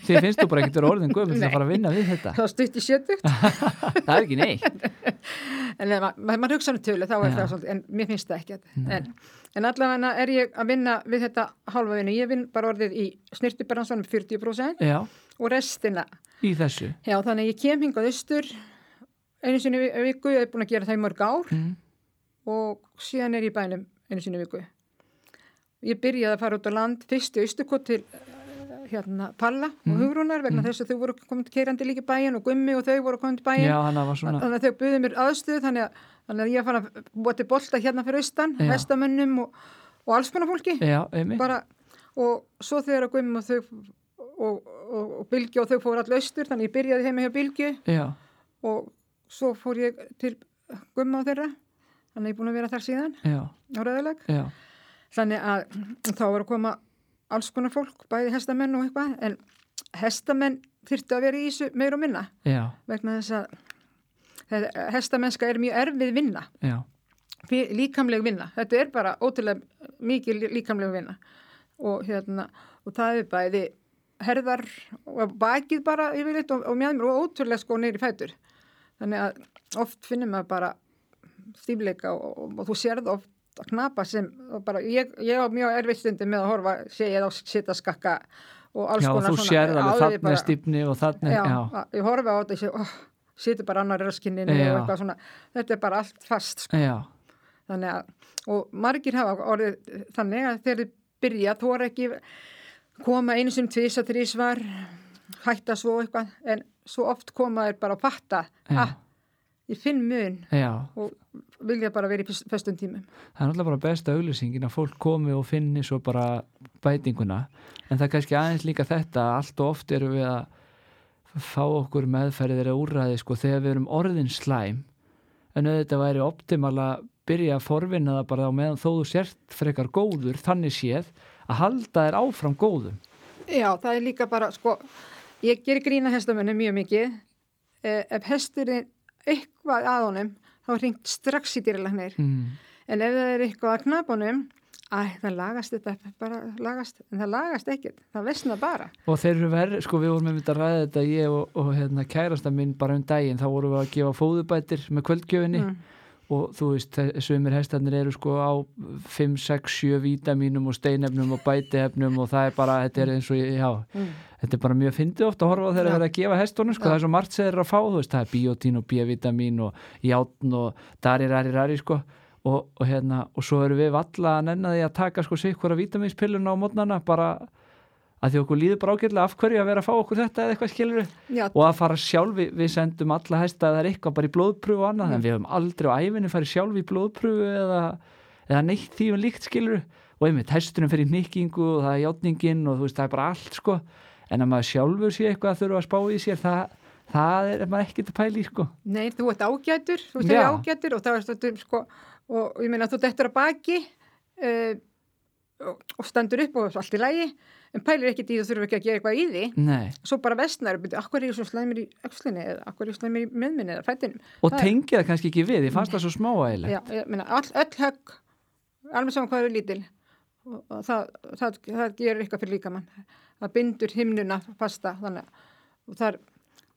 þið finnst þú bara ekkert vera orðin gömul til Nei. að fara að vinna við þetta það var stutt í sjötugt Það er ekki neitt en ef ma- ma- maður hugsa um tölu þá er Já. það svolítið en mér finnst það ekki Nei. en, en allavega er ég að vinna við þetta halva vinnu, ég vinn bara orðið í snirtibransanum 40% Já, og restina í þessu já þannig að ég kem hingað austur einu sinni vi- viku, ég er búin að gera það í mörg ár mm. og síðan er ég í bænum einu sinni viku ég byrjaði að fara út á land fyrst í austurkot til eh, hérna Palla Mhm. og Hugrunar vegna Mhm. þess að þau voru komin keirandi líka í bæin og Gummi og þau voru komin til bæin Já, hann var svona þannig að þau buðu mér aðstöðu þannig að, þannig að ég fann að búa til bolta hérna fyrir austan, Já. vestamönnum og, og alls konar fólki Já, einmitt bara, og svo þegar að guðum og þau og, og, og Bilgi og þau fóru allir austur þannig að ég byrjaði heima hjá Bilgi Já, og svo fór ég til gumma á þeirra þannig að ég er búin að vera þar síðan já, á ræðileg já þannig að þá var að koma alls konar fólk, bæði hestamenn og eitthvað en hestamenn þyrftu að vera í þessu meira og minna Já, vegna þess að þetta- hestamennska er mjög erfið vinna, já, fi- líkamleg vinna. Þetta er bara ótrúlega mikið lí- líkamleg vinna og, hérna, og það er bæði herðar og bakið bara yfirleitt og, og mjöðmur og ótrúlega sko neyri fætur. Þannig að oft finnum maður bara stífleika og, og, og þú sérð oft að knapa sem og bara, ég, ég á mjög erfið stundi með að horfa, sé ég á sitta skakka og alls já og konar þú sér alveg áður ég þarna er stífni og þarna já, er, já, að- ég horfi á þetta og ég sé, oh, situr bara annar röskinni og Já. eitthvað svona, þetta er bara allt fast sko. já, þannig að, og margir hafa orðið þannig að þegar þið byrja þú er ekki koma einu sem tvisa þrísvar hætta svo eitthvað, en svo oft koma þeir bara að fatta, já, ah, ég finn mun já. og vilja bara vera í fyrst- föstum tímum Það er náttúrulega bara besta auglýsingin að fólk komi og finni svo bara bætinguna en það er kannski aðeins líka þetta að allt og oft erum við að fá okkur meðferðir eða úrræði sko þegar við erum orðin slæm en auðvitað væri optimal að byrja að forvinna það bara á meðan þó þú sért frekar góður þannig séð að halda þér áfram góðum Já, það er líka bara, sko, ég ger grína hestamönnum mjög mikið. Eh, Ef hesturinn eitthvað að honum, þá er hringt strax í dýralagnir. mm. En ef það er eitthvað að knapa honum, æ, það lagast þetta, bara lagast, en það lagast ekkert, það vesna bara. Og þeir eru verið, sko við vorum einmitt að ræða þetta ég og, og hérna, kærasta minn bara um daginn þá vorum við að gefa fóðubætir með kvöldgjöfinni Mm. og þú veist, þe- sumir hestarnir eru sko á 5, 6, 7 vítamínum og steinefnum og bætiefnum og það er bara, þetta er eins og, já, Mm. þetta er bara mjög fyndið oft að horfa á þeirra að vera að gefa hestunum sko, Já. það er svo margt sem þeir eru að fá, þú veist, það er biotín og biovitamín og játn og dari, rari, rari, sko og, og hérna, og svo eru við valla að nenna því að taka sko sig hverja vitamínspilluna á mótnana bara að því okkur líður bara ágætlega af hverju að vera að fá okkur þetta eða eitthvað skilur Já, og að fara sjálf, við, við sendum alla hesta eða eitthvað bara í blóðpröfu og annað Mm. en við höfum aldrei á æfinni farið sjálf í blóðpröfu eða, eða neitt því um líkt skilur og einmitt hestunum fyrir nikkingu og það er játningin og þú veist það er bara allt sko en að maður sjálfur sé eitthvað að þurfa að spá í sér það, það er maður ekkert að pæla í sko nei, þú ert ágætur, þú ert Já. ágætur og það er stundum, sko, og ég meina þú dettur að baki eh, og, og stendur upp og allt í lægi, en pælir ekkert í þú þurfum ekki að gera eitthvað í því. Nei. svo bara vestnar, byrju, akkur er ég svo slæmir í öxlinni eða akkur er ég slæmir í meðminni eða fættinum. og Það er- tengja það kannski ekki við, ég fannst það svo smáægileg Já, ég meina, all, öll högg, alveg saman hvað eru lítil, og, og það, það, það gerir eitthvað fyrir líkamann. Það bindur himnuna fasta, þannig að og það er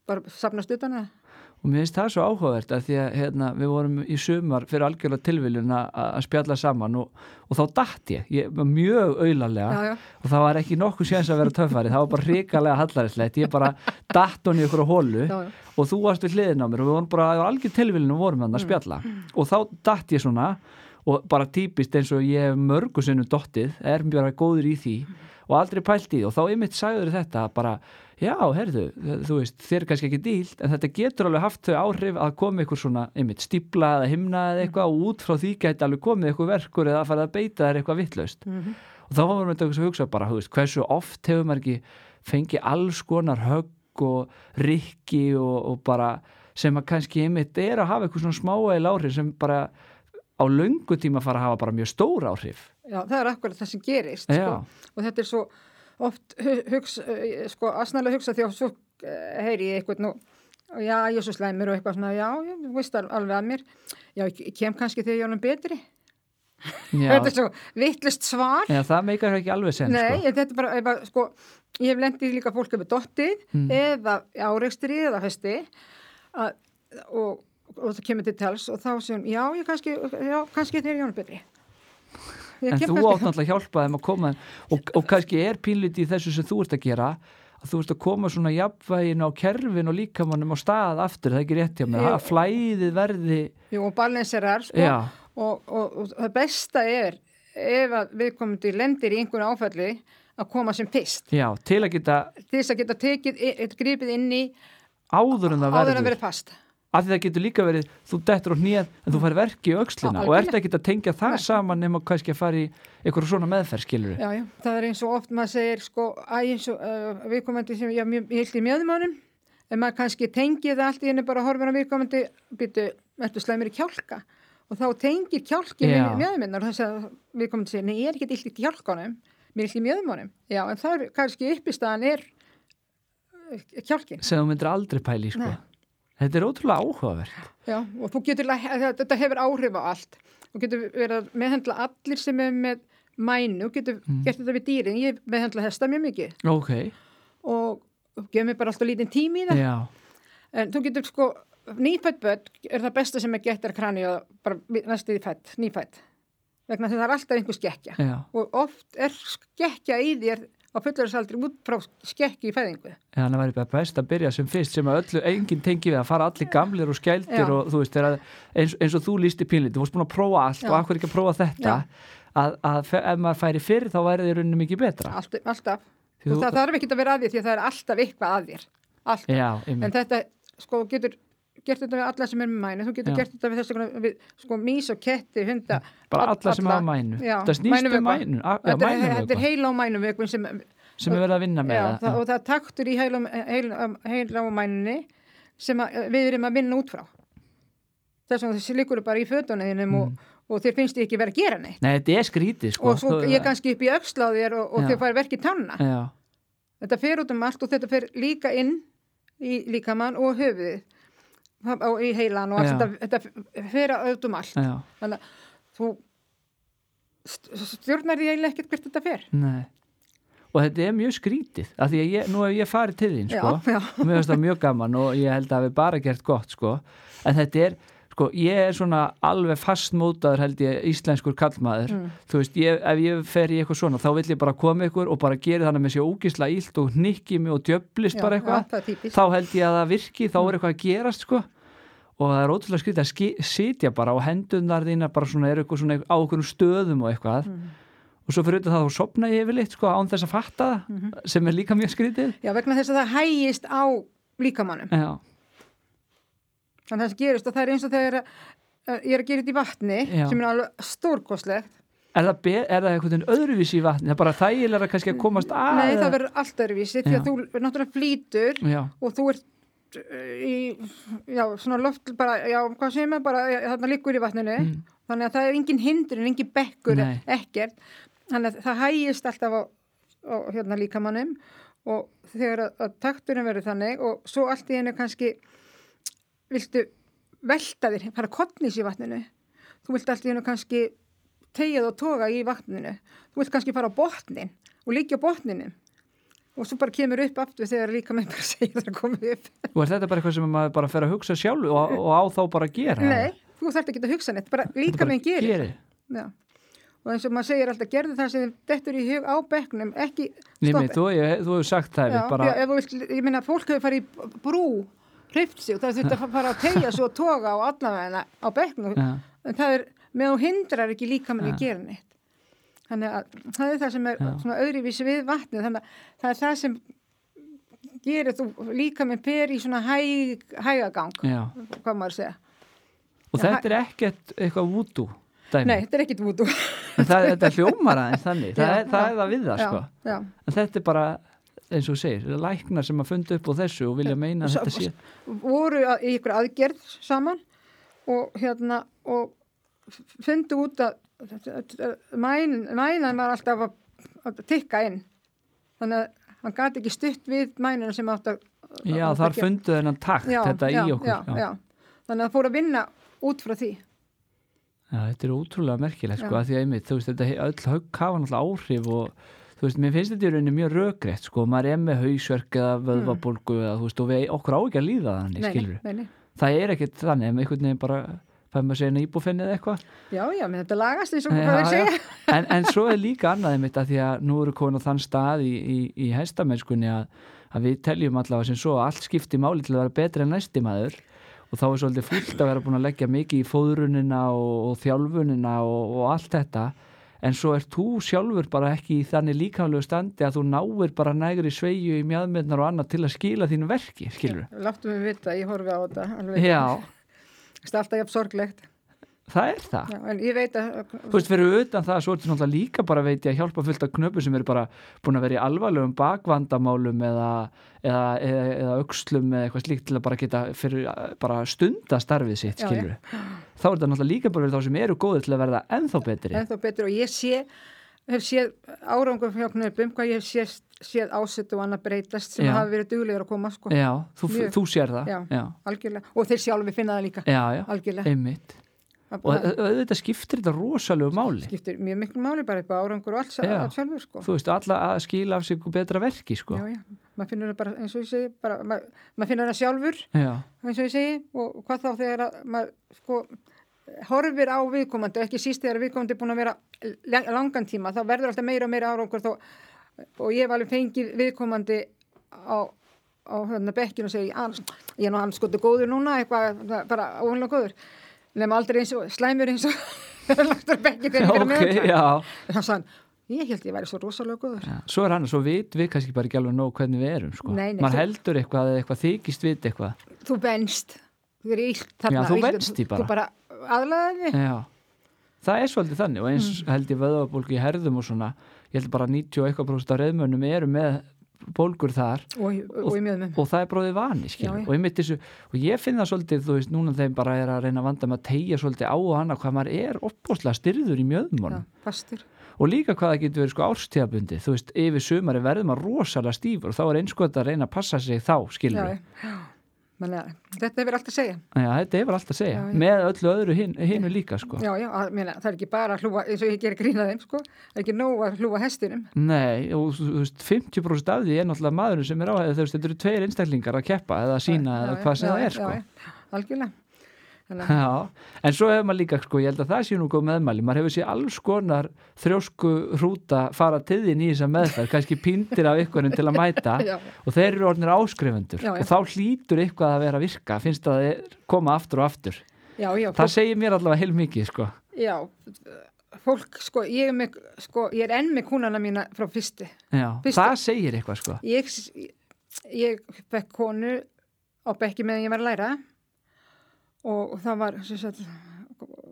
bara safnast utan það. og mér finnst það svo áhugavert að því að hérna, við vorum í sumar fyrir algjörlega tilviljun að- að spjalla saman og, og þá datt ég, ég var mjög auðarlega Já, já. og það var ekki nokkuð séns að vera töffari það var bara hrikalega hallaristlegt ég bara datt hún í ykkur hólu Já, já. og þú varst við hliðin á mér og við vorum bara á algjör tilviljun og vorum hann að spjalla og þá datt ég svona og bara típist eins og ég hef mörgu sinnum dottið, er mjög góður í því og aldrei pælt í því og þá ymmit sagður þetta bara, já, herðu þú veist, þér er kannski ekki dílt en þetta getur alveg haft þau áhrif að koma ykkur svona ymmit stípla eða himna eða eitthvað og út frá því gæti alveg komið ykkur verkur eða að fara að beita þær eitthvað vittlaust og þá varum við þetta að hugsa bara, þú veist, hversu oft hefur maður ekki fengið alls konar högg sko, og rikki og, og bara sem að kannski einmitt er að hafa eitthvað svona smáæl áhrif sem bara á löngu tíma fara að hafa bara mjög stór áhrif Já, það er akkurat það sem gerist sko. Já. og þetta er svo oft hu- hugsa, eh, sko, asnalega hugsa því að svo eh, heyri ég eitthvað nú og já, ég er svo slæmur og eitthvað svona já, ég veist al- alveg að mér já, ég ég kem kannski þegar ég er honum betri *laughs* þetta er Já, svo vittlust svar já það meikar ekki alveg sen Nei, sko. en þetta er bara, ef, að, sko, ég hef lendið líka fólk með dottið Mm. eða áreikstri eða hösti að, og, og það kemur til tals og þá sem, já, ég kannski, já, kannski þegar ég er honum betri Ég En kem þú kannski- átt náttúrulega að hjálpa þeim að koma þeim- og, og kannski er pínliti í þessu sem þú ert að gera að þú ert að koma svona jafnvægin á kerfin og líkamannum á stað aftur, það er ekki rétt hjá mér Jú. að flæðið verði Jú, og balanserar sko, Já. og, og, og það besta er ef að viðkomandi lendir í einhverju áfalli að koma sem fyrst já, til að geta til þess að geta tekið, e- e- gripið inn í áður en það áður verður að vera fast af því það getur líka verið, þú dettur á hnið en þú fær verki í Já, aukslina Mm. algjörlega. og ert ekki að tengja það saman nema kannski að fara í eitthvað svona meðferð skilur já, já, það er eins og oft maður segir sko, æ, eins og uh, viðkomandi sem já, mjög, ég held í mjöðumánum en maður kannski tengið það allt í henni bara horfir á viðkomandi býtu, ertu slæmur í kjálka og þá tengir kjálkin Já. mjöðuminnar og þess að viðkomandi segir, nei, ég er ekki illt í kjálkanum mér er illt í mjöðumánum já, en það er kannski uppistaðan er eh, kjálkin sem þú myndir aldrei pæli sko. Nei. þetta er ótrúlega áhugavert Já, og þú getur, læ- þetta- þetta hefur áhrif á allt. Þú getur verið að meðhendla allir sem er með mænu, þú getur gert þetta við dýrin. Ég meðhendla hesta mjög mikið ok, og gefur mér bara alltaf lítinn tími í það. já, En þú getur sko, nýfætt börn er það besta sem er gett er krani og bara við- næstu því fætt, nýfætt. Vegna þess að það er alltaf einhver skekkja. já, Og oft er skekkja í þér á fullarinsaldri út frá skekki í fæðingu. já þannig væri bara best að byrja sem fyrst sem að öllu, enginn tengi við að fara allir gamlir og skældir Já. og þú veist, þegar að- eins, eins og þú lísti pínlítið, þú varst búin að prófa allt Já. og akkur ekki að prófa þetta að, að fe- ef maður færi fyrr þá væri þið rauninni mikið betra Allt, alltaf. Því og þú- það þarf ekki að vera að þér því að það er alltaf eitthvað að þér. Alltaf. já, En einmitt, þetta, sko, þú getur gert þetta við alla sem er með mæni, þú getur Já. gert þetta við þessu konar, við, sko, mís og ketti, hunda, bara all- alla sem hafa mænu Já, það snýst um mænuvökva. mænu, a- já, Þetta er, mænuvökva. þetta er heila og mænumvökun sem, sem við verðum að vinna með það, já, það, og það er taktur í heila, heila, heila og mænunni sem að, við erum að vinna út frá. Þess vegna þessi liggur bara í fötunniðinum og, og þér finnst þið ekki verið að gera neitt. Nei, þetta er skrítið Mm. sko Og svo Þú- ég kannski upp í öxla á þér og, og Já. þér fær verkið tanna. Já, Þetta fer út um allt og þetta fer líka inn í líkamann og höfuðið Það- og í heilan og Já. allt þetta, þetta fer út um allt. já, Þannig að þú st- stjórnar því eiginlega ekkert hvert þetta fer. nei Og þetta er mjög skrítið af Því að ég, nú hef ég farið til þín sko Já, já. Og *laughs* Mér finnst það mjög gaman og ég held að við bara gert gott sko En þetta er Sko, ég er svona alveg fastmótaður held ég íslenskur kallmaður Mm. þú veist, ég, ef ég fer í eitthvað svona þá vill ég bara koma ykkur og bara gera þannig með sér ógisla ílt og hnikki mig og djöblist bara eitthvað Já, það er típist. þá held ég að það virki, þá Mm. er eitthvað að gerast sko. og það er ótrúlega skrítið að ski, sitja bara og hendunar þína bara svona er eitthvað svona á okkur stöðum og eitthvað Mm. og svo fyrir auðvitað það þá sopna ég yfirleitt sko, án þess að fatta það Mhm. sem er líka mjög skrítið Já, vegna þess að það hægist á líkamannum. Já, Þannig að það sem gerist og það er eins og þegar að- að ég er að gera þetta í vatni Já. sem er alveg stórkoslegt. er það, be- er það einhvern veginn öðruvísi í vatni, það er bara þægilega kannski að komast að Nei, það verður allt öðruvísi því að Ah, Já. þú náttúrulega flýtur Já, og þú ert uh, í, já, svona loft bara, já, hvað segir maður bara, já, þarna liggur í vatninu, þannig að það er engin hindrun, engin bekkur, Nei. ekkert, þannig að það hægist alltaf á, á hérna líkamannum og þegar að, að takturinn verður þannig og svo allt í einu kannski viltu velta þér, fara kottnís í vatninu, þú vilt allt í einu kannski tegja og toga í vatninu, þú vilt kannski fara á botnin og líkja á botninu og svo bara kemur upp aftur þegar líka með bara *laughs* segir það að koma upp. og er þetta bara eitthvað sem maður bara fer að hugsa sjálf og, og á þá bara að gera Nei, þú þarft ekki að hugsa neitt, bara Þetta líka bara með gerir. gerir. Já. Og eins og maður segir alltaf, gerðu það sem dettur í hug á bekknum, ekki Nei, stoppa. mér, þú, ég, þú hefur sagt það Já, Egill, bara, já, ef þú vilt, ég minna, fólk hefur farið í brú, hrift sig og það er þetta að fara að tegja svo og toga á allavegna á bekknum. Já. En það er, með þú hindrar ekki líka með að gera neitt. Þannig að það er það sem er svona öðruvísi við vatnið, þannig að það er það sem gerir þú líka með per í svona hæg, hægagang, já. hvað maður segja. og þetta er ekkert eitthvað vúdú dæmi. Nei, þetta er ekkit vúdú. En það, þetta hljómar aðeins þannig, það, Já, er, það já, er það við það sko. Já, já. En þetta er bara, eins og þú segir, læknar sem að funda upp á þessu og vilja meina að Svo- þetta sé. voru að- í ykkur aðgerð saman og hérna og fundi út að mæn, mænan var alltaf að, að tikka inn þannig að hann gati ekki stutt við mænuna sem átt að Já, að- þar að- funduð hennan takt já, þetta já, í okkur. já, já. þannig að það fór að vinna út frá því Já, þetta er ótrúlega merkilegt sko Já. að því að einmitt, þú veist, þetta he- öll högg hafa náttúrulega áhrif og þú veist, mér finnst þetta í rauninni mjög rökrétt sko, maður er með hausverk eða vöðvabólgu eða þú veist, og við okkur á ekki að líða þannig, Mm. Nei, skilur nei, nei, nei. Það er ekkert þannig, ef einhvern veginn bara fær maður segja íbúfinni eða eitthvað já, já, menn þetta lagast eins og hvað við Já, já. segja en, en svo er líka annað einmitt að því að nú eru komin á þann stað í, í, í hæstamennskunni að, að við teljum allavega sem svo að allt skipti máli til að vera betri en næsti maður og þá er svolítið fullt að vera búin að leggja mikið í fóðrunina og, og þjálfunina og, og allt þetta en svo ert þú sjálfur bara ekki í þannig líkamlegu standi að þú náir bara nægri sveigju í mjöðmyndnar og annað til að skila þínu verki, skilur Láttu mig vita, ég horfi á þetta alveg. Já, Það er alltaf jafn sorglegt. það er það Já, en ég veit að, Þú veist, fyrir utan það, svo ertu náttúrulega líka bara veit ég að hjálpa fullt af knöpum sem eru bara búin að vera í alvarlegum bakvandamálum eða, eða, eða, eða aukslum eða eitthvað slíkt til að bara geta fyrir að bara stunda starfið sitt, Já, skilur Þá er þetta náttúrulega líka bara verið þá sem eru góðið til að verða ennþá betri. en þá betur og ég sé, hef séð árangum hjá knöpum, hvað ég hef séð, séð ásett og annað breytast sem Já. hafa verið duglegur að koma, sko, Já, þú, Mjög. þú sér það. Já. já, algjörlega. Og þeir sjálfi finna það líka, já, já. algjörlega. einmitt. Það- Og það au- auðvitað skiptir þetta rosalegu máli. skiptir mjög miklu máli bara upp á árangur og allt, Já. allt sjálfur, sko. Þú veist, alla að skila af sig betra verki, sko. Já, já, maður finnur það bara, eins og ég segi, bara, maður, maður finnur það sjálfur, Já, eins og ég segi, og hvað þá þegar að maður, sko, horfir á viðkomandi, ekki síst þegar viðkomandi er búin að vera lang- langan tíma, þá verður alltaf meira og meira árangur þó, og ég hef alveg fengið viðkomandi á, á hérna bekkinu og segi, "Ans- ég er nú hans skoðu góður núna, eitthvað, það- bara óvanlega góður, nema aldrei eins og, slæmur eins og, *laughs* lagt á bekkinu þegar ég er ok, já. með það. Þá sann, ég held ég væri svo rosalega góður. Já. Svo er hann, svo vit við kannski bara ekki alveg nóg hvernig við erum, sko. Nei, nei, Maður þú- heldur eitthvað eða eitthvað þykist vit eitthvað. þú venst þú er illt þarna Já, þú illt- venst því bara. þú bara aðlaðið þig Já. Það er svolítið þannig og eins Mm. held ég vöðabólgu í herðum og svona, ég held bara 90 og eitthvað prófst af reyðmönnum eru með bólgur þar og, og, og í mjöðum og það er bróðið vani, skilur. Já, já. Og, einmitt þessu, og ég finn það svolítið, þú veist, núna þeim bara er að reyna að vanda með að tegja svolítið á og hana hvað maður er opbóslega styrður í mjöðmónum. fastur og líka hvað það getur verið sko árstíðabundi þú veist, yfir sumari verður maður rosalega stífur og þá er einskot að reyna að passa sig þá skilur já, já. Þannig að þetta hefur allt að segja Já, þetta hefur allt að segja, Já, já. með öllu öðru hin, hinu líka sko. já, já, að, mena, það er ekki bara að hlúa eins og ég ger grínaðum sko. það er ekki nóg að hlúa hestinum Nei, og þú þú veist, 50% af því er náttúrulega maðurinn sem er á, eða þú veist, þetta eru tveir einstaklingar að keppa eða að sína eða hvað sem það er sko. já, já, algjörlega Þannig að- Já, en svo hefur maður líka, sko, ég held að það sé nú góð meðmæli, maður hefur séð alls konar þrjósku hrúta fara til þín í þessa meðferð, kannski píndir af ykkurinn til að mæta *laughs* Já. og þeir eru orðinir áskrifendur Já, já. og þá hlýtur eitthvað að vera að virka, finnst það að þeir koma aftur og aftur. já, já, Það segir mér allavega heil mikið, sko. fólk, já, fólk sko, ég er, með, sko, ég er enn með kúnana mína frá fyrsti Já, Fyrst- það segir eitthvað, sko. Ég, ég fekk konu á bekki meðan ég var að læra og það var sem sagt,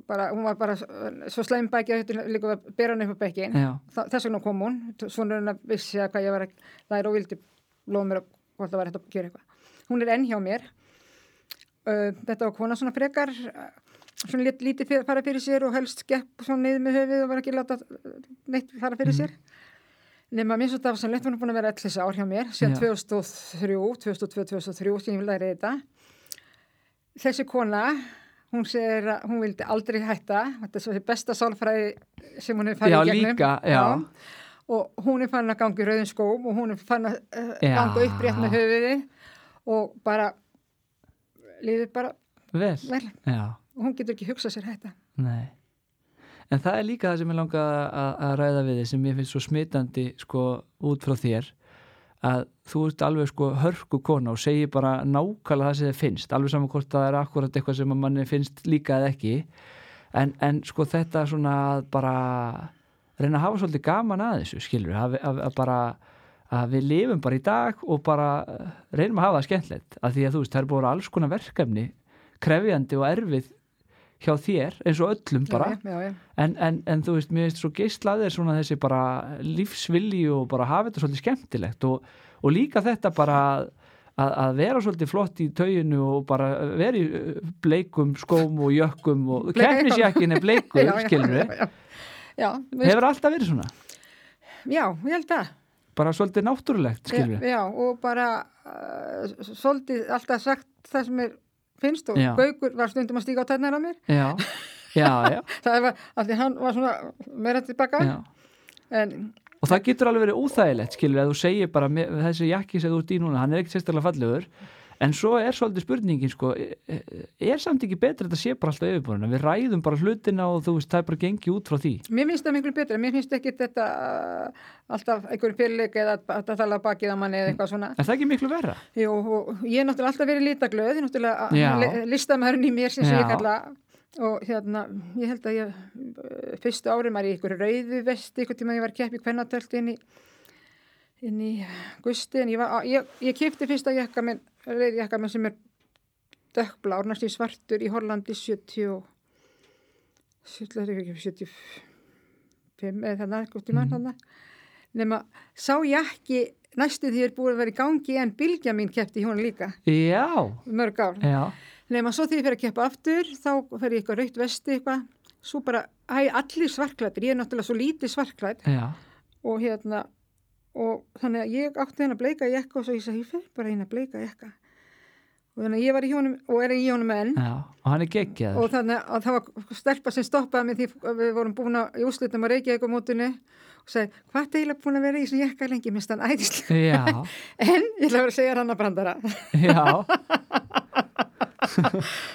bara, hún var bara svo slæm bæki að þetta líka að bera hann upp á bekkin Já, Þa- þess vegna kom hún, svona hún að vissi að hvað ég var að læra og vildi lofa mér að hvort það var þetta að gera eitthvað hún er enn hjá mér uh, þetta var kona svona frekar uh, svona lit, lítið fyrir, fara fyrir sér og helst gekk svona niður með höfuð og var ekki láta neitt fara fyrir sér nema mér svo þetta var sannleitt hún er búin að vera 11 ár hjá mér síðan Já. 2003, 2002, 2003 sem ég vil læra þetta þessi kona hún segir að hún vildi aldrei hætta þetta er svo því besta sálfræði sem hún hefur farið já í gegnum líka, já. og hún er fann að ganga í rauðin skóm og hún er fann að uh, Já. ganga upprétt með höfuði og bara lífið bara vel, vel já, og hún getur ekki hugsað sér hætta nei. En það er líka það sem ég langa að, að ræða við þið sem ég finnst svo smitandi, sko, út frá þér að þú ert alveg sko hörku kona og segir bara nákvæmlega það sem þið finnst alveg saman hvort það er akkurat eitthvað sem að manni finnst líka eða ekki en, en sko þetta svona að bara reyna að hafa svolítið gaman að þessu skilur, að, við- að, að bara að við lifum bara í dag og bara eh, reynum að hafa það skemmtilegt að því að þú veist, það er búin alls konar verkefni krefjandi og erfið hjá þér eins og öllum bara já, já, já. en, en, en þú veist, mér veist svo geislaðir svona þessi bara lífsvilji og bara hafa þetta svolítið skemmtilegt og, og líka þetta bara að- að, að vera svolítið flott í tauginu og bara vera í eh, bleikum skóm og jökkum og Bleika keppnisjakkin er bleikur, skilur við *laughs* já, já, já, hefur alltaf verið svona, já, ég held að bara svolítið náttúrulegt skilur við, Já, og bara uh, svolítið alltaf sagt það sem er finnst og Já. Gaukur var stundum að stíga á tærnar á mér já, já, já, *laughs* það var, af því hann var svona meira tilbaka já. en og það getur alveg verið óþægilegt skilur, að þú segir bara með, þessi jakki sem þú ert í núna, hann er ekkert sérstaklega fallegur en svo er svolítið spurningin sko, e- e- er samt ekki betra að þetta sé bara alltaf yfirborðina, við ræðum bara hlutina og þú veist, það er bara gengi út frá því mér finnst það miklu betra, mér finnst ekki þetta uh, alltaf einhverjum fyrirleik eða að það tala á bakið á manni eða eitthvað svona er það ekki miklu verra? Jú, og ég er náttúrulega alltaf verið lítaglöð, ég er náttúrulega Já. að- li- listamæðurinn í mér sem sem ég Já. kalla og hérna, ég held að ég eh, fyrstu árið maður í ykkur rauðu vesti, ykkur tíma ég var að keppi kvennatöld inn í, inn í gusti, en ég, var, á- ég, ég kipti fyrsta jakka minn, rauði jakka minn sem er dökkblár, næstu í svartur í Hollandi 70 og 70, 75 eða þarna, ykkur tíma Mhm. þarna nema sá jakki næstu því er búið að vera í gangi en bylgja mín keppti í hún líka Já, mörg ár. já, Nefna svo því ég fer að keppa aftur, þá fer ég eitthvað raukt vesti eitthvað, svo bara, æ, allir svarklættir, ég er náttúrulega svo lítið svarklætt já og hérna, og þannig að ég átti henn að bleika jakka og svo ég sagði, ég fer bara henn að bleika jakka. Og þannig að ég var í honum, og er í honum enn, Já, og hann er geggjaður og þannig að það var stelpa sem stoppaði mig því við vorum búin að, í úrslitum að reykja eitthvað mótinu og sagði, hvað er eiginlega búin að vera í þessum jakka lengi, minnst hann æðislega. Já, En ég ætla að vera að segja hann að brandara. *laughs* já,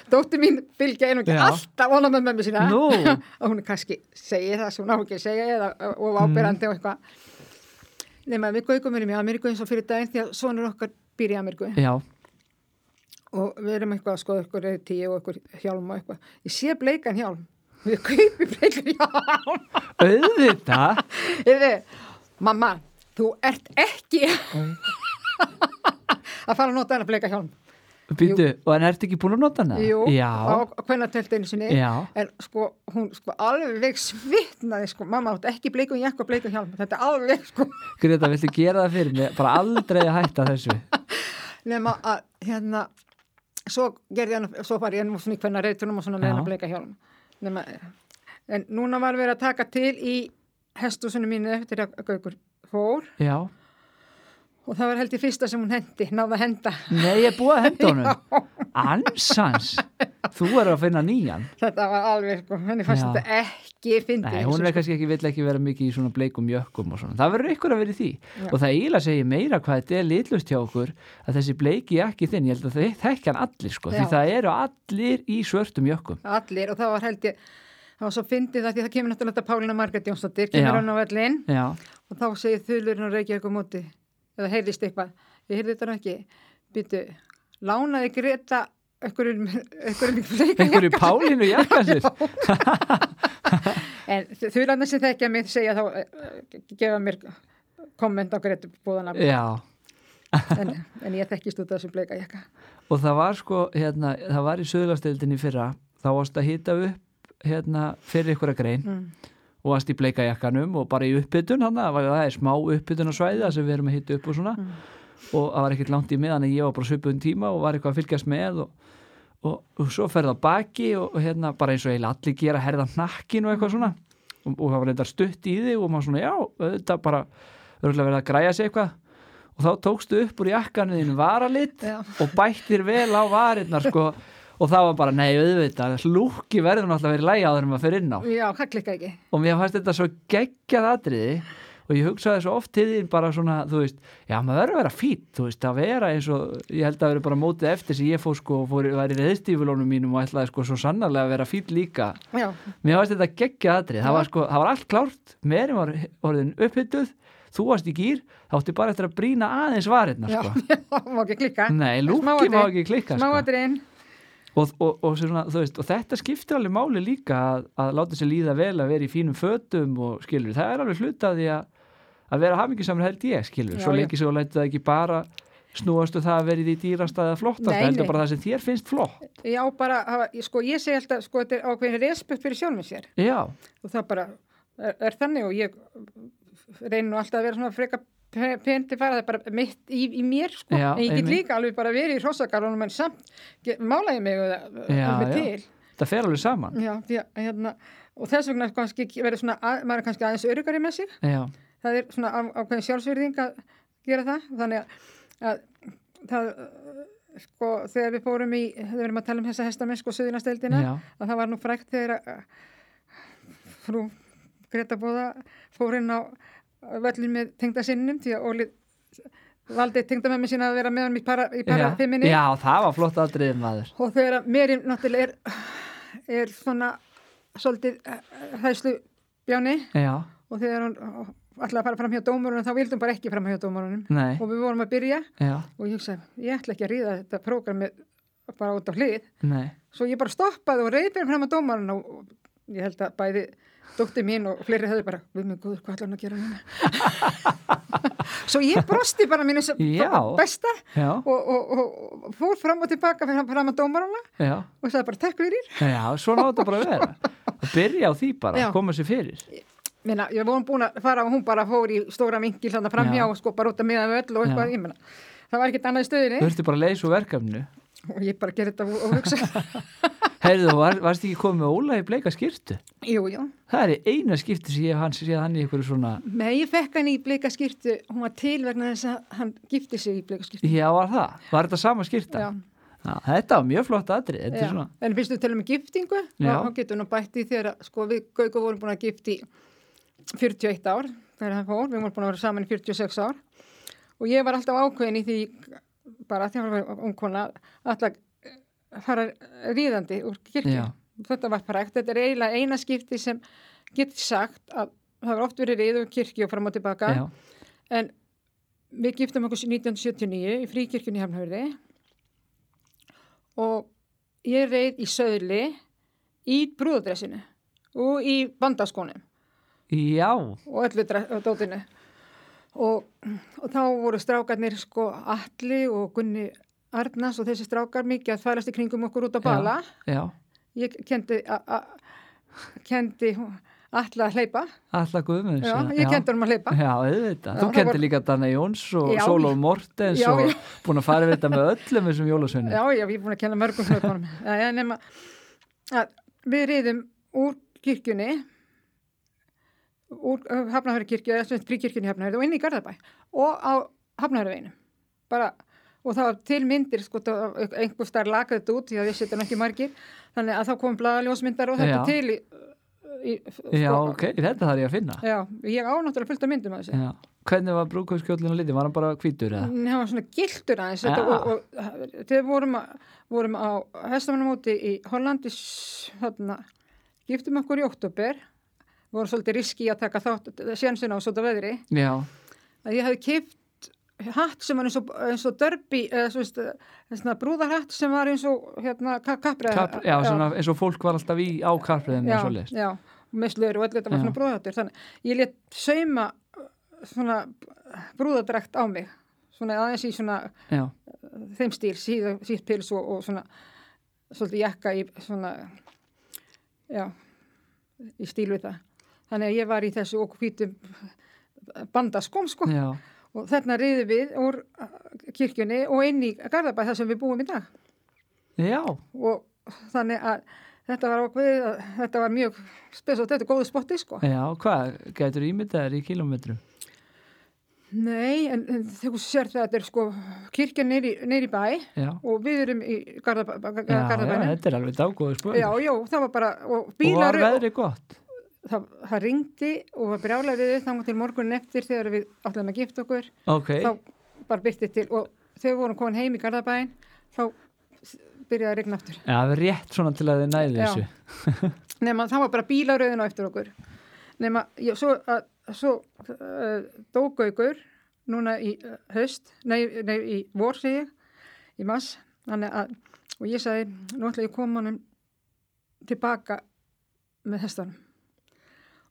Dóttir mín bylgja einu ekki Já. alltaf vona með mömmu sína Nú. og hún kannski segir það sem hún á ekki að segja eða of Mm. ábyrrandi og eitthvað nema við gaukum erum í Ameríku eins og fyrir daginn því að sonur okkar býr í Ameríku já, og við erum eitthvað að skoða ykkur reyði tíu og ykkur hjálm og eitthvað ég sé bleikan hjálm við kaupum bleikan hjálm auðvitað Heyrðu, mamma, þú ert ekki að fara að nota hennar bleika hjálm Býtu, og hann ert ekki búin að nota hana? Jú, á Já, kvennatöldinu sinni Já. en sko, hún sko alveg svitnaði sko, mamma átt ekki bleikum jakk og bleikum hjálm, þetta er alveg sko Greta, viltu gera það fyrir mig? Bara aldrei að hætta þessu nema að hérna svo gerði hann, svo var ég nú svona í hvernig reytunum og svona Já. með hann að bleika hjálm nema, en núna var verið að taka til í hestúsinu mínu eftir að Gaukur fór Já, og það var held ég fyrsta sem hún hendi, náða henda Nei, ég er búið að henda honum. Ansans. Þú er að finna nýjan. þetta var alveg sko, henni Já. fannst þetta ekki fyndi Nei, hún er kannski ekki, vill ekki vera mikið í svona bleikum jökkum og svona. Það verður ykkur að vera í því. Já. Og það eiginlega segir meira hvað þetta er litlust hjá okkur að þessi bleiki jakki þinn, ég held að það þekki hann allir sko. Því Já. það eru allir í svörtum jökkum. allir og það var held ég það var svo fyndið það því að það kemur náttúrulega þetta Pálina Margrét Jónsdóttir, kemur Já. hann á vellin Já, og þá segir þulurinn og reykja eitthvað móti eða heyrðist eitthvað, ég heyrði þetta nú ekki býtu, lánaði Greta einhverjum einhverjum fleika einhverju pálinu jakkan *laughs* sér. *laughs* en þularna sem þekkja mig segja þá eh, gefa mér komment á Greta búðana Já, en, en ég þekkist út af þessum bleika jakka og það var sko, hérna, það var í söðlasteildinni fyrra, þá varst að hýta upp hérna, fyrir ykkur að grein mm. og varst í bleikajakkanum og bara í uppbytun hann, það var- það er smá uppbytun á svæði það sem við erum að hitta upp og svona og það var ekkert langt í miðan en ég var bara svipun tíma og var eitthvað að fylgjast með og, og, og svo ferða baki og, og hérna bara eins og eiginlega allir gera herða hnakkin og eitthvað svona og, og það var eitthvað stutt í þig og maður svona já, þetta bara örgulega verið að græja sig eitthvað og þá tókstu upp úr jakkanu þín varalit Já. og bættir vel á varirnar sko og það var bara, nei auðvitað, lúki verður náttúrulega verið lægi áður en maður fyrir inn á já, það klikka ekki og mér fannst þetta svo geggjað atriði og ég hugsaði svo oft til þín bara svona, þú veist, já maður verður að vera fýtt þú veist, að vera eins og, ég held að það verður bara mótið eftir sem ég fór sko og fór, var í reðstífulónum mínum og ætlaði sko svo sannarlega að vera fýtt líka já, mér fannst þetta geggjað atrið, það Já. var sko, það var allt klárt meðin var orðin upphittuð þú varst í gýr, þá átti bara eftir að brína aðeins varirna já, sko já, má ekki klikka Nei, lúki Smáatriði. má ekki klikka, sko. smáatriðin og, og, og, svona, þú veist, og þetta skiptir alveg máli líka að, að láta sér líða vel að vera í fínum fötum og skilur, það er alveg hluta af því að, að vera hafingisamur held ég skilur, Já, svo já. lengi sem þú lætur það ekki bara snúastu það að vera í því dýrasta eða flottasta, Nei, heldur nei. bara það sem þér finnst flott já, bara, hafa- sko, ég segi alltaf sko, þetta er ákveðin respekt fyrir sjálfum sér Já, og það bara er, er þannig og ég reyni nú alltaf að vera svona freka pendi fara það bara mitt í, í mér sko, Já, en ég get einmitt. líka alveg bara verið í hrossakallunum en samt get, mála ég mig það Já, alveg já. til það fer alveg saman já, því, að, hérna, og þess vegna kannski verður svona, að, maður er kannski aðeins öryggari með sig já, það er svona á, ákveðin sjálfsverðing að gera það þannig að, að það uh, sko þegar við fórum í þegar við erum að tala um þessa hestamenn sko söðunasteldina já, að það var nú frækt þegar að að frú Greta Bóða fór inn á völlin með tengdasinnum því að Óli valdi tengdamemmi sína að vera með hann í para, í para já. fimminni já, það var flott aðriðið maður og þegar að Merin náttúrulega er, er svona uh, svolítið hæslu bjáni já, og þegar hún ætlaði að fara fram hjá dómurunum þá vildi hún bara ekki fram hjá dómurunum nei, og við vorum að byrja já, og ég hugsaði ég ætla ekki að ríða þetta prógrami bara út á hlið nei svo ég bara stoppaði og reyðbyrði fram að dómarinn og og ég held að bæði dótti mín og fleiri höfðu bara við mig góður hvað ætlar hann að gera núna *laughs* svo ég brosti bara mínu sem Já. besta já, og, og, og, og fór fram og tilbaka fram, fram að dómarana já, og sagði bara takk fyrir já, svona átt að bara að vera að byrja á því bara, Já. koma sér fyrir Minna, ég vorum búin að fara og hún bara fór í stóra vingil þannig framhjá Já. og sko bara út að miða völl og Já. eitthvað, ég menna það var ekkert annað í þú stöðinni ertu bara að leysa úr verkefnu og ég bara gerði þetta og- og hugsa heyrðu, þú var, varst ekki komið með Óla í bleika skýrtu jú, jú, það er eina skýrtu sem ég hef hans séð hann í einhverju svona með ég fekk hann í bleika skýrtu hún var til vegna þess að hann gifti sig í bleika skýrtu já, var það, var þetta sama skýrta Já. Já, þetta var mjög flott atrið þetta er Já, svona, En fyrstu tölum um giftingu, Já. þá getur nú bætt í þegar að, sko, við Gauko vorum búin að gift í 41 ár þegar hann fór, við vorum búin að vera saman í 46 ár og ég var alltaf ákveðin í því bara þegar hann var ungkona alltaf fara ríðandi úr kirkju. Já. Þetta var prækt, þetta er eiginlega eina skipti sem getur sagt að það var oft verið ríð um kirkju og fram og tilbaka já, en við giftum okkur 1979 í fríkirkjunni Hafnhörði og ég reið í söðli í brúðadressinu og í bandaskónum já og öllu dre- og dótinu og, og þá voru strákarnir sko Alli og Gunni Arnars og þessi strákar mikið að þvælast í kringum okkur út á bala Já, ég kendi a, a, kendi Alla að hleypa alla guðmunds. já, ég kendi honum að hleypa Já, auðvitað. Já, Þú það kendi var- líka Danna Jóns og Já. Sóló Mortens Já, og já. búin að fara við þetta með öllum þessum jólasunni. Já, já, ég er búin að kenna *laughs* mörgum hlaupunum. Jæja, nema að við riðum úr kirkjunni, úr Hafnahöru kirkju, eða sem fríkirkjunni Hafnahöru og inn í Garðabæ og á Hafnahöruveginum. Bara, og það var til myndir, sko, einhver starf lakaði þetta út, því að ég setja nú ekki margir, þannig að þá kom blaðaljósmyndar og Já. þetta til í, í sko, Já, ok, þetta þarf ég að finna. Já, ég á náttúrulega fullt af myndum að þessu. Já. Hvernig var brúkauskjólinn og litið? Var hann bara hvítur eða? Nei, það var svona gildur aðeins Ja. ja. og, og þegar vorum, að- vorum á hestamannamóti í Hollandi s- þarna, giftum okkur í oktober vorum svolítið riski að taka þátt sjansina á svolítið veðri Já, að ég hefði kipt hatt sem var eins og, eins og derbi eða svo veist, svona brúðarhatt sem var eins og hérna ka kaprið Kap, já svona, eins og fólk var alltaf í á kapriðinu og svoleiðist. já, með slöður og allir þetta var Já. svona brúðatur þannig ég let sauma uh, svona brúðadrækt á mig svona aðeins í svona Já, þeim stíl, síða, sítt pils og, og svona svolítið jakka í svona já, í stíl við það þannig að ég var í þessu og hvítum bandaskóm sko já, og þarna riðum við úr uh, kirkjunni og inn í Garðabæð þar sem við búum í dag já, og þannig að þetta var ákveðið, að- þetta var mjög spes og þetta er góðu spotti sko já, hvað, getur ímyndaðir í kilometrum? Nei, en, en þegar þú sér það að þetta er sko kirkjan neyri, neyri bæ Já, og við erum í Garðabæ, já, já, Garðabænum þetta er alveg dágóðu spöður. Já, já, það var bara, og og bílar, var veðri gott? það, það ringdi og var brjálega við þangum til morgunin eftir þegar við allan að gifta okkur, Ok, þá bara byrtið til og þegar við vorum komin heim í Garðabæin, þá s- byrjaði að regna aftur. já, rétt svona til að þið næði Já. þessu. Nefna, það var bara bílarauðin á eftir okkur. Nefna, ég, svo, að, svo uh, dógaukur núna í uh, höst, nei, nei í vor, segi ég, í mass, þannig að, og ég sagði, nú ætla ég að koma honum tilbaka með hestanum.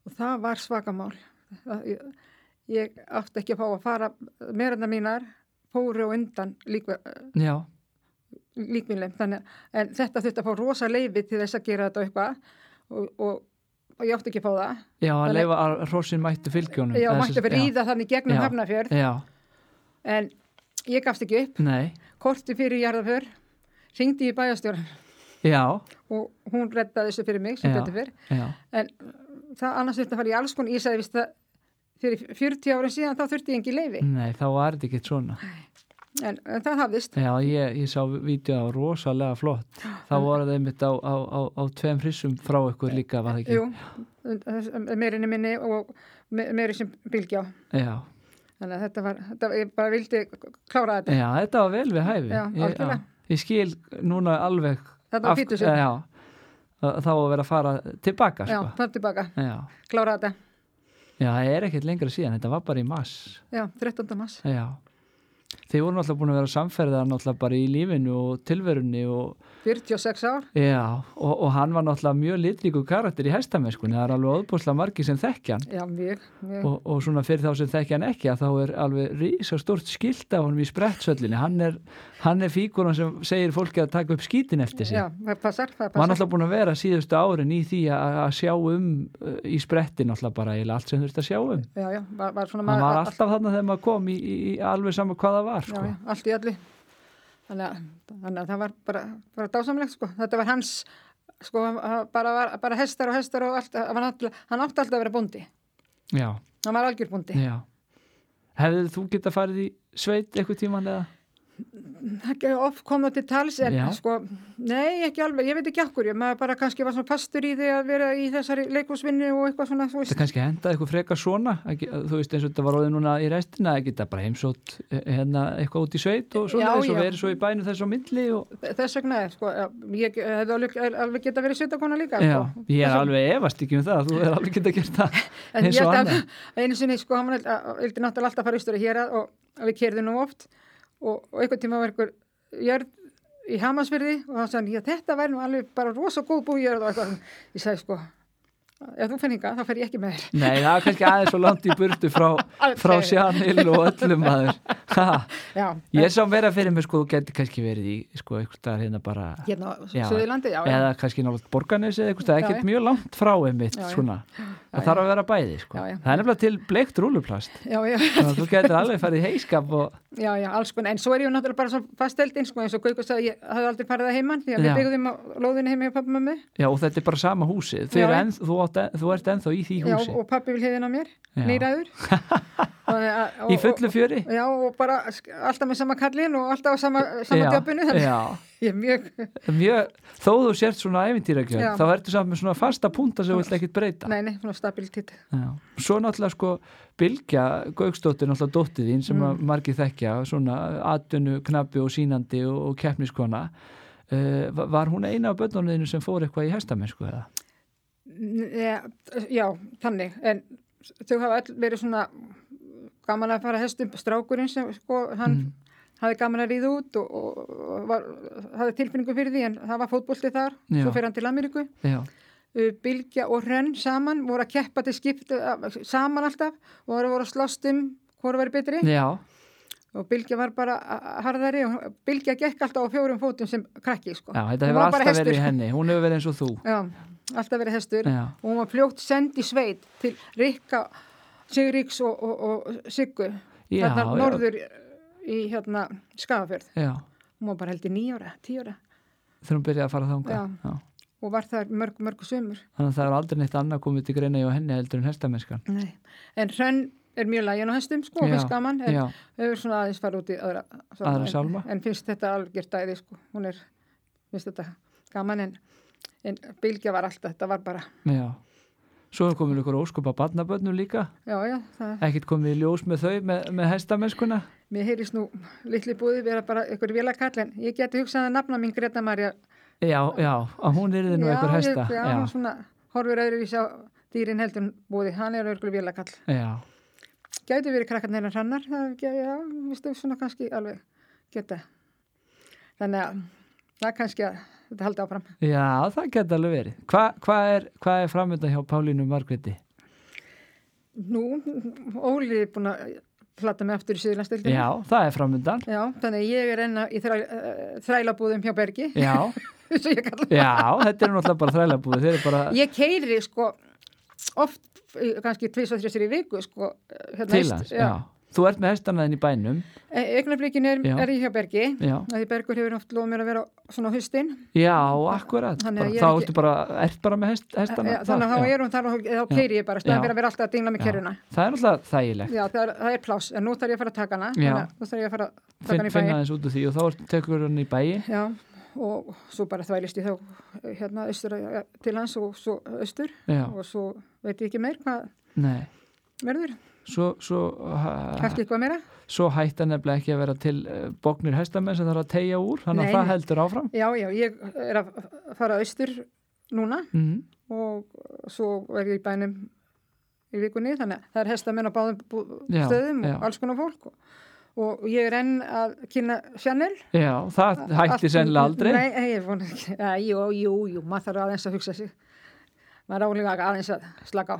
Og það var svakamál. Það- Ég, ég átti ekki að fá að fara, meiranda mínar fóru og undan líka, Já, líkvinleim þannig, en þetta þurfti að fá rosa leifi til þess að gera þetta eitthvað og, og og ég átti ekki að fá það. já, að Þannig- leifa að hrossin mættu fylgjónum Ég Eða mætti sem- að ríða þannig gegnum Já. hafnafjörð já, en ég gafst ekki upp, já, nei, korti fyrir jarðaför, ringdi í bæjastjóra já, og hún reddaði þessu fyrir mig sem Já. betur fyrr. já En það annars þurfti að fara í alls konar, ég sagði vist það fyrir 40 árum síðan þá þurfti ég engi leifi. nei, þá var þetta ekki svona En, en það hafðist. já, ég, ég sá vídeo á rosalega flott þá voru það einmitt á, á, á, á tveim frissum frá ykkur líka, var það ekki Jú, meirinni minni og me- meiri sem bylgjá. já, Þannig að þetta var, þetta, ég bara vildi klára þetta. já, þetta var vel við hæfi Já, ég, algjörlega. ég skil núna alveg Þetta var af- fítur sigur. já, að- þá að vera að fara tilbaka Já, sko. það tilbaka, já. klára þetta. já, það er ekkert lengra síðan þetta var bara í mass Já, 13. mars. já Þið voru náttúrulega búin að vera samferðar náttúrulega bara í lífinu og tilverunni og, 46 ár. já, og, og hann var náttúrulega mjög litríku karakter í hestamennskunni, það er alveg óðbúslega margi sem þekkja hann Já, mjög, mjög. og, og svona fyrir þá sem þekkja hann ekki að þá er alveg risastórt skilt af honum í sprettsöllinni, hann er, hann er fíkuran sem segir fólki að taka upp skítin eftir sig Já, það passar, og hann er það passar. alltaf búin að vera síðustu árin í því að, að sjá um uh, í sprettin alltaf bara eiginlega allt sem þurft að sjá um Já, já, var, var svona hann var all- alltaf þarna þegar maður kom í, í, í alveg sama hvað það var já, sko. já, allt í öllu. Þannig að, þannig að það var bara, bara dásamlegt, sko. Þetta var hans, sko, hann- hann bara, var, bara hestar og hestar og allt, hann, var alltaf, hann átti alltaf að vera bóndi. já, Hann var algjör bóndi. já hefðið þú geta farið í sveit eitthvað tíman eða? Ekki of koma til tals, en Mm. Já. sko, nei, ekki alveg, ég veit ekki akkur, ég maður bara kannski var svona pastur í því að vera í þessari leikúsvinni og eitthvað svona, þú Það veist. kannski hendaði eitthvað frekar svona ekki, þú veist eins og þetta var orðið núna í restina að geta bara heimsótt eh, hérna eitthvað út í sveit og svona Já, og já. verið svo í bænum þess á milli og, Þess vegna, er, sko, ég hefði alveg, alveg geta verið sveitakona líka, já, sko. ég er alveg efast ekki um það, þú er alveg geta gert það *laughs* En eins ég og held annað að *laughs* einu sinni, sko, hann vildi að- vildi náttúrulega alltaf fara austur að hérað og og við kerðum nú oft og, og einhvern tíma var einhver jörð í Hamasfyrði og hann sagði, já, þetta væri nú alveg bara rosa góð bújörð og eitthvað. Ég sagði, sko, ef þú fenni þá fer ég ekki með þér. *laughs* Nei, það er kannski aðeins svo langt í burtu frá, frá Alveg. Sjanil og öllum *laughs* maður. Ha, Já, ég sá meira fyrir mig sko, þú geti kannski verið í sko, einhvers staðar hérna bara, hérna á Já. Suðurlandi, já, já, eða kannski náttúrulega borganis eða einhvers staðar, Já, ekkert mjög langt frá einmitt Já, já. svona. já. Það þarf að vera bæði sko. Já, já. Það er nefnilega til bleikt rúluplast. já, já, *laughs* Þannig að þú getur alveg farið í heiskap og já, já, alls konar. En svo er ég náttúrulega bara svo fasteld eins, sko, eins og Gaukur sagði, ég hafði aldrei farið að heimann því að Já. við byggðum á lóðinu heimi og pappa með mig. Já, og þetta er bara sama húsið. Þau Já, eru já. enn, þú, átt, þú ert ennþá í því Já, húsi. og pappi vil heiðin á mér, Já. *laughs* nýræður. í fullu fjöri. eh, Já, og bara sk- alltaf með sama kallin og alltaf á sama, sama djöpunni, þannig Já, *laughs* ég er mjög, mjög, þó þú sért svona æfintýragjörn, Já. þá ertu samt með svona fasta punta sem þú vilt ekkit breyta. neini, svona stabilitet. Já. Svo náttúrulega sko Bilgja Gauksdóttir, náttúrulega dóttið þín sem mm. margir þekkja, svona atunu, knappi og sínandi og, og keppniskona. Uh, var hún eina af börnunniðinu sem fór eitthvað í hestamennsku eða? N- ja, Já, þannig, en þau hafa öll verið svona gaman að fara hestum, strákurinn sem, sko, hann Mm. hafði gaman að ríða út og, og, og var, hafði tilfinningu fyrir því, en það var fótbolti þar, Já. svo fyrir hann til Ameríku. Já, Uh, Bylgja og Hrönn saman voru að keppa til skipta saman alltaf og voru voru að slást um hvora verið betri. já, og Bilgja var bara a- a- harðari og Bilgja gekk alltaf á fjórum fótum sem krakki sko. já, Hún þetta hefur var bara alltaf hestur. verið í henni, Mm. hún hefur verið eins og þú. Já, alltaf verið hestur Já. og hún var fljótt send í sveit til Rikka, Sigríks og, og, og Siggu Já, þarna já. norður í hérna Skafafjörð Já, hún var bara held í nýjóra, tíjóra þegar hún byrjaði að fara þangað. Já. og var þar mörg, mörg sömur Þannig að það er aldrei neitt annað komið til greina hjá henni heldur en hestamennskan. Nei. en Hrönn er mjög lægin á hestum sko, Já, og finnst gaman en já. hefur svona aðeins farið út í aðra sálma, Aðra en- sálma. en finnst þetta algjör dæði sko. hún er, finnst þetta gaman en, en Bilgja var alltaf þetta var bara, Já. Svo er komin ykkur óskupa barnabönnum líka. já já það, Ekkert komið í ljós með þau, með, með hestamennskuna. mér heyrist nú litli búði vera bara ykkur vilakall en ég geti hugsað að nafna mín Greta Marja Já, já, að hún er þið nú ykkur hesta. já, já, hún svona horfur öðruvísi á dýrin heldur en búði, hann er ykkur vilakall já. gæti verið krakkarnir en hrannar það er ekki, já, viðstu, svona kannski alveg geta þannig að það er kannski að þetta haldi áfram já, það geta alveg verið. Hva- Hvað er, hva er framönda hjá Pálínu Margreti? Nú, Óli er búin að platta mig aftur í Suðurlandsdeildinu. Já, það er framöndan. Já, þannig að ég er enna í þræ, uh, þrælabúðum hjá Bergi, Já, *laughs* eins og ég kalla það. já, þetta er náttúrulega bara þrælabúið. Þeir eru bara, Ég keiri sko oft, eh, kannski tvis og þrjusir í viku, sko. Hérna, til hest- hans, já. Þú ert með hestanaðin í bænum, E- Augnablikinu er, Já. er ég hjá Bergi, já, að því Bergur hefur oft loð mér að vera svona á haustin. já, akkurat, Þannig að bara, ég er þá ekki- ertu bara, ert bara með hest, hestana. Ja, Eh, þannig að þá erum þar og þá keiri ég bara, Já. stöðan fyrir að vera alltaf að dingla með Já. keruna. Það er alltaf þægilegt, Já, það er, það er pláss, en nú þarf ég að fara að taka hana, Já. þannig að nú þarf ég að fara að taka Finn, hana í finna bæin. aðeins út úr því og þá ertu- tekur hann í bæin. Já, og svo bara þvælist ég þá eh, hérna austur eh, til hans og svo austur Já, og svo veit ég ekki meir hvað nei, verður, svo, svo, ha, hætti eitthvað meira. svo hætta nefnilega ekki að vera til uh, bóknir hestamenn sem þarf að tegja úr, þannig Nei, að það nei. heldur áfram. Já, já, ég er að fara austur núna Mm. og svo er ég í bænum í vikunni, þannig að það er hestamenn á báðum bú- Já, stöðum já. og alls konar fólk og, og ég er enn að kynna Chanel Já, það hættir Allt- sennilega aldrei. Nei, nei, ég er búin ekki. Æ, Jú, jú, jú, maður þarf aðeins að hugsa sig. Maður álega aðeins að slaka á.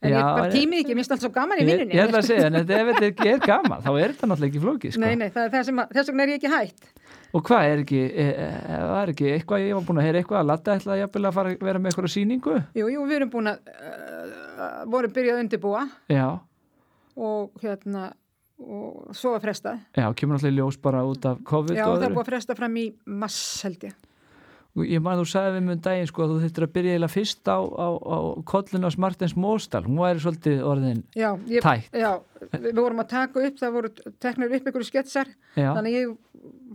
En Já, ég bara en- tímið ekki, minnst allt svo gaman í Ég, vinnunni. ég ætla að segja, en þetta, ef þetta er, ekki- er gaman, þá er þetta náttúrulega ekki flókið, sko. Nei, nei, það er það sem að, þess vegna er ég ekki hætt. Og hvað er ekki, e, er, er ekki eitthvað, ég var búin að heyra eitthvað að Latta ætlaði jafnvel að fara, vera með eitthvað sýningu? Jú, jú, við erum búin að, uh, vorum byrjað að undirbúa Já, og hérna, og svo að fresta. já, kemur alltaf ljós bara út af COVID Já, og það er öðru. búið að fresta fram í mass, held ég. Og Ég maður þú sagði við mjög um daginn, sko, að þú þurftir að byrja eiginlega fyrst á, á, á kollinu á Smartens Móstal. Hún væri svolítið orðin, Já, ég, Tætt. já, við við vorum að taka upp, það voru teknir upp ykkur sketsar, já, þannig ég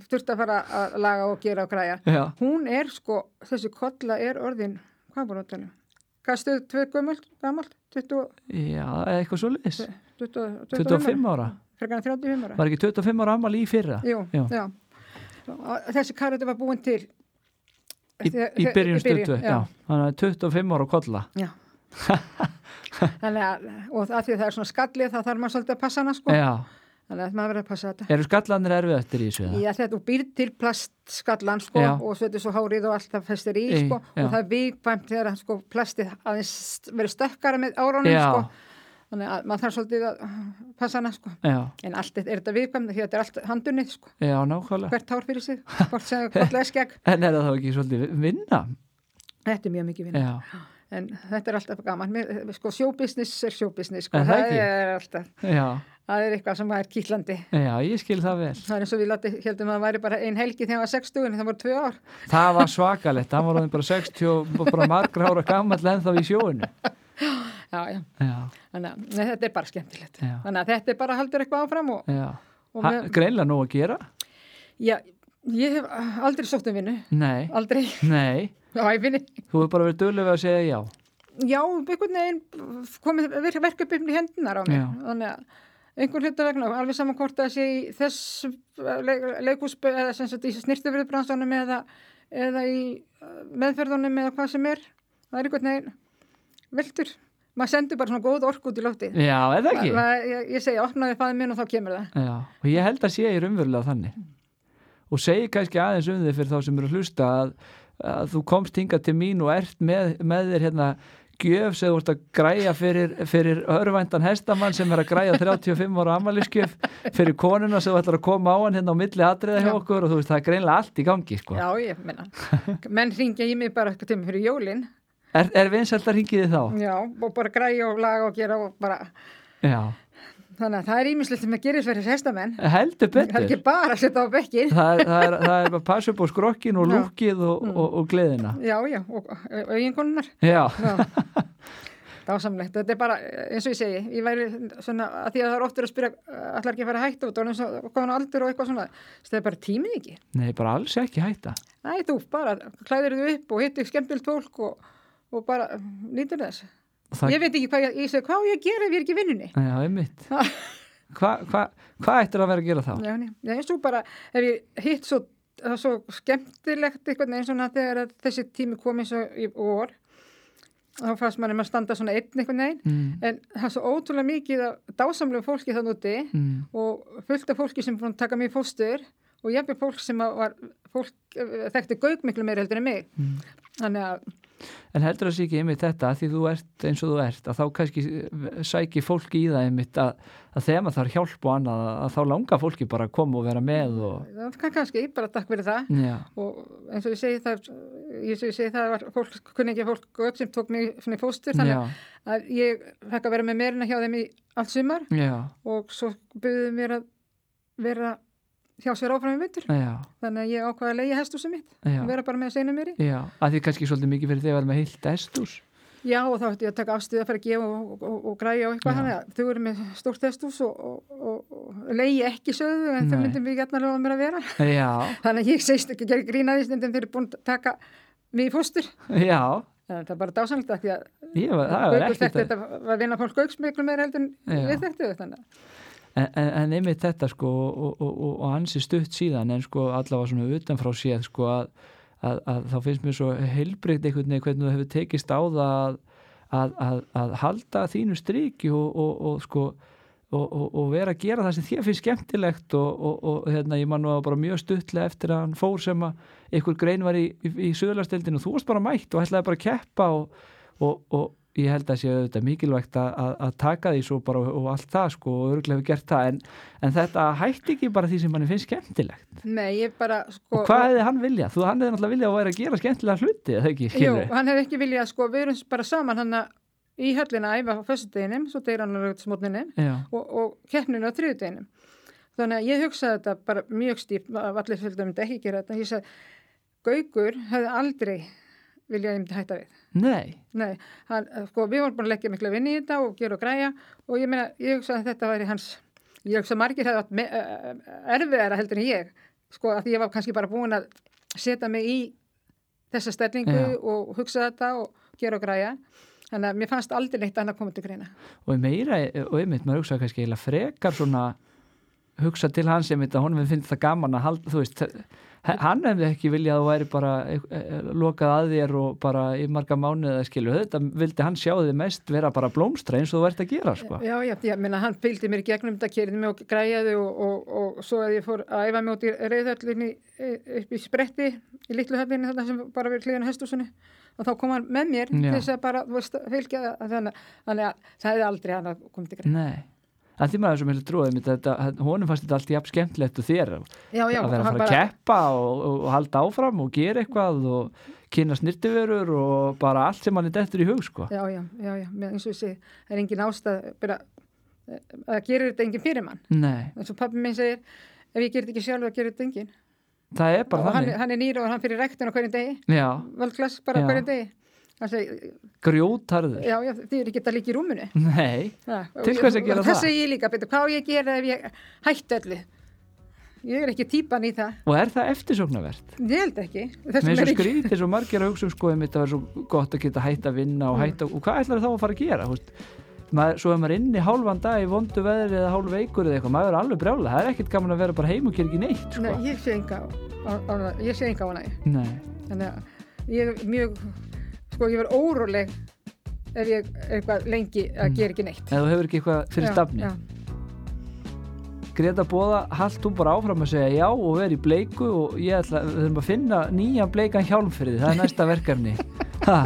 þurfti að fara að laga og gera og græja. já, hún er sko, þessi kolla er orðin, hvað var hún að tala? um? Hvað stuð, tvö gömult, gamalt, 20, já, eða eitthvað svo liðs. 20, 25 ára, Frekar en 35 ára. var ekki 25 ára amal í fyrra? Jú, já. já. Og Þessi karötu var búin til. Í, í byrjun stötu, já. Þannig að 25 ára kolla. já. *laughs* Þannig að, og að því að það er svona skallið, það þarf maður svolítið að passa hana sko. Já, Þannig að maður verður að passa þetta. eru skallanir erfið eftir í þessu? eða? Já, þetta og býr til plastskallan sko Já. og svo þetta er svo hárið og allt það festir í Í, sko já. og það er vikvæmt þegar hann, sko plastið aðeins verður stökkara með áránum Já. sko þannig að maður þarf svolítið að passa hana sko Já, en allt þetta- er þetta vikvæmt því að þetta er allt handunnið sko já, nákvæmlega. hvert hár fyrir sig, hvort sem *laughs* hvort leskjag En er það þá ekki svolítið vinna? þetta er mjög mikið vinna Já, en þetta er alltaf gaman, Mér- sko sjóbusiness er sjóbusiness sko, Er það ekki? er alltaf já, það er eitthvað sem er kýtlandi já, ég skil það vel. það er eins og við láti, heldum að það væri bara ein helgi þegar það var 60 en það voru tvö ár Það var svakalett, hann var orðinn bara 60 og bara margra ára gammal en þá í sjóinu. já, já. Já, Þannig að nei, þetta er bara skemmtilegt. Já. Þannig að þetta er bara heldur eitthvað áfram og, já. og Ha, með, greinlega nóg að gera? já, ég hef aldrei sótt um vinnu, Nei, aldrei *laughs* nei, á æfinni. þú hefur bara verið döluð við að segja já. Já, einhvern veginn komið ver, verkefni í hendunar á mér. Já. Þannig að einhvern hluta vegna, alveg saman hvort að sé í þess leik, leikúsp eða sem sagt í snirtufriðbransanum eða, eða í eh, meðferðunum eða hvað sem er. Það er einhvern veginn veldur. Maður sendur bara svona góð orku út í lótið. Já, er það ekki? Ég, ég segi, opnaði faðið minn og þá kemur það. Já, og ég held að sé ég raunverulega þannig. Og segi kannski aðeins um þig fyrir þá sem eru að hlusta að, að þú komst hingað til mín og ert með, með þér hérna gjöf sem þú ert að græja fyrir, fyrir örvæntan hestamann sem er að græja 35 ára amaliskjöf fyrir konuna sem þú ætlar að koma á hann hérna á milli atriða hjá Já. okkur og þú veist það er greinlega allt í gangi sko. Já, ég meina, menn ringja í mig bara eitthvað tíma fyrir jólin, Er, er vinsælt að ringi þið þá? já, og bara græja og laga og gera og bara, Já, þannig að það er ímislegt sem að gerist fyrir hestamenn, heldur það er betur. ekki bara að setja á bekkið, Það er, það, er, það er bara að passa upp á skrokkin og Já. lúkið og, og, og gleðina. já, já, og auðinkonunar, Já, já, dásamlegt, þetta er bara, eins og ég segi, ég væri svona, að því að það er oftur að spyrja, allar ekki að fara hægt og það er eins og komin á aldur og eitthvað svona, það er bara tímið ekki, nei bara alls ekki hætta. næ, þú bara, klæðir þú upp og hittir skemmtilt fólk og, og bara nýtur þess, Og það ég veit ekki hvað ég, ég segi, hvað á ég að gera ef ég er ekki í vinnunni, Já, *laughs* einmitt. Ha. Hvað hva, hva ættir að vera að gera þá? Já, nei. Já, eins og bara ef ég hitt svo, það er svo skemmtilegt einhvern veginn svona þegar að þessi tími kom eins og í vor þá fannst mann að standa svona einn einhvern veginn Mm, en það er svo ótrúlega mikið af dásamlegu fólki þann úti mm, og fullt af fólki sem er búin að taka mig fóstur og ég er fólk sem að var fólk eh, þekkti gaug miklu meir heldur en mig mm. þannig að En heldur það sé ekki einmitt þetta að því þú ert eins og þú ert að þá kannski sæki fólki í það einmitt að, að þegar maður þarf hjálp og annað að, að þá langar fólki bara að koma og vera með og það kann kannski, bara takk fyrir það já, og eins og ég segi það eins og ég segi það var fólk, kunningja fólk gott sem tók mig svona í já, fóstur þannig að ég fekk að vera með meirina hjá þeim í allt sumar já, og svo buðuðu mér að vera hjá sér áfram í myndur já, þannig að ég ákvaði að leiði hestúsum mitt og já, vera bara með að seina mér í já, að því kannski svolítið mikið fyrir því að vera með heilt estús. já og þá ætti ég að taka afstöðu að fara að gefa og, og, og græja og Já. eitthvað þannig að þau eru með stórt hestús og, og, og, og leiði ekki söðu en þau Nei. myndum við gætna lofa mér að vera Já, þannig að ég segist ekki að gera grínaði stundum þeir eru búin að taka mig í fóstur já, þannig að það er bara dásamlegt að því að ég var, það var Gaukur ekkert þekkti að... þetta var vinna fólk Gauks miklu meira heldur en Já. við þekktu þetta þannig. að- En, en, en einmitt þetta sko og, og, og, og hans er stutt síðan en sko allavega svona utanfrá séð sko að, að, að þá finnst mér svo heilbreykt einhvern veginn hvernig þú hefur tekist á það að, að, að, að halda þínu striki og, og, og sko og, og, og vera að gera það sem þér finnst skemmtilegt og, og, og hérna, ég man nú að bara mjög stuttlega eftir að hann fór sem að ykkur grein var í, í, í söðlarstildin og þú varst bara mætt og ætlaði bara að keppa og, og, og ég held að sé auðvitað mikilvægt að, að, að taka því svo bara og, og allt það sko og örgulega hefur gert það en, en þetta hætti ekki bara því sem manni finnst skemmtilegt Nei, ég bara sko, og hvað hefði hann viljað? Þú hann hefði náttúrulega viljað að vera að gera skemmtilega hluti eða ekki Jú, skilur? hann hefði ekki viljað sko, við erum bara saman hann að í höllina að æfa á föstudeginum, svo deyr hann á lögutismótninni Já, og, og keppninu á þriðudeginum. Þannig að ég hugsaði þetta bara mjög stípt, að allir fylgdu að ég myndi ekki gera þetta. Ég sagði, Gaukur hefði aldrei viljað að ég myndi hætta við. nei, Nei, hann, sko, við vorum búin að leggja mikla vinn í þetta og gera og græja og ég meina, ég hugsa að þetta væri hans, ég hugsa að margir hefði átt me- eh, erfiðara heldur en ég, sko, að því ég var kannski bara búin að setja mig í þessa stellingu Já. og hugsa þetta og gera og græja, þannig að mér fannst aldrei neitt annað koma til greina. og meira og einmitt maður hugsa kannski eiginlega frekar svona hugsa til hans einmitt að honum finnst það gaman að halda þú veist, h- hann hefði ekki viljað að þú væri bara eh, eh, lokað að þér og bara í marga mánuðið að skilu þetta vildi hann sjá þið mest vera bara blómstra eins og þú ert að gera sko Já, já, ég meina, hann fylgdi mér í gegnum þetta, kerði mig og græjaði og, og, og, svo að ég fór að æfa mig út í reyðhöllinni upp í spretti í litlu höllinni þarna sem bara verið klíðan á hestúsunni og þá kom hann með mér Já. til þess að bara, þú veist, fylgja það, þannig, að- þannig að það hefði aldrei hann að koma til greið. nei, að því maður er svo mjög trúið einmitt, þetta, honum fannst þetta allt jafn skemmtilegt og þér Já, já, að vera að hann fara að keppa og, og, og halda áfram og gera eitthvað og kynna snirtiverur og bara allt sem hann er dettur í hug sko Já, já, já, já, með, eins og þessi, það er engin ástæð, bara, eh, að gera þetta engin fyrir mann. nei, En svo pappi minn segir, ef ég gerir þetta ekki sjálf, það gerir þetta engin. það er Og bara hann, þannig hann er nýr og hann fyrir rektin á hverjum degi, já, valdklass bara Já. á hverjum degi. Hann segir, grjótarður Já, já, þið eru ekki að líka í rúmunu. Nei, Til hvers að gera það? Það segi ég líka, betur, hvað á ég að gera ef ég hætti öllu? Ég er ekki típan í það. og er það eftirsóknarvert? Ég held ekki. Mér Þessum er er svo ekki. skrítið svo margir að hugsa um sko að það er svo gott að geta hætt að vinna Mm. og hætta og hvað ætlar þá að fara að gera? Húst? Maður, svo er maður inni hálfan dag í vondu veðri eða hálf veikur eða eitthvað, maður er alveg brjála það er ekkert gaman að vera bara heim og gera ekki neitt sko. Nei, ég sé enga á, á, á, ég sé enga á hana. Nei. Þannig að ég er mjög, sko, ég verð óróleg ef ég er eitthvað lengi að gera ekki neitt. eða þú hefur ekki eitthvað Mm. fyrir Já, stafni já. *laughs* Greta Bóða, haldt þú bara áfram að segja já og veri í bleiku og ég ætla, við þurfum að finna nýjan bleikan hjálm fyrir því, það er næsta verkefni ha,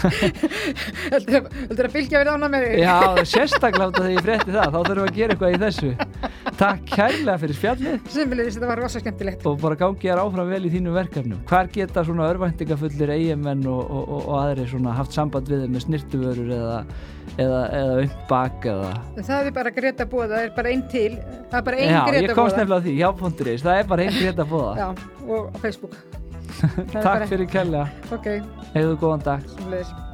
Heldur heldur að fylgja verið ána með þig? Já, sérstaklega út af því ég frétti það, þá þurfum við að gera eitthvað í þessu Takk kærlega fyrir spjallið Summulegis, þetta var rosa skemmtilegt. og bara gangi þér áfram vel í þínu verkefnum hvar geta svona örvæntingafullir eiginmenn og, og, og, og aðri svona haft samband við þeim með snirtuvörur eða eða, eða upp bak eða Það er bara Greta Bóða, það er bara einn til. Það er bara einn já, Greta ég komst Boða. nefnilega að því, já, punkturins, það er bara einn grétta bóða, Já, og á Facebook. takk fyrir kella Ok, hefðu góðan dag sem leiðis.